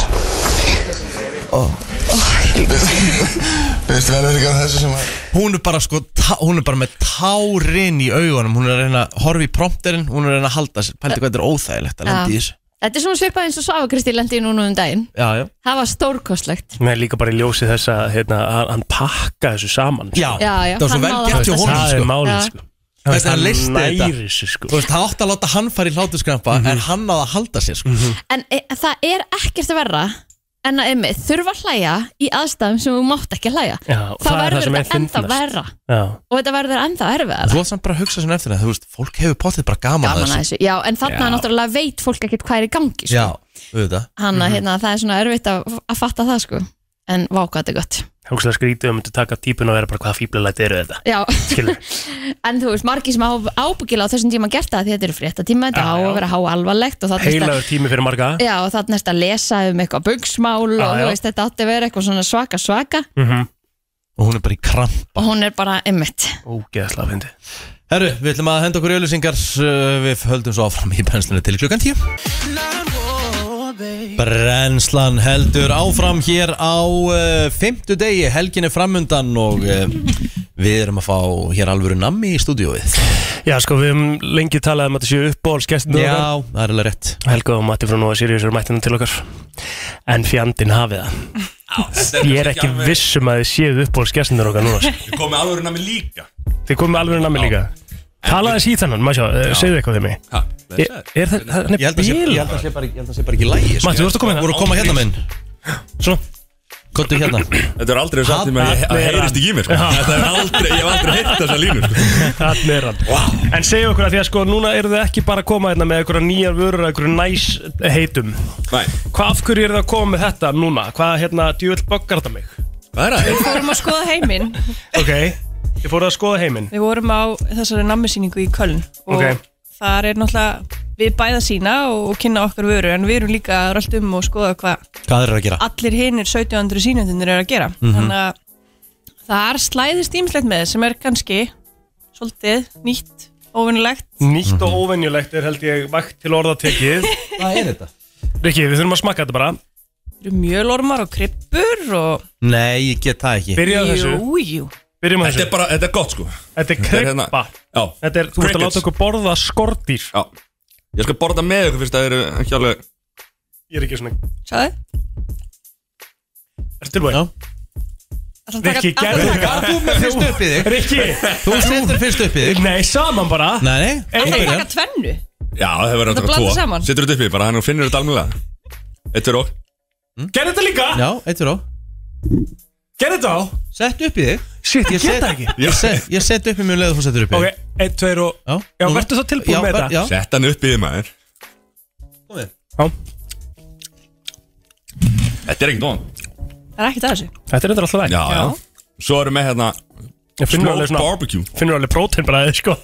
A: Veistu vel ekki að þessu sem að Hún er bara sko, tá, hún er bara með tárin í augunum Hún er að reyna að horfa í prompterinn Hún er að reyna að halda sér Pældi hvað þetta er óþægilegt að lenda
B: Já.
A: í þessu
B: Þetta er svona svipað eins og Svafa Kristi lendi í núna um daginn
A: Já, já
B: Það var stórkostlegt
C: Nei, líka bara í ljósi þess að hérna, hann- hann pakka þessu saman sko.
B: Já, já,
A: Það var svo
B: hann
A: vel
B: náði
A: gert
B: að halda
A: hjá
B: sér.
A: honum sko
C: Það er málið,
B: Já.
C: sko.
A: Þú veist, hann
C: Hann
A: leisti
C: nærir
A: þetta
C: sig, sko.
A: Þú veist, það átti að láta hann fara í hlátuskrampa En hann náði að halda sér sko
B: En e, það er ekkert verra en að emmi þurfa að hlæja í aðstæðum sem þú mátt ekki hlæja
A: Já,
B: Þá
A: það er það
B: verður
A: sem er
B: þetta ennþá
A: fyndnast.
B: verra
A: Já
B: og þetta verður ennþá erfiðara
A: Þú veist, hann bara að hugsa svona eftir það Þú veist, fólk hefur potið bara gaman
B: gaman að þessu, já, en þarna
A: Já.
B: náttúrulega veit fólk ekkert hvað er í gangi sko.
A: Já, auðvitað
B: hann að hérna, það er svona erfitt að, að fatta það sko, en vá hvað þetta er gott
C: Hugsaðu skrítið um að taka típun og vera bara hvaða fíblalæti eru þetta
B: já,
C: Skilur.
B: en þú veist, margir sem ábyggilega á þessum tíma gert það, því þetta eru frétta tíma þetta á að vera há alvarlegt og þarna er
C: Heilagur tími fyrir marga
B: þetta- já, og þarna er þetta að lesa um eitthvað bugsmál
C: Já,
B: og þú
C: já.
B: veist, þetta átti að vera eitthvað svona svaka svaka
A: Mhm. Og hún er bara í kramp
B: og hún er bara ymmit
C: Ógeðslega fyndi
A: Herru, við ætlum að henda okkur í öllusingar Við höldum svo áfram í brennslunni til klukkan 10 Brennslan heldur áfram hér á uh, Fymtu degi, helginni framundan Og uh, við erum að fá hér alvöru nammi í stúdíóið
C: Já, sko, við höfum lengi talað um að þetta séu uppbóðalskestin
A: Já, það er alveg rétt
C: Helga og Matti frá Nóa Sirius eru mættinu til okkar En fjandinn hafið það Ég er ekki vissum að þið séu uppbóðalskestinur okkar núna sko.
D: Ég kom með alvöru nami líka
C: Þið komum alveg námi líka Talaði þess í þannan, maður sjá, eh,
D: Já.
C: segðu eitthvað við mig
D: Ha,
C: Er- Er þetta, hann er
A: Ég held að sé-
C: bíl
A: ég held að sé bara- ég held að sé bara ekki lægi
C: Matti, þú ert að koma hérna
A: Þú ert að koma hérna minn
C: Svona
A: Kottu hérna
D: Þetta er aldrei sagt um að ég að heyrist ekki í mér sko.
C: Já.
D: Þetta er aldrei, ég hef aldrei heyrt þessa línu sko.
C: Þannig er hann En segju okkur að því að sko núna eru þið ekki bara að koma hérna með einhverja nýjar vörur eða einhverju næs heitum
D: Nei
C: Hvað af hverju eru þið að koma með þetta núna? Hvað hérna djúvill böggar þetta mig?
D: Hvað er
V: Við fórum að skoða heiminn
C: Ok, ég fóruð að skoða heiminn
V: Við vorum á þessari nammisýningu í Köln og
C: Ok.
V: þar er náttúrulega við bæða sína og, og kynna okkar vöru en við erum líka að rölt um og skoða hvað
A: Hvað er að gera?
V: allir hinnir 1700 sínjöndunir eru að gera
A: Mhm.
V: þannig að þar slæðist ímslegt með sem er kannski svolítið nýtt, Mhm. óvinnulegt
C: Nýtt og óvenjulegt er held ég vakt til orða tekið
A: Hvað er þetta?
C: Rikki, við þurfum að smakka þetta bara
V: Eru mjölormar og kryppur og
A: Nei, ég get það ekki
C: Byrjaðu þessu.
V: Jú, jú
C: Byrjum á
D: Þetta
C: þessu
D: er bara, þetta er gott sko
C: Þetta er kreppa
D: Já
C: Þetta er, þú veist að láta okkur borða skordýr
D: Já Ég skal borða með ykkur fyrst að það eru ekki alveg
C: Ég er ekki svona
V: Sjáðu
C: Ertu tilbúin?
V: Ætlar að taka-
C: Rikki,
V: ætlar að
C: gerðu
V: taka-
C: þetta
A: Þú með fyrst upp í þig
C: Rikki
A: Þú setur fyrst upp í þig
C: Nei, saman bara
A: Nei, nei
V: Ætlar að
A: Byrja.
V: taka tvennu
D: Já, það verður
V: Þetta
D: að taka
V: blandast
D: tvo
V: saman.
D: Setur þetta upp í bara, þannig að finnir þetta almennilega Eitt fyrir okk
C: Gerðu þetta líka
A: Já, eitt fyrir á
C: Gerðu þetta á
A: Sett upp í þig
C: Shit, ég
A: set-
C: geta ekki.
A: Ég set, ég set upp í mjög leið og þú setur upp í
C: Ok,
A: þig
C: einn, tveir og
A: Já,
C: Já,
A: núna.
C: verður þá tilbúin
A: Já,
C: með
A: ver- já.
C: þetta?
D: Sett hann upp í þig, maður
A: Komið.
C: Já.
D: Þetta er ekkert von
V: Það er ekkert að þessu
C: Þetta er þetta alltaf
D: Já, já Svo erum við hérna
C: Ég finnur alveg
D: Smoked
C: svona-
D: barbecue
C: Finnur alveg prótein bara eða sko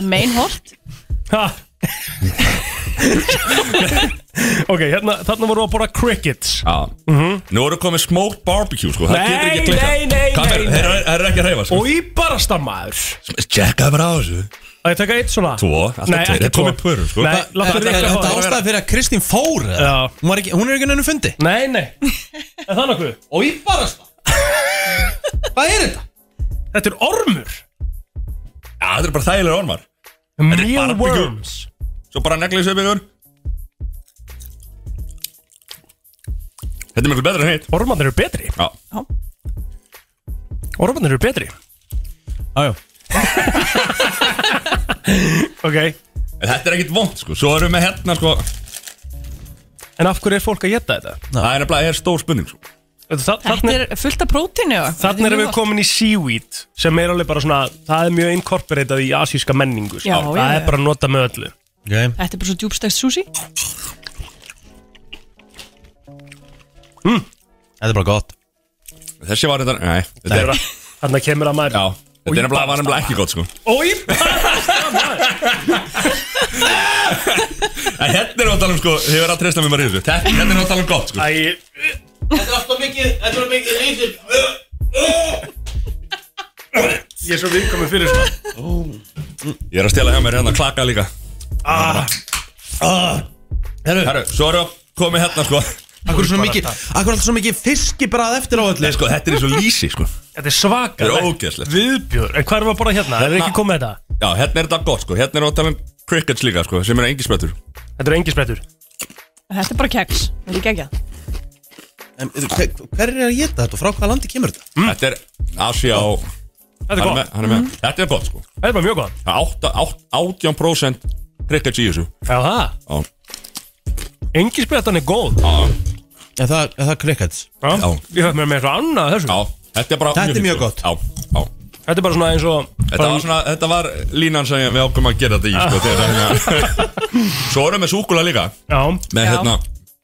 V: Meinholt
C: Ha Ok, hérna, þarna vorum við að borða crickets
D: Já Nú erum við komið smoked barbecue, sko Það
C: Nei,
D: getur ekki að klika
C: nei, nei, nei, nei.
D: Þeir eru- þeir eru ekki að reyfa, sko
C: Og í barasta maður
D: Checka bara á þessu
C: Að ég taka eitt svona
D: Tvo, alltaf
C: Nei,
D: tveir.
C: ekki
D: Þetta er
C: tvo.
D: komið pörum, sko.
C: Nei,
D: Hvað-
C: láttu
A: Þetta
C: Rikka
A: er
C: fá
A: þetta
C: að vera-
A: ástæða fyrir að Kristín fór eða?
C: Já.
A: Hún, var ekki, hún er ekki nönnum fundi
C: Nei, nei Er það nokkuð?
A: Og ég bara Hvað er þetta?
C: Þetta er ormur
D: Já, þetta er bara þægilega ormar Þetta er barbecue. Svo bara negla þessu upp yfir Þetta er miklu betra en hitt
C: Ormarnir eru betri
D: Já
C: Ormarnir eru betri
A: Jájá
C: Ok
D: En þetta er ekkert vond, sko Svo erum við hérna, sko
C: En af hverju er fólk að geta þetta?
D: Það er nefnilega, það er stór spurning, sko
C: Þetta
V: Þetta er fullt af prótínu
C: Þannig erum við komin í seaweed sem er alveg bara svona, það er mjög inkorporatað í asíska menningu sko.
V: Já,
C: það
V: já,
C: er
V: já.
C: bara að nota með öllu
A: okay.
V: Þetta er bara svo djúbstækt sushi
A: Þetta er bara gott
D: Þessi var þetta, nei Þetta er
C: Þannig að kemur að maður
D: Já, þetta er nefnilega, var nefnilega ekki gott, sko
C: Ói
D: En hérna er að tala um, sko Þið verða að treysta mér maður í þessu Þetta- Hérna er að tala um gott, sko
C: Æ,
A: Þetta er alltaf mikið, þetta er mikið lýsir
C: Ég er svo viðkomið fyrir svona
D: Ég er að stela hjá mér hérna klaka líka
C: ah,
D: ah,
A: Herru,
D: svo erum við komið hérna sko
A: Akkur er svona mikið, akkur er alltaf svona mikið fiskibræð eftir á öllu
D: Nei, sko, þetta er eins og lýsi sko
C: Þetta er svaka
D: Þetta er ógeðslegt.
C: Viðbjör, en hvað erum við að borða hérna? Það er ekki komið þetta
D: Já, hérna er þetta gott sko, hérna er að tala um crickets líka sko, sem er engismættur
C: Þetta er engismættur
V: Þetta er bara keks, þetta er gegja
A: En hver, hver er að geta þetta og frá hvaða landi kemur þetta?
D: Þetta er Asia og
C: Þetta er
D: Hann
C: gott. Mhm.
D: með- hann er með- Þetta er gott sko
C: Þetta er bara mjög gott
D: Það er átta- átt- 18% crickets í þessu
C: Já, það
D: Já.
C: Engismættan er góð
D: Já
A: En það, en það er crickets
D: Já.
C: Ég höfum með mér svo annað af þessu
D: Já, þetta er bara
A: Þetta er mjög
D: fínt, sko. Já, já
C: Þetta er bara svona eins og
D: Þetta var, svona, þetta var línan sem við ákveðum að gera þetta í sko, þegar, hérna. Svo erum við súkula líka
C: Já
D: Með
V: Já.
D: hérna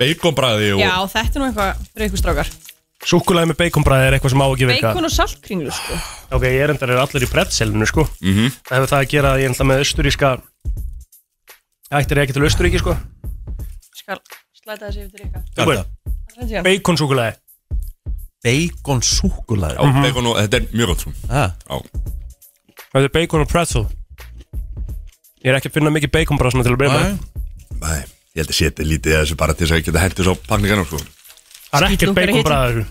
D: beikonbræði og
V: Já, þetta er nú eitthvað fyrir ykkur strákar
C: Súkkulaði með beikonbræði er eitthvað sem á ekki virka
V: Bacon og saltkringlu, sko
C: Ok, ég er endar er allir í bretselinu sko
D: Mhm.
C: Það hefur það að gera að ég er enda með austuríska Ættir ég ekki til austuríki sko
V: Skal slæta þessi yfir til
C: Tilbúin.
V: ykkar
C: Beikonsúkulaði
A: Bacon súkulaði
C: Mhm.
D: Já, beikon og þetta er mjög gott sko.
A: Ah.
D: Já.
C: Þetta er bacon og pretzel Ég er ekki að finna mikið bacon bara svona til að byrja með
D: Nei, ég held að setja lítið að þessu bara til þess að ég geta hendur svo pakningarnum sko.
C: Það er ekkert
D: Skítlungur í
C: bacon bara þessu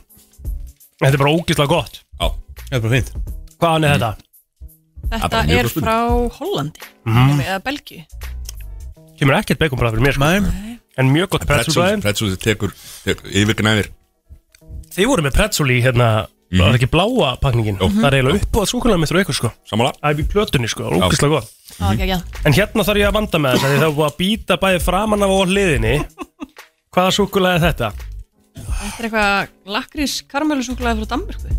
C: Þetta er bara ógíslega gott
D: Já
A: Það er bara fint
C: Hvaðan er þetta?
V: Þetta er frá Hollandi
A: Mhm.
C: Mm.
V: Eða Belgíu
C: Kemur ekkert bacon bara fyrir mér sko
A: Nei.
C: En mjög gott pretzelbræði
D: Pretzel tekur, tekur yfirgnæðir
C: Þið voru með pretzel í hérna
D: Mhm.
C: Það er ekki bláa pakningin Það er eiginlega upp á súkulaði mitt og ykkur sko
D: Samála
C: Æf í plötunni sko, ógíslega gott
A: Mhm.
V: Það er gegja
C: En hérna þarf ég að vanda með þess að því það er búið að býta bæði framan af og á hliðinni Hvaða súkulega er þetta?
V: Þetta er eitthvað lakrís karmelusúkulaði frá Danmörku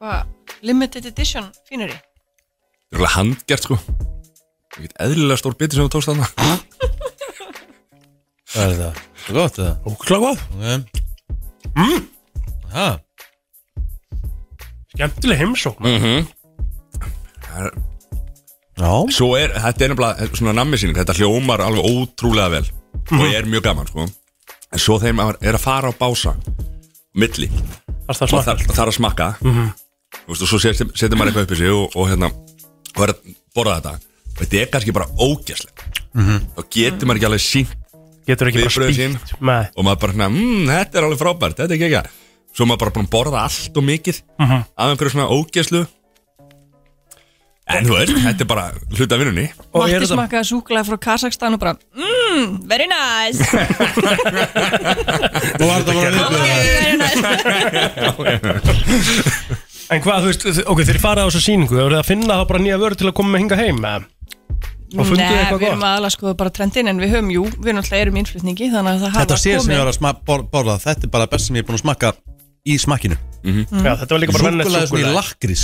V: Hvað limited edition fínur í
D: Það er alveg handgert sko Ekkert eðlilega stór biti sem þú tókst þarna
A: Hvað er það? Það er gott það
C: Ókla gott mm.
A: Ha?
C: Skemmtileg heimsókn mm
D: -hmm.
A: Mhm. Já
D: Svo er, þetta er nefnilega eh, svona nammisýning Þetta hljómar alveg ótrúlega vel
C: Mhm.
D: Og er mjög gaman sko En svo þeim að- er að fara á bása Milli
C: Þarf það að
D: Og
C: smakka?
D: þar- þarf að smakka
C: Mhm.
D: Þú veist, og svo setur, setur maður eitthvað upp í sig og, og hérna, og er að borða þetta og þetta er kannski bara ógæslega
C: Mhm.
D: þá getur maður ekki alveg sínt
C: Getur ekki bara
D: viðbrögð
C: spýtt,
D: sín.
C: nei.
D: og maður bara, hérna, mmm, þetta er alveg frábært þetta er ekki ekki svo er maður bara búin að borða allt og mikið
C: Mhm.
D: af einhverju svona ógæslu en þú veist, þetta er bara hluta af vinnunni
V: Matti smakkaði súkulaði frá Kazakstan og bara Mmm, very nice
A: Nú var þetta bara
V: Very nice
C: En hvað, þú veist, þi- ok, þeir farað á þessu sýningu Það voruð þið að finna þá bara nýja vörur til að koma með hinga heim eða? Og fundið þið
V: Nei,
C: eitthvað
V: við erum
C: gott
V: aðalega sko bara trendin en við höfum, jú, við náttúrulega erum innflutningi þannig að það hafa
A: Þetta sé sem ég var að sma- bor- borða Þetta er bara best sem ég er búin að smakka í smakkinu
D: Mhm.
V: Mm. Já, þetta var líka bara venjulegt
A: Súkkulaði svona í
V: súkkulaði.
A: lakrís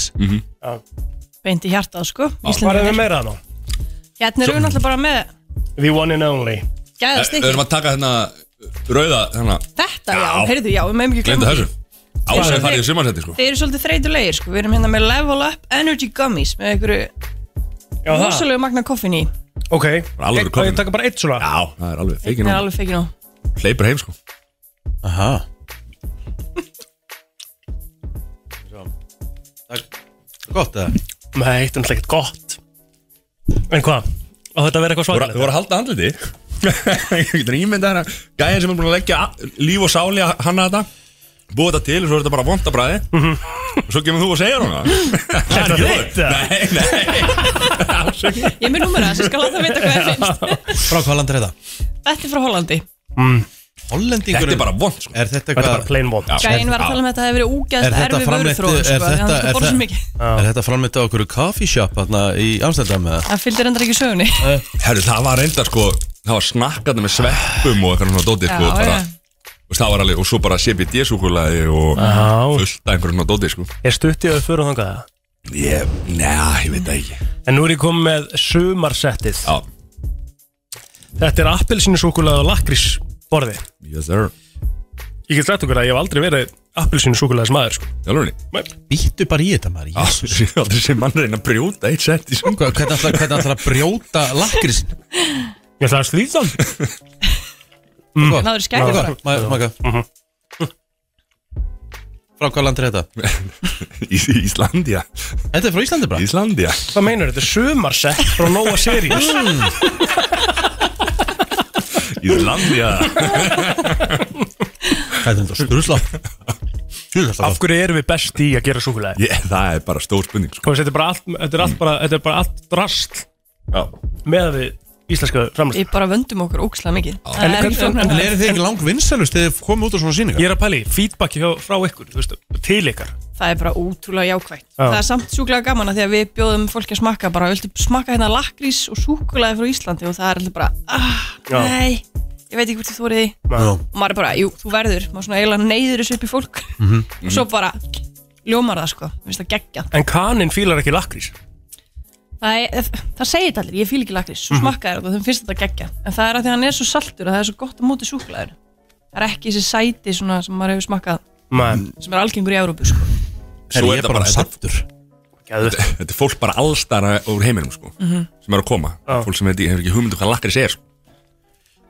V: beint í hjartað sko
C: Hvað er
V: Íslendingar.
C: við meira nú?
V: Hérna erum við náttúrulega bara með
C: The one and only
D: Við
V: gæðastykki
D: erum að taka hérna rauða, hérna,
V: Þetta, já,
D: Já.
V: heyrðu, já, við meðum ekki
D: glemta
V: glemma
D: þessu Ásæði farið í sumarsetti sko
V: Þeir eru svolítið þreytulegir sko, við erum hérna með Level Up Energy Gummies með einhverju
C: Já, það.
V: rosalegu magna koffin í
C: Ok,
D: alvöru
C: og ég taka bara eitt svona
D: Já, það er alveg feikin
V: Það er alveg feikin á
D: Hleypur heim sko
A: Aha Gott eða?
C: Nei, þetta er náttúrulega ekkert gott En hvað? Og þetta verður eitthvað
D: Þú voru-
C: svakalegt
D: þú voru að halda andliti Ég getur ímyndað hérna Gæðin sem er búin að leggja a- líf og sáli að hanna þetta Búið þetta til og svo er þetta bara vondabræði Og svo kemur þú og segir hún það Það er ekki þitt Nei,
V: Ég er með númera, sem skal láta vita hvað það finnst
A: Frá hvað land er þetta?
V: Þetta er frá Hollandi
A: Hollendingur
D: Þetta er bara vond sko.
A: Er þetta hvað? Þetta er bara
C: plain vond
V: Gæinn var að tala um með þetta að það hefur verið
A: Er
V: úgeðast
A: þetta
V: erfi
A: framleitt
V: vöruþróun
A: er
V: sko, þannig að
A: þetta,
V: það
A: er,
V: borða svo mikið
A: þetta, er þetta framleitt á okkur coffee shop þarna í Amsterdam eða?
V: Það fylgdi reyndar ekki sögunni
D: Herru, það var reyndar sko Það var snakkandi með sveppum og eitthvað svona dóti sko,
V: Já,
D: bara,
V: já.
D: og það var alveg, og svo bara CBD-súkulaði og
C: Já.
D: fullt af einhverjum svona dóti sko.
C: Er stutt í að fyrir þangað það?
D: Ég, neða, ég veit það ekki
C: En nú er ég komið með sumarsettið
D: Já.
C: Þetta er appelsínusúkulega og lakrís borði
D: Yes sir
C: Ég get sagt okkur að ég hef aldrei verið appelsínusúkulega smaður sko.
D: Jálfurni
A: Býttu bara í þetta maður
D: Jesus Ég hef aldrei sem mann reyna að brjóta eitt sett í svona
A: Hvernig ætlar- hvernig ætlar að brjóta lakrísinn?
C: Ég ætla að slíta hann
A: Mm.
V: Náður skækja bara
A: Maka, maka Frá hvað land er þetta?
D: Í, Íslandia
A: Þetta er frá Íslandi bara?
D: Íslandia
C: Hvað meinar þetta? Sumarsett frá Nóa Sirius
A: Mm.
D: Íslandia
A: Þetta er þetta skrusla
C: Af hverju erum við best í að gera súkulega?
D: yeah, Það er bara stór spurning sko.
C: Þetta er bara allt, þetta er allt, bara, þetta er bara allt drast
D: Já.
C: með við íslenska framlæst
V: Við bara vöndum okkur ókslega mikið Það
C: En-
V: er
C: en-
V: ekki
C: en-
V: flóknara.
A: Er þið ekki lang vinsælust þegar þið komið út á svona síningar?
C: Ég er að pæli, feedback hjá, frá ykkur, þú veist, til ykkar
V: Það er bara útrúlega jákvægt
C: Já.
V: Það er samt sjúklega gaman að því að við bjóðum fólki að smakka bara, viltu smakka hérna lakrís og súkulaði frá Íslandi og það er alltaf bara ah,
C: Já.
V: nei, ég veit ekki hvort þú þórið því
C: Já.
V: og maður er bara, jú, þú verður maður svona eiginlega neyður þessu upp í fólk
C: Mhm.
V: og svo bara ljómar það sko, Mér finnst það geggja
C: En kaninn fílar ekki lakrís
V: það, er- það segir þetta allir, ég fíl ekki lakrís svo
C: Mhm.
V: smakka þér þetta, þeim finnst þetta geggja en það er að því að hann er svo saltur að það er svo gott á móti súkulaður það er ekki þessi sæti svona sem maður hefur smakkað
C: Man.
V: sem er algengur í Európu sko.
D: Svo er þetta bara
A: sattur
D: Þetta þetta er fólk bara allstara úr heiminum sko,
V: Mhm.
D: sem er að koma Fólk sem hefur ekki hugmyndu hvað lakrís er sko.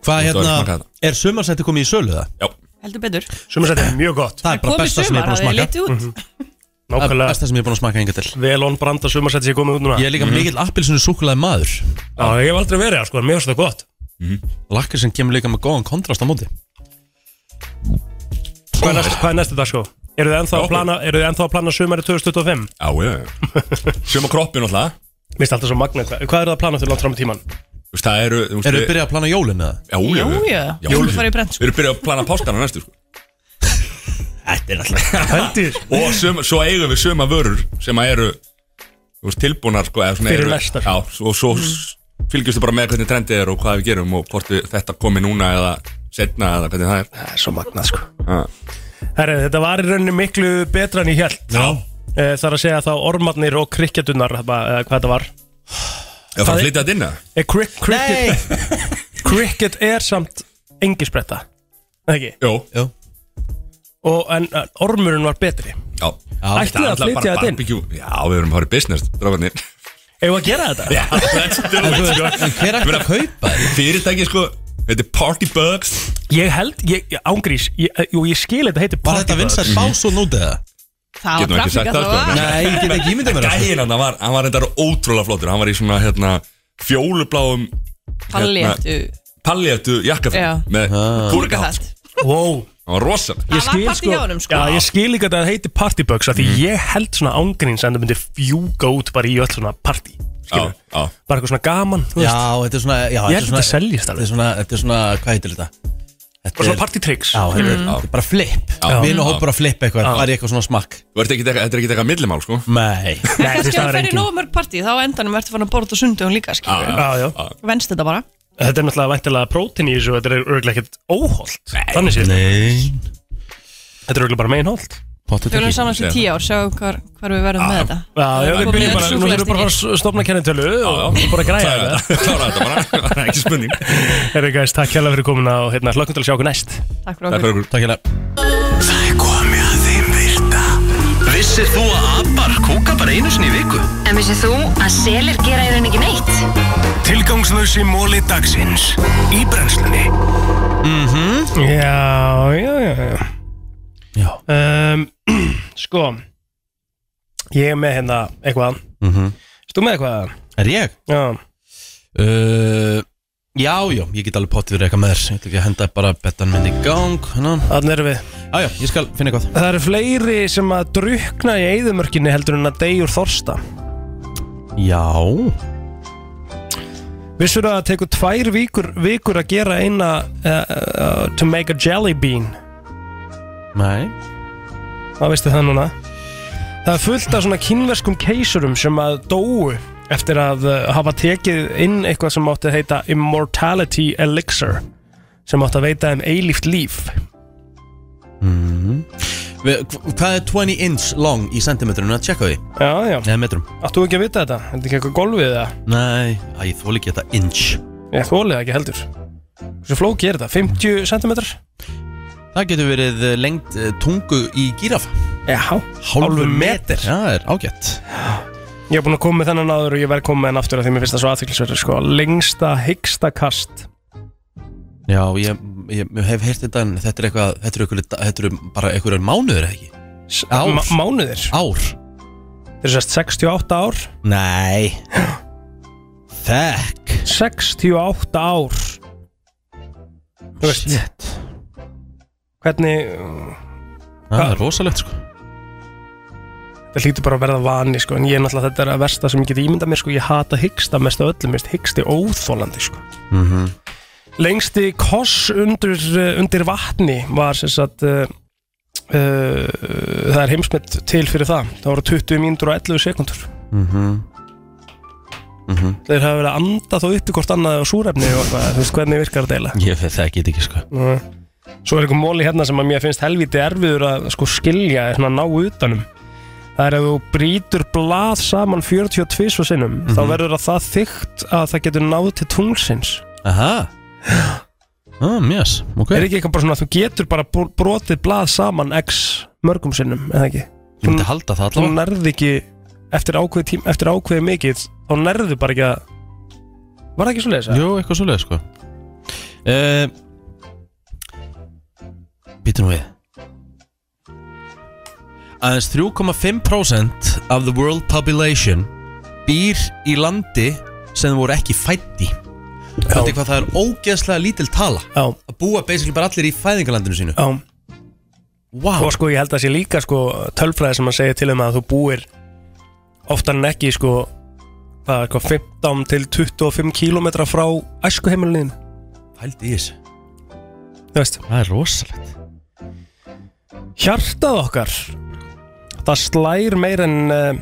A: Hvað
D: Þú ert að
A: hérna,
D: smakka þetta.
A: er sumarsætti komið í sölu það?
D: Já
V: heldur betur
C: Sumarsætti er mjög gott Mhm.
A: Það er bara
V: Komið
A: besta sem ég er búin að
V: sumar,
A: smakka
V: hafið þið litið út?
A: Það er besta sem ég er búin að smakka enga til
C: Vel on branda sumarsætti sem ég komið út núna
A: Ég er líka
C: Mhm.
A: mikill appilsinu súkulaði maður Mhm.
C: Já, ég hef aldrei verið það sko, en mér finnst það gott
A: Lakkar sem kemur líka með góðan kontrast á móti
C: Hvað er næst- hvað er næstu dag sko? Eru þið ennþá að plana, eru þið ennþá að plana sumari 2025?
D: Já, já Sjöma kroppin og það
C: Mér finnst alltaf svo magna, hvað, hvað er það að plana þau langt fram í tíman?
D: Það eru Eru
A: Eru þið byrjað að plana jólin eða?
D: Já, já,
V: Jú, já. Jól fara í brent, sko.
D: Við erum byrjað að plana páskana næstu sko.
A: Þetta er alltaf
C: Heldur
D: Og sum, svo eigum við söma vörur sem að eru þú veist, tilbúnar sko, eða svona
C: Fyrir
D: eru-
C: lestar.
D: Já, og svo mm. fylgjustu bara með hvernig trendið er og hvað við gerum og hvort við, þetta komi núna eða setna eða hvernig það er
C: Það er svo magnað sko Herri, þetta var í rauninni miklu betra en ég held Já Það er að segja þá ormarnir og krikketunar, hvað þetta var
D: Já, það flytja þetta inn eða?
C: Eh, krik- Cricket Cricket er samt engisbretta Það ekki?
D: Jó,
A: Jó.
C: Og en eh, ormurinn var betri
D: Já,
C: Ætlið þið að
D: alltaf
C: flytja
D: bara
C: þetta inn?
D: barbecue. Já, við erum að fara í business, drafarnir
C: Eða að gera þetta?
D: Já, let's do it sko.
A: Hver ætti að kaupa
D: þetta? Fyrirtæki sko, þetta er Party Bugs
C: Ég held, ég, ég- ángrís, ég, eh, jú, ég skil þetta heitir
A: Var þetta vinsætt bás og nútið það?
V: Það
D: Getum ekki sagt það sko
A: Nei, ég get ekki ímyndað mér það, sko.
D: Gæinn hann var, hann var reyndar ótrúlega flottur Hann var í svona hérna fjólubláum
A: sko.
C: Hérna.
V: Palléttu.
D: Palléttu
V: Já.
D: jakkafell Með kúrikahatt
V: Kúrkahatt.
C: Wow
D: Hann var rosa
C: Ég
V: Það var
C: skil
V: partí hjá honum, sko.
C: Já, ég skil líka þetta að það heiti partybugs af Því ég held svona ángríns en það myndi fjúka út bara í öll svona partí Skilur
D: já
C: Bara eitthvað svona gaman þú
A: Já,
C: veist.
A: þetta er svona já,
C: Ég held þetta seljist
A: alveg Þetta er svona, þetta er svona, hvað heitir þetta? Þetta
C: Bara svona
A: er-
C: partytricks.
A: Já, þetta er-
C: Mhm.
A: þetta er bara flip
D: Já.
A: Vinn og
D: Já.
A: hópur að flip eitthvað,
D: Já.
A: fara í eitthvað svona smakk
D: Þú ert ekki Þetta er ekki eitthvað millimál sko
A: Nei
V: En kannski að það fer í nógu mörg partí, þá á endanum ertu farin að borða á sundum líka, skilur
C: Já, já
V: Venst þetta bara
C: Þetta er náttúrulega væntilega prótín í þessu og Þetta er örgulega ekkert óholt Þannig séð
A: Nei
C: Þetta er örgulega bara meinholt
V: Við verðum saman til tíu ár, sjáum hvar, hvar við verðum með þetta
C: Já, já, við
V: Komum
C: byrjum
V: með
C: bara, nú þurfum við bara að fara að stopna kennitölu og bara að græja
D: Klára
C: þetta
D: Klára þetta bara, það er ekki spurning
C: Herri gæs, takk hérlega fyrir komuna og hérna, hlökkum til að sjá okkur næst
V: Takk
D: Takk fyrir okkur
A: Takk hérna
E: Það er komið að þeim virta Vissir þú að abar kúka bara einu sinni í viku?
H: En vissið þú að selir gera í rauninni ekki neitt?
E: Tilgangslösi móli dagsins Í brennslunni
C: Mhm Já, já, já Já, já. Um, Sko Ég er með hérna eitthvað
A: Mhm.
C: Stú með eitthvað?
A: Er ég?
C: Já
A: uh, Já, já, ég get alveg pottið fyrir eitthvað með þér Ég ætla ekki að henda bara betan minn í gang Þannig
C: erum við
A: Já, já, ég skal finna eitthvað
C: Það eru fleiri sem að drukna í eigðumörkinni heldur en að deyja úr þorsta
A: Já
C: Vissur að það tekur tvær vikur, vikur að gera eina uh, uh, To make a jelly bean
A: Nei
C: Það veistu það núna Það er fullt af svona kínverskum keisurum sem að dóu eftir að uh, hafa tekið inn eitthvað sem átti að heita Immortality Elixir sem átti að veita þeim eilíft líf Mhm.
A: mm. Við- hv- Hvað er 20 inch long í sentimetrunum að tjekka því?
C: Já, já
A: Eða metrum
C: Áttu ekki að vita þetta? Er þetta ekki eitthvað golfið það?
A: Nei, að ég þóli ekki þetta inch
C: Ég þólið ekki heldur Hversu flóki er þetta? 50 cm?
A: Það getur verið eh, lengd eh, tungu í gíraf
C: Já
A: Hálfu metr Já, það er ágætt
C: Ég er búin að koma með þennan áður og ég verð að koma með hann aftur af því mér finnst það svo aðþyklisverður sko Lengsta, hyggsta kast
A: Já, ég, ég, ég hef heyrt þetta en þetta er eitthvað Þetta eru eitthvað, þetta eru bara eitthvað mánuður eða ekki Ár.
C: Ma- Mánuðir
A: Ár
C: Þeir eru sérst 68 ár
A: Nei Þekk
C: 68 ár Þú veist Hvernig
A: Það er rosalegt sko
C: Það hlýtur bara að verða vani sko En ég er náttúrulega þetta er að versta sem ég get ímyndað mér sko Ég hata hyggsta mest af öllum Mér finnst hyggsti óþólandi sko
A: mm -hmm.
C: Lengsti koss undir, uh, undir vatni var sem sagt uh, uh, það er heimsmet til fyrir það það voru 20 mínútur og 11 sekundur
A: Mm -hmm. Mm -hmm.
C: þeir hafa verið að anda þá upp í hvort annað og súrefni og eitthvað, þú veist hvernig virkar þetta eiginlega
A: Ég þekki þetta ekki sko
C: Nú, Svo er einhver móli hérna sem að mér finnst helviti erfiður að sko skilja eða svona ná utanum Það er að þú brýtur blað saman 42 svo sinnum þá verður að það þykkt að það getur náð til tunglsins
A: Aha Ah, mjöss, ok
C: Er ekki eitthvað bara svona að þú getur bara bro- brotið blað saman x mörgum sinnum, eða ekki?
A: Ég myndi halda það
C: Þú
A: allavega
C: nærði ekki eftir ákveði tím, eftir ákveði mikið þá nærðu bara ekki að Var það ekki svo leiðis?
A: Jú, eitthvað svo sko uh, Býtum við Aðeins 3,5% of the world population býr í landi sem þau voru ekki fætt í Þetta er hvað það er ógeðslega lítil tala
C: Já.
A: að búa basically bara allir í fæðingalandinu sínu
C: Já
A: Vá.
C: Og sko ég held að sé líka sko tölfræði sem að segja til um að þú búir oftar en ekki sko hvað, hvað 15 til 25 kílómetra frá æskuheimilin
A: Hældi í þessu
C: Þú veist
A: Það er rosalegt
C: Hjartað okkar Það slær meir en eh,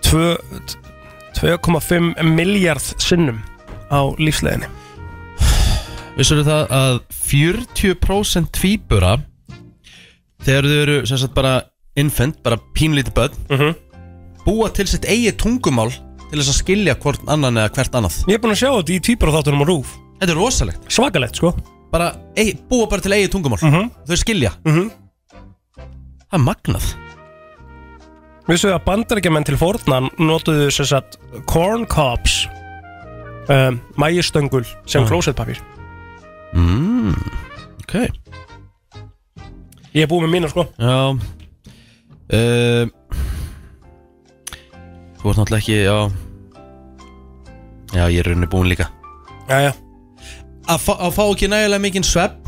C: tvö- t- 2,5 miljard sinnum á lífsleginni
A: Vissur þau það að 40% tvíbura þegar þau eru sem sagt bara infant, bara pínlítið börn
C: Mhm.
A: búa til sitt eigi tungumál til þess að skilja hvort annan eða hvert annað
C: Ég er búin að sjá þetta í tvíbura þáttunum á rúf
A: Þetta er rosalegt
C: Svakalegt sko Mhm.
A: bara, eigi, Búa bara til eigi tungumál Þau skilja Það er magnað
C: Vissu að bandarækjumenn til forna notuðu sem sagt corn cobs um, mægistöngul sem
A: Ah.
C: klósettpapir
A: mm, Ok
C: Ég er búið með mínu sko
A: Já uh, Þú ert náttúrulega ekki Já Já, ég er rauninni búin líka
C: Jæja
A: Að fá, að fá ekki nægilega mikinn svepp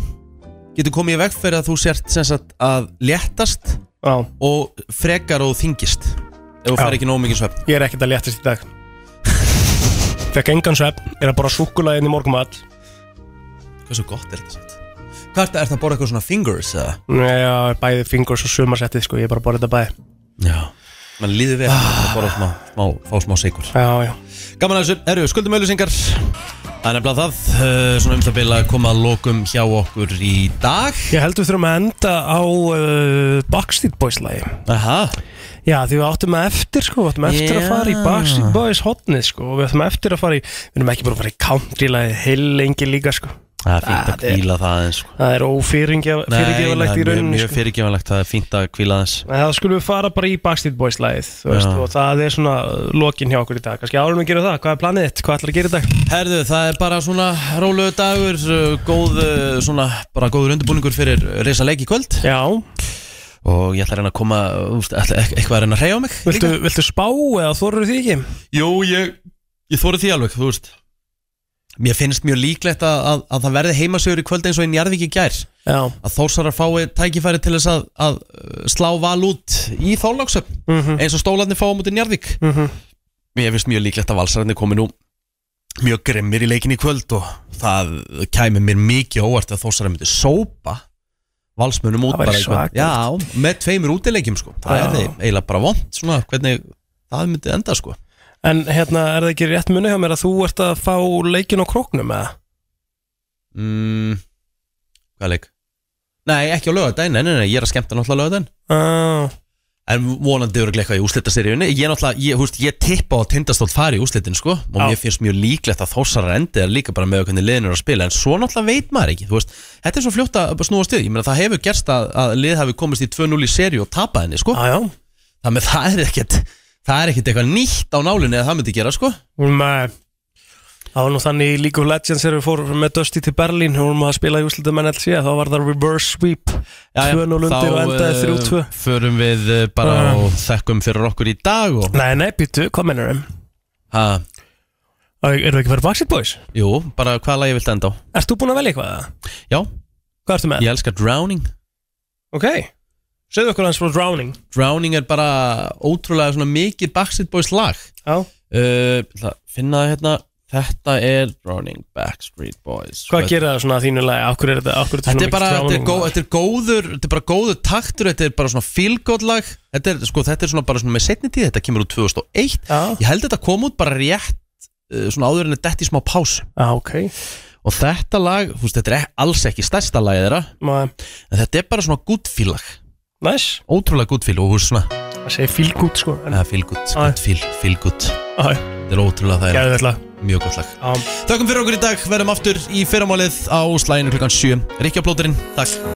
A: getur komið í veg fyrir að þú sért sem sagt að léttast
C: Já.
A: og frekar og þingist ef þú
C: Já.
A: fær ekki nóg mikinn svepp
C: Ég er ekkert að léttast í dag Fekk engan svefn, er að bara súkkulaði inn í morgumat
A: Hversu gott er þetta samt? Hvað er þetta, er þetta að borða eitthvað svona fingers eða?
C: Já, bæði fingurs og sumarsettið sko, ég er bara að borða þetta bæði
A: Já Man líður vel að borða smá, smá, fá smá sigur
C: Já, já
A: Gaman að þessu, eru skuldum auðlýsingar Það er nefnilega það, uh, svona um það bila að koma að lokum hjá okkur í dag
C: Ég held við þurfum að enda á uh, Backstreet Boys lagi
A: Aha.
C: Já, því við áttum að eftir sko, við áttum eftir
A: Já.
C: að fara í Backstreet Boys hotnið sko og við áttum eftir að fara í, við erum ekki bara að fara í country lagi heil lengi líka sko
A: Það er fínt
C: Ah,
A: að
C: þetta er-
A: kvíla það aðeins sko.
C: Það er
A: Nei, það
C: ófyrirgevalegt í
A: er mjög,
C: rauninni
A: mjög
C: sko.
A: fyrirgefanlegt, það er fínt að kvíla aðeins
C: En það skulum við fara bara í Backstreet Boys lagið þú veist,
A: Já.
C: og það er svona lokin hjá okkur í dag kannski árum við gerum það, hvað er planið þitt, hvað ætlar að gera í dag
A: Herðu, það er bara svona róluðu dagur, uh, góð, uh, svona, bara góður undirbúningur fyrir reysa leik í kvöld
C: Já
A: Og ég ætla að reyna að koma, úst, e- eitthvað að reyna að reyja á mig
C: viltu, viltu spá eða þorur því ekki?
A: Jú, ég, ég þóri því alveg, þú veist Mér finnst mjög líklegt að, að, að það verði heimasögur í kvöld eins og í Njarðvík í gær
C: Já.
A: Að Þórsarar fái tækifæri til þess að, að uh, slá val út í þórlóksöp
C: Mhm.
A: Eins og stólarnir fáum út í Njarðvík
C: Mm -hmm.
A: Mér finnst mjög líklegt að valsararnir komi nú mjög grimmir í leikin í kvöld og það kæmi mér mikið óvart að þósararnir myndi sópa valsmönum út
C: Það væri
A: bara í kvöld.
C: svakalegt.
A: Já, með tveimur útileikjum sko Það
C: Já.
A: er þeim eiginlega bara vond svona hvernig það myndi enda sko
C: En hérna, er það ekki rétt munið hjá mér að þú ert að fá leikin á króknum eða?
A: mm, Hvað leik? Nei, ekki á lögadaginn, nei, nei, nei, ég er að skemmta náttúrulega lögadaginn
C: ah.
A: En vonandi eru eitthvað í úslitaseríunni Ég náttúrulega, ég, húst, ég tippa á að tindastótt fari í úslitin sko Og
C: Já.
A: mér finnst mjög líklegt að þósarar endi er líka bara með hvernig liðin eru að spila En svo náttúrulega veit maður ekki, þú veist Þetta er svo fljótt að snúa stuð Ég meina það hefur gerst að, að lið hafi komist í 2-0 í seri og tapað henni sko
C: ah,
A: Þannig að það er ekkert Það er ekkert eitthvað nýtt á nálinni að það myndi gera sko
C: Nei eh, Það var nú þannig í League of Legends þegar við fórum með Dusty til Berlín og vorum að spila í úrslutum NLC þá var það reverse sweep 2-0 undir og endaði 3-2
A: Þá eh, förum við eh, bara
C: Já.
A: og þekkum fyrir okkur í dag og...
C: Nei, nei, býttu, hvað um? mennur þeim?
A: Ha,
C: Erum við ekki fyrir Backstreet Boys?
A: jú, bara hvaða lagi viltu enda á?
C: Ert þú búin að velja eitthvað?
A: Já
C: Hvað ertu með?
A: Ég elska Drowning
C: Ok, segðu okkur hans frá Drowning
A: Drowning er bara ótrúlega svona mikið Backstreet Boys lag
C: Já
A: uh, Finna það hérna Þetta er Drowning Backstreet Boys
C: Hvað gerir það svona að þínu lagi? Af hverju er þetta af hverju
A: Þetta er bara,
C: svona
A: þetta er,
C: mikið
A: góð, þetta er góður Þetta er bara góður taktur, þetta er bara svona feel-good lag þetta er, sko, þetta er svona bara svona með setni tíð Þetta kemur úr 2001
C: Já.
A: Ég held þetta kom út bara rétt uh, Svona áður en þetta detti í smá pásu
C: Já, ok
A: Og þetta lag, þú veist, þetta er ek- alls ekki stærsta lagið þeirra
C: Nei.
A: En þetta er bara svona good feel lag
C: Næs
A: Ótrúlega good feel og þú veist svona
C: Það segir feel good sko en-
A: Ja, feel good, good feel, feel good
C: Já.
A: Þetta er ótrúlega það
C: Geðveikt lag.
A: Mjög gott lag
C: Já.
A: Þakkum fyrir okkur í dag, verðum aftur í fyrramálið á slæðinu klukkan 7 Ríkja plóturinn, takk